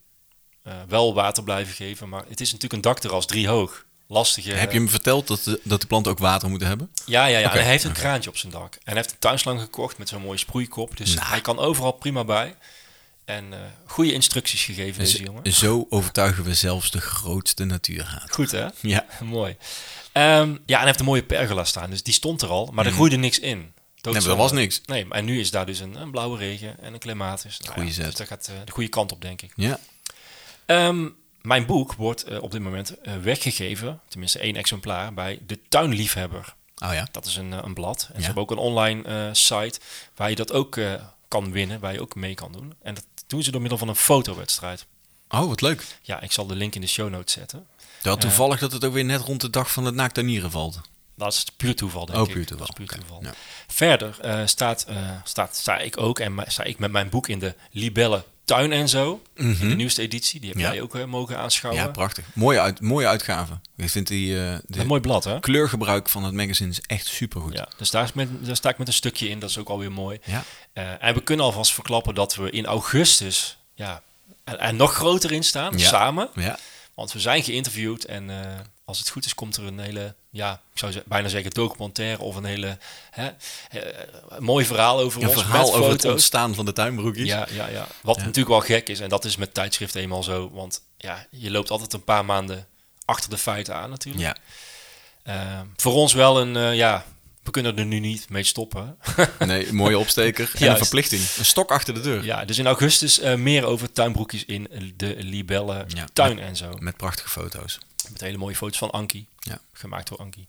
[SPEAKER 2] Eh, wel water blijven geven, maar het is natuurlijk een dakterras, drie hoog. Lastige.
[SPEAKER 1] Eh, Heb je hem verteld dat de, dat de planten ook water moeten hebben?
[SPEAKER 2] Ja, ja, ja.
[SPEAKER 1] Oké.
[SPEAKER 2] En hij heeft een kraantje op zijn dak. En hij heeft een tuinslang gekocht met zo'n mooie sproeikop. Dus
[SPEAKER 1] Nou.
[SPEAKER 2] hij kan overal prima bij. En eh, goede instructies gegeven, deze jongen.
[SPEAKER 1] Dus zo overtuigen we zelfs de grootste natuurhaat.
[SPEAKER 2] Goed, hè?
[SPEAKER 1] Ja.
[SPEAKER 2] (laughs) Mooi. Ehm, ja, en hij heeft een mooie pergola staan. Dus die stond er al, maar er groeide niks in.
[SPEAKER 1] Mhm. Nee, maar
[SPEAKER 2] Doodzonde.
[SPEAKER 1] er was niks.
[SPEAKER 2] Nee, en nu is daar dus een, een blauwe regen en een klimatis. Nou,
[SPEAKER 1] Goeie
[SPEAKER 2] ja,
[SPEAKER 1] zet.
[SPEAKER 2] Dus dat gaat eh, de goede kant op, denk ik.
[SPEAKER 1] Ja.
[SPEAKER 2] Ehm, mijn boek wordt eh, op dit moment eh, weggegeven, tenminste één exemplaar, bij De Tuinliefhebber.
[SPEAKER 1] Oh ja.
[SPEAKER 2] Dat is een, eh, een blad. En
[SPEAKER 1] Ja.
[SPEAKER 2] ze hebben ook een online eh, site waar je dat ook eh, kan winnen, waar je ook mee kan doen. En dat doen ze door middel van een fotowedstrijd.
[SPEAKER 1] Oh, wat leuk.
[SPEAKER 2] Ja, ik zal de link in de show notes zetten.
[SPEAKER 1] Wel toevallig dat het ook weer net rond de dag van het naaktanieren valt.
[SPEAKER 2] Dat is puur toeval, denk
[SPEAKER 1] Oh,
[SPEAKER 2] ik.
[SPEAKER 1] puur toeval.
[SPEAKER 2] Dat is puur toeval.
[SPEAKER 1] ja.
[SPEAKER 2] Verder eh, staat, eh, staat, sta ik ook en ma- sta ik met mijn boek in de Libelle Tuin en Zo. In de nieuwste editie. Die heb
[SPEAKER 1] Mhm. Ja.
[SPEAKER 2] jij ook eh, mogen aanschouwen.
[SPEAKER 1] Ja, prachtig. Mooie, uit, mooie uitgave. Ik vind die eh, de
[SPEAKER 2] een mooi blad, hè?
[SPEAKER 1] kleurgebruik van het magazine is echt supergoed.
[SPEAKER 2] Ja, dus daar, is met, daar sta ik met een stukje in. Dat is ook alweer mooi.
[SPEAKER 1] Ja.
[SPEAKER 2] Eh, en we kunnen alvast verklappen dat we in augustus ja, er, er nog groter in staan,
[SPEAKER 1] Ja.
[SPEAKER 2] samen.
[SPEAKER 1] Ja.
[SPEAKER 2] Want we zijn geïnterviewd en eh, als het goed is komt er een hele, ja, ik zou ze- bijna zeggen documentaire of een hele hè, eh, mooi verhaal over
[SPEAKER 1] Een
[SPEAKER 2] ons
[SPEAKER 1] verhaal
[SPEAKER 2] met
[SPEAKER 1] over het
[SPEAKER 2] foto's.
[SPEAKER 1] ontstaan van de tuinbroekjes.
[SPEAKER 2] Ja, ja, ja. Wat natuurlijk wel gek is en dat is met tijdschrift eenmaal zo, want ja, je loopt altijd een paar maanden achter de feiten aan natuurlijk.
[SPEAKER 1] ja.
[SPEAKER 2] Eh, voor ons wel een, eh, ja, we kunnen er nu niet mee stoppen.
[SPEAKER 1] Nee, mooie opsteker en een
[SPEAKER 2] Juist.
[SPEAKER 1] verplichting. Een stok achter de deur.
[SPEAKER 2] (laughs) ja, dus in augustus eh, meer over tuinbroekjes in de Libelle
[SPEAKER 1] Ja.
[SPEAKER 2] tuin en zo.
[SPEAKER 1] Met prachtige foto's.
[SPEAKER 2] Met hele mooie foto's van Anki.
[SPEAKER 1] Ja.
[SPEAKER 2] Gemaakt door Anki.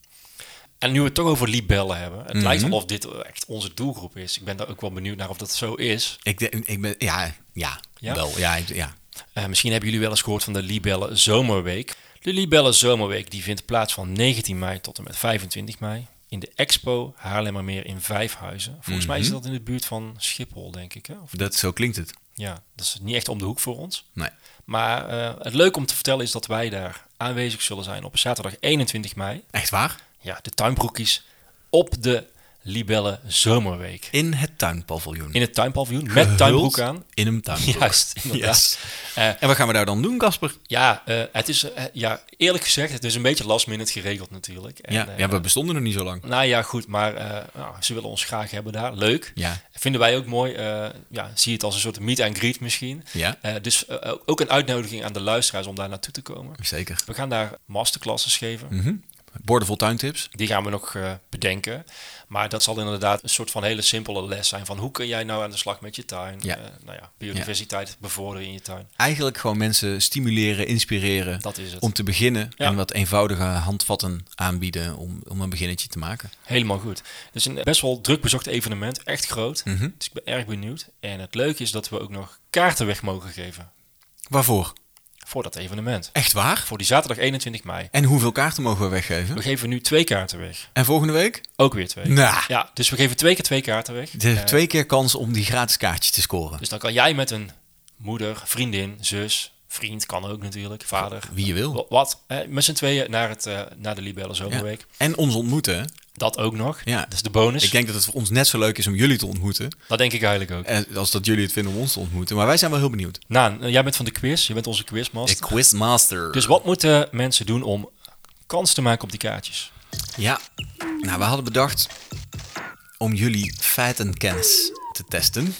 [SPEAKER 2] En nu we het toch over libellen hebben. Het lijkt
[SPEAKER 1] Mhm.
[SPEAKER 2] alsof dit echt onze doelgroep is. Ik ben daar ook wel benieuwd naar of dat zo is.
[SPEAKER 1] Ik, de- ik ben, ja, ja,
[SPEAKER 2] Ja?
[SPEAKER 1] wel. Ja, ik- ja.
[SPEAKER 2] Eh, misschien hebben jullie wel eens gehoord van de Libellen Zomerweek. De Libellen Zomerweek die vindt plaats van 19 mei tot en met 25 mei. In de Expo Haarlemmermeer in Vijfhuizen. Volgens mij
[SPEAKER 1] Mhm.
[SPEAKER 2] is dat in de buurt van Schiphol, denk ik. Hè? Of,
[SPEAKER 1] Dat, zo klinkt het.
[SPEAKER 2] ja, dat is niet echt om de hoek voor ons.
[SPEAKER 1] Nee.
[SPEAKER 2] Maar eh, het leuke om te vertellen is dat wij daar aanwezig zullen zijn op zaterdag 21 mei.
[SPEAKER 1] Echt waar?
[SPEAKER 2] ja, de tuinbroekjes op de Libelle Zomerweek.
[SPEAKER 1] In het tuinpaviljoen.
[SPEAKER 2] In het tuinpaviljoen
[SPEAKER 1] Gehuld
[SPEAKER 2] met tuinbroek aan.
[SPEAKER 1] In een tuinbroek. (laughs)
[SPEAKER 2] Juist, inderdaad. Eh,
[SPEAKER 1] En wat gaan we daar dan doen, Casper?
[SPEAKER 2] ja, eh, het is, eh, ja, eerlijk gezegd, het is een beetje last minute geregeld natuurlijk. En,
[SPEAKER 1] Ja,
[SPEAKER 2] eh,
[SPEAKER 1] ja, we bestonden nog niet zo lang.
[SPEAKER 2] Nou ja, goed, maar eh, nou, ze willen ons graag hebben daar. Leuk.
[SPEAKER 1] Ja.
[SPEAKER 2] Vinden wij ook mooi. eh, ja, zie het als een soort meet and greet misschien.
[SPEAKER 1] Ja.
[SPEAKER 2] Eh, dus eh, ook een uitnodiging aan de luisteraars om daar naartoe te komen.
[SPEAKER 1] Zeker.
[SPEAKER 2] We gaan daar masterclasses geven.
[SPEAKER 1] Mhm. Borden vol tuintips.
[SPEAKER 2] Die gaan we nog eh, bedenken. Maar dat zal inderdaad een soort van hele simpele les zijn. Van hoe kun jij nou aan de slag met je tuin?
[SPEAKER 1] Ja.
[SPEAKER 2] Eh, nou ja, biodiversiteit bevorderen in je tuin.
[SPEAKER 1] Eigenlijk gewoon mensen stimuleren, inspireren.
[SPEAKER 2] Dat is het.
[SPEAKER 1] Om te beginnen
[SPEAKER 2] Ja.
[SPEAKER 1] en wat eenvoudige handvatten aanbieden om, om een beginnetje te maken.
[SPEAKER 2] Helemaal goed. Dus een best wel druk bezocht evenement. Echt groot.
[SPEAKER 1] Mhm.
[SPEAKER 2] Dus ik ben erg benieuwd. En het leuke is dat we ook nog kaarten weg mogen geven.
[SPEAKER 1] Waarvoor?
[SPEAKER 2] Voor dat evenement.
[SPEAKER 1] Echt waar?
[SPEAKER 2] Voor die zaterdag 21 mei.
[SPEAKER 1] En hoeveel kaarten mogen we weggeven?
[SPEAKER 2] We geven nu twee kaarten weg.
[SPEAKER 1] En volgende week?
[SPEAKER 2] Ook weer twee.
[SPEAKER 1] Nou.
[SPEAKER 2] Ja, dus we geven twee keer twee kaarten weg. Eh,
[SPEAKER 1] De twee keer kans om die gratis kaartje te scoren.
[SPEAKER 2] Dus dan kan jij met een moeder, vriendin, zus, vriend, kan ook natuurlijk, vader.
[SPEAKER 1] Wie je wil.
[SPEAKER 2] Wa- Wat? Eh, met z'n tweeën naar, het, eh, naar de Libelle Zomerweek.
[SPEAKER 1] En ons ontmoeten. hè?
[SPEAKER 2] Dat ook nog.
[SPEAKER 1] Ja.
[SPEAKER 2] Dat is de bonus.
[SPEAKER 1] Ik denk dat het voor ons net zo leuk is om jullie te ontmoeten.
[SPEAKER 2] Dat denk ik eigenlijk ook.
[SPEAKER 1] eh, Als dat jullie het vinden om ons te ontmoeten. Maar wij zijn wel heel benieuwd.
[SPEAKER 2] Nou, eh, jij bent van de quiz. Je bent onze quizmaster.
[SPEAKER 1] quizmaster.
[SPEAKER 2] Dus wat moeten mensen doen om kans te maken op die kaartjes?
[SPEAKER 1] Ja, nou we hadden bedacht om jullie feitenkennis te testen.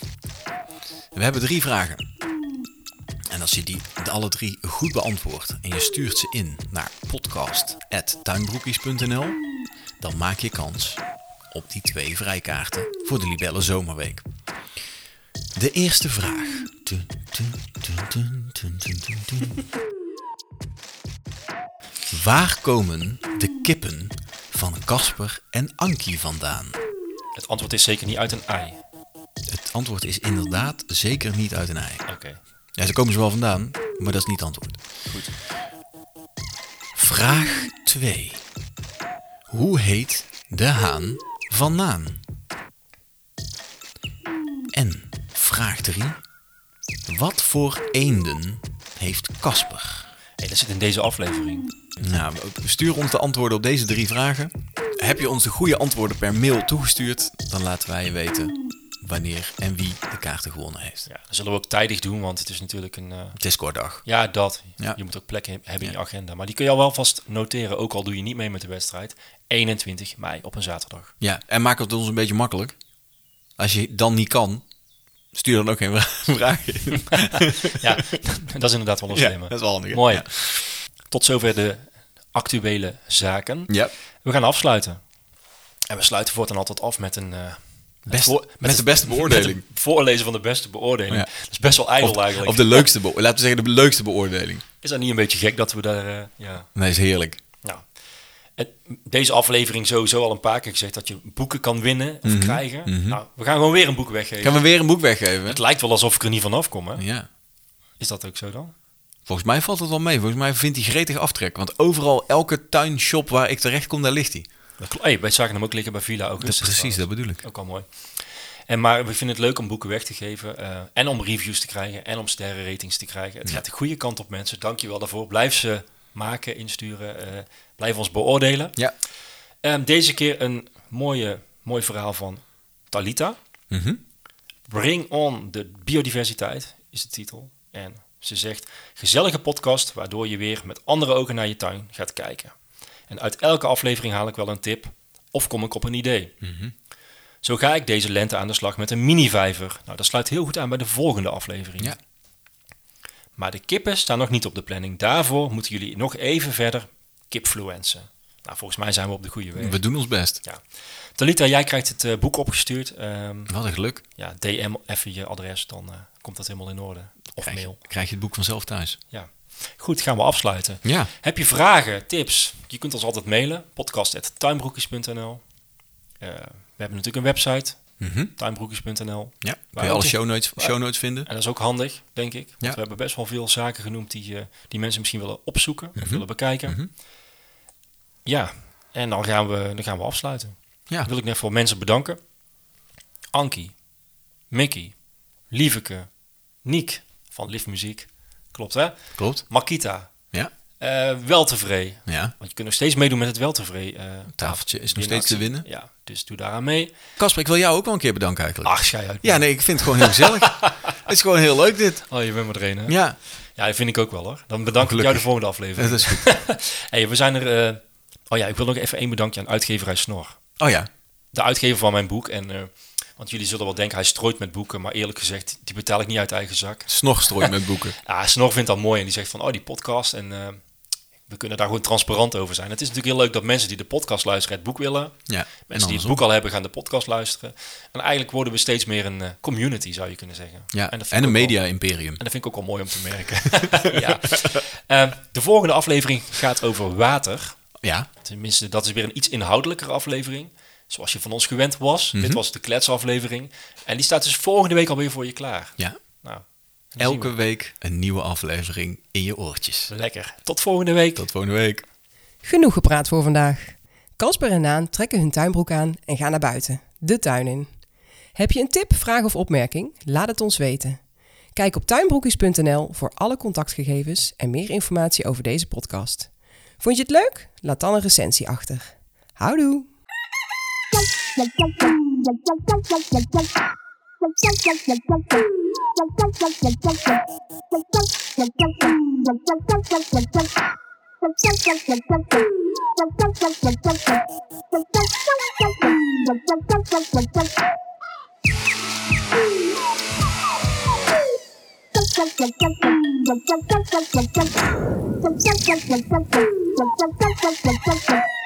[SPEAKER 1] We hebben drie vragen. En als je die de alle drie goed beantwoordt en je stuurt ze in naar podcast.tuinbroekies.nl, dan maak je kans op die twee vrijkaarten voor de Libelle Zomerweek. De eerste vraag. Tun, tun, tun, tun, tun, tun, tun, tun. Waar komen de kippen van Casper en Ankie vandaan?
[SPEAKER 2] Het antwoord is zeker niet uit een ei.
[SPEAKER 1] Het antwoord is inderdaad zeker niet uit een ei.
[SPEAKER 2] Oké.
[SPEAKER 1] Ja, ze komen ze wel vandaan, maar dat is niet het antwoord.
[SPEAKER 2] Goed.
[SPEAKER 1] Vraag 2. Hoe heet de haan van Naan? En vraag 3. Wat voor eenden heeft Casper?
[SPEAKER 2] Hey, dat zit in deze aflevering.
[SPEAKER 1] Nou, stuur ons de antwoorden op deze drie vragen. Heb je ons de goede antwoorden per mail toegestuurd, dan laten wij je weten wanneer en wie de kaarten gewonnen heeft.
[SPEAKER 2] Ja, dat zullen we ook tijdig doen, want het is natuurlijk een... eh,
[SPEAKER 1] Het is kortdag.
[SPEAKER 2] Ja, dat.
[SPEAKER 1] Ja.
[SPEAKER 2] Je moet ook plekken he- hebben in je agenda. Maar die kun je al wel vast noteren, ook al doe je niet mee met de wedstrijd. 21 mei op een zaterdag.
[SPEAKER 1] Ja, en maak het ons een beetje makkelijk. Als je dan niet kan, stuur dan ook geen vra- (laughs) vragen in. (laughs)
[SPEAKER 2] Ja, (laughs) dat is inderdaad wel een
[SPEAKER 1] Ja,
[SPEAKER 2] slimme.
[SPEAKER 1] dat is wel handig, hè?
[SPEAKER 2] Mooi.
[SPEAKER 1] Ja.
[SPEAKER 2] Tot zover de actuele zaken.
[SPEAKER 1] Ja.
[SPEAKER 2] We gaan afsluiten. En we sluiten voortaan altijd af met een... eh,
[SPEAKER 1] Best-
[SPEAKER 2] voor-
[SPEAKER 1] met de beste beoordeling.
[SPEAKER 2] (laughs) met het voorlezen van de beste beoordeling.
[SPEAKER 1] Ja.
[SPEAKER 2] Dat is best wel ijdel eigenlijk.
[SPEAKER 1] Of de leukste, beo- laten we zeggen de leukste beoordeling.
[SPEAKER 2] Is dat niet een beetje gek dat we daar... eh, ja.
[SPEAKER 1] Nee, is heerlijk.
[SPEAKER 2] Nou, het- deze aflevering sowieso al een paar keer gezegd dat je boeken kan winnen of krijgen. Nou, we gaan gewoon weer een boek weggeven.
[SPEAKER 1] Mhm, Gaan we weer een boek weggeven?
[SPEAKER 2] Het lijkt wel alsof ik er niet vanaf kom, hè?
[SPEAKER 1] Ja.
[SPEAKER 2] Is dat ook zo dan?
[SPEAKER 1] Volgens mij valt het wel mee. Volgens mij vindt hij gretig aftrek. Want overal, elke tuinshop waar ik terecht kom, daar ligt hij.
[SPEAKER 2] Dat kl- hey, wij zagen hem ook liggen bij Villa ook.
[SPEAKER 1] Dat, precies, dat bedoel ik.
[SPEAKER 2] Ook al mooi. En maar we vinden het leuk om boeken weg te geven. eh, en om reviews te krijgen. En om sterrenratings te krijgen. Het gaat de goede kant op, mensen. Dank je wel daarvoor. Blijf ze maken, insturen. eh, blijf ons beoordelen.
[SPEAKER 1] Ja.
[SPEAKER 2] Ehm, deze keer een mooie, mooi verhaal van Talita.
[SPEAKER 1] Mhm.
[SPEAKER 2] Bring on de biodiversiteit is de titel. En ze zegt: gezellige podcast waardoor je weer met andere ogen naar je tuin gaat kijken. En uit elke aflevering haal ik wel een tip of kom ik op een idee.
[SPEAKER 1] Mhm.
[SPEAKER 2] Zo ga ik deze lente aan de slag met een mini-vijver. Nou, dat sluit heel goed aan bij de volgende aflevering.
[SPEAKER 1] Ja.
[SPEAKER 2] Maar de kippen staan nog niet op de planning. Daarvoor moeten jullie nog even verder kipfluencen. Nou, volgens mij zijn we op de goede weg.
[SPEAKER 1] We doen ons best.
[SPEAKER 2] Ja. Talita, jij krijgt het eh, boek opgestuurd. Ehm,
[SPEAKER 1] Wat een geluk.
[SPEAKER 2] ja, DM even je adres, dan eh, komt dat helemaal in orde. Of
[SPEAKER 1] Krijg,
[SPEAKER 2] mail.
[SPEAKER 1] krijg je het boek vanzelf thuis.
[SPEAKER 2] Ja. Goed, gaan we afsluiten.
[SPEAKER 1] Ja.
[SPEAKER 2] Heb je vragen, tips? Je kunt ons altijd mailen. podcast.tuinbroekjes.nl Eh, We hebben natuurlijk een website.
[SPEAKER 1] Mhm.
[SPEAKER 2] tuinbroekjes.nl
[SPEAKER 1] Ja. Kun
[SPEAKER 2] Waar
[SPEAKER 1] je
[SPEAKER 2] ook
[SPEAKER 1] alle
[SPEAKER 2] is-
[SPEAKER 1] show notes,
[SPEAKER 2] waar-
[SPEAKER 1] show notes vinden?
[SPEAKER 2] En dat is ook handig, denk ik. Want
[SPEAKER 1] Ja.
[SPEAKER 2] we hebben best wel veel zaken genoemd die, eh, die mensen misschien willen opzoeken
[SPEAKER 1] Mhm.
[SPEAKER 2] of willen bekijken. Ja, en dan gaan, we, dan gaan we afsluiten.
[SPEAKER 1] Ja.
[SPEAKER 2] Ah, Wil ik net voor mensen bedanken. Ankie, Mickey, Lieveke, Niek van Live Muziek. Klopt hè?
[SPEAKER 1] Klopt.
[SPEAKER 2] Makita,
[SPEAKER 1] Ja.
[SPEAKER 2] eh weltevree.
[SPEAKER 1] Ja.
[SPEAKER 2] Want je kunt nog steeds meedoen met het weltevree. eh,
[SPEAKER 1] Tafeltje is nog
[SPEAKER 2] winactie.
[SPEAKER 1] steeds te winnen.
[SPEAKER 2] Ja, dus doe daaraan mee.
[SPEAKER 1] Casper, ik wil jou ook wel een keer bedanken eigenlijk.
[SPEAKER 2] Ach, schij uit.
[SPEAKER 1] Ja, nee, ik vind het gewoon heel gezellig. Ah. (laughs) het is gewoon heel leuk dit.
[SPEAKER 2] Oh, je bent maar er een, hè?
[SPEAKER 1] Ja,
[SPEAKER 2] Ja, dat vind ik ook wel hoor. Dan bedank ik
[SPEAKER 1] Gelukkig.
[SPEAKER 2] jou de volgende
[SPEAKER 1] dat
[SPEAKER 2] aflevering.
[SPEAKER 1] is goed.
[SPEAKER 2] (laughs) hey, we zijn er. eh, oh ja, ik wil nog even één bedankje aan uitgeverij Snor.
[SPEAKER 1] Oh ja,
[SPEAKER 2] De uitgever van mijn boek. En, eh, want jullie zullen wel denken, hij strooit met boeken. Maar eerlijk gezegd, die betaal ik niet uit eigen zak.
[SPEAKER 1] snorgestrooid met boeken.
[SPEAKER 2] Ja, Snor vindt dat mooi en die zegt van, oh, die podcast. En eh, we kunnen daar gewoon transparant over zijn. Het is natuurlijk heel leuk dat mensen die de podcast luisteren het boek willen.
[SPEAKER 1] (laughs) Ja, en
[SPEAKER 2] Mensen die het
[SPEAKER 1] andersom.
[SPEAKER 2] boek al hebben, gaan de podcast luisteren. En eigenlijk worden we steeds meer een eh, community, zou je kunnen zeggen.
[SPEAKER 1] Ja, en,
[SPEAKER 2] dat vind ik
[SPEAKER 1] een
[SPEAKER 2] ook wel-
[SPEAKER 1] media-imperium.
[SPEAKER 2] en dat vind ik ook wel mooi om te merken. (laughs) ja. Eh, de volgende aflevering gaat over water.
[SPEAKER 1] Ja,
[SPEAKER 2] Tenminste, dat is weer een iets inhoudelijker aflevering. Zoals je van ons gewend was.
[SPEAKER 1] Mhm.
[SPEAKER 2] Dit was de kletsaflevering. En die staat dus volgende week alweer voor je klaar.
[SPEAKER 1] ja.
[SPEAKER 2] Nou, dan zien
[SPEAKER 1] Elke week een nieuwe aflevering in je oortjes.
[SPEAKER 2] we. Lekker. Tot volgende week.
[SPEAKER 1] Tot volgende week.
[SPEAKER 3] Genoeg gepraat voor vandaag. Kasper en Naan trekken hun tuinbroek aan en gaan naar buiten, de tuin in. Heb je een tip, vraag of opmerking? Laat het ons weten. Kijk op tuinbroekjes.nl voor alle contactgegevens en meer informatie over deze podcast. Vond je het leuk? Laat dan een recensie achter. Houdoe!
[SPEAKER 7] Thank you.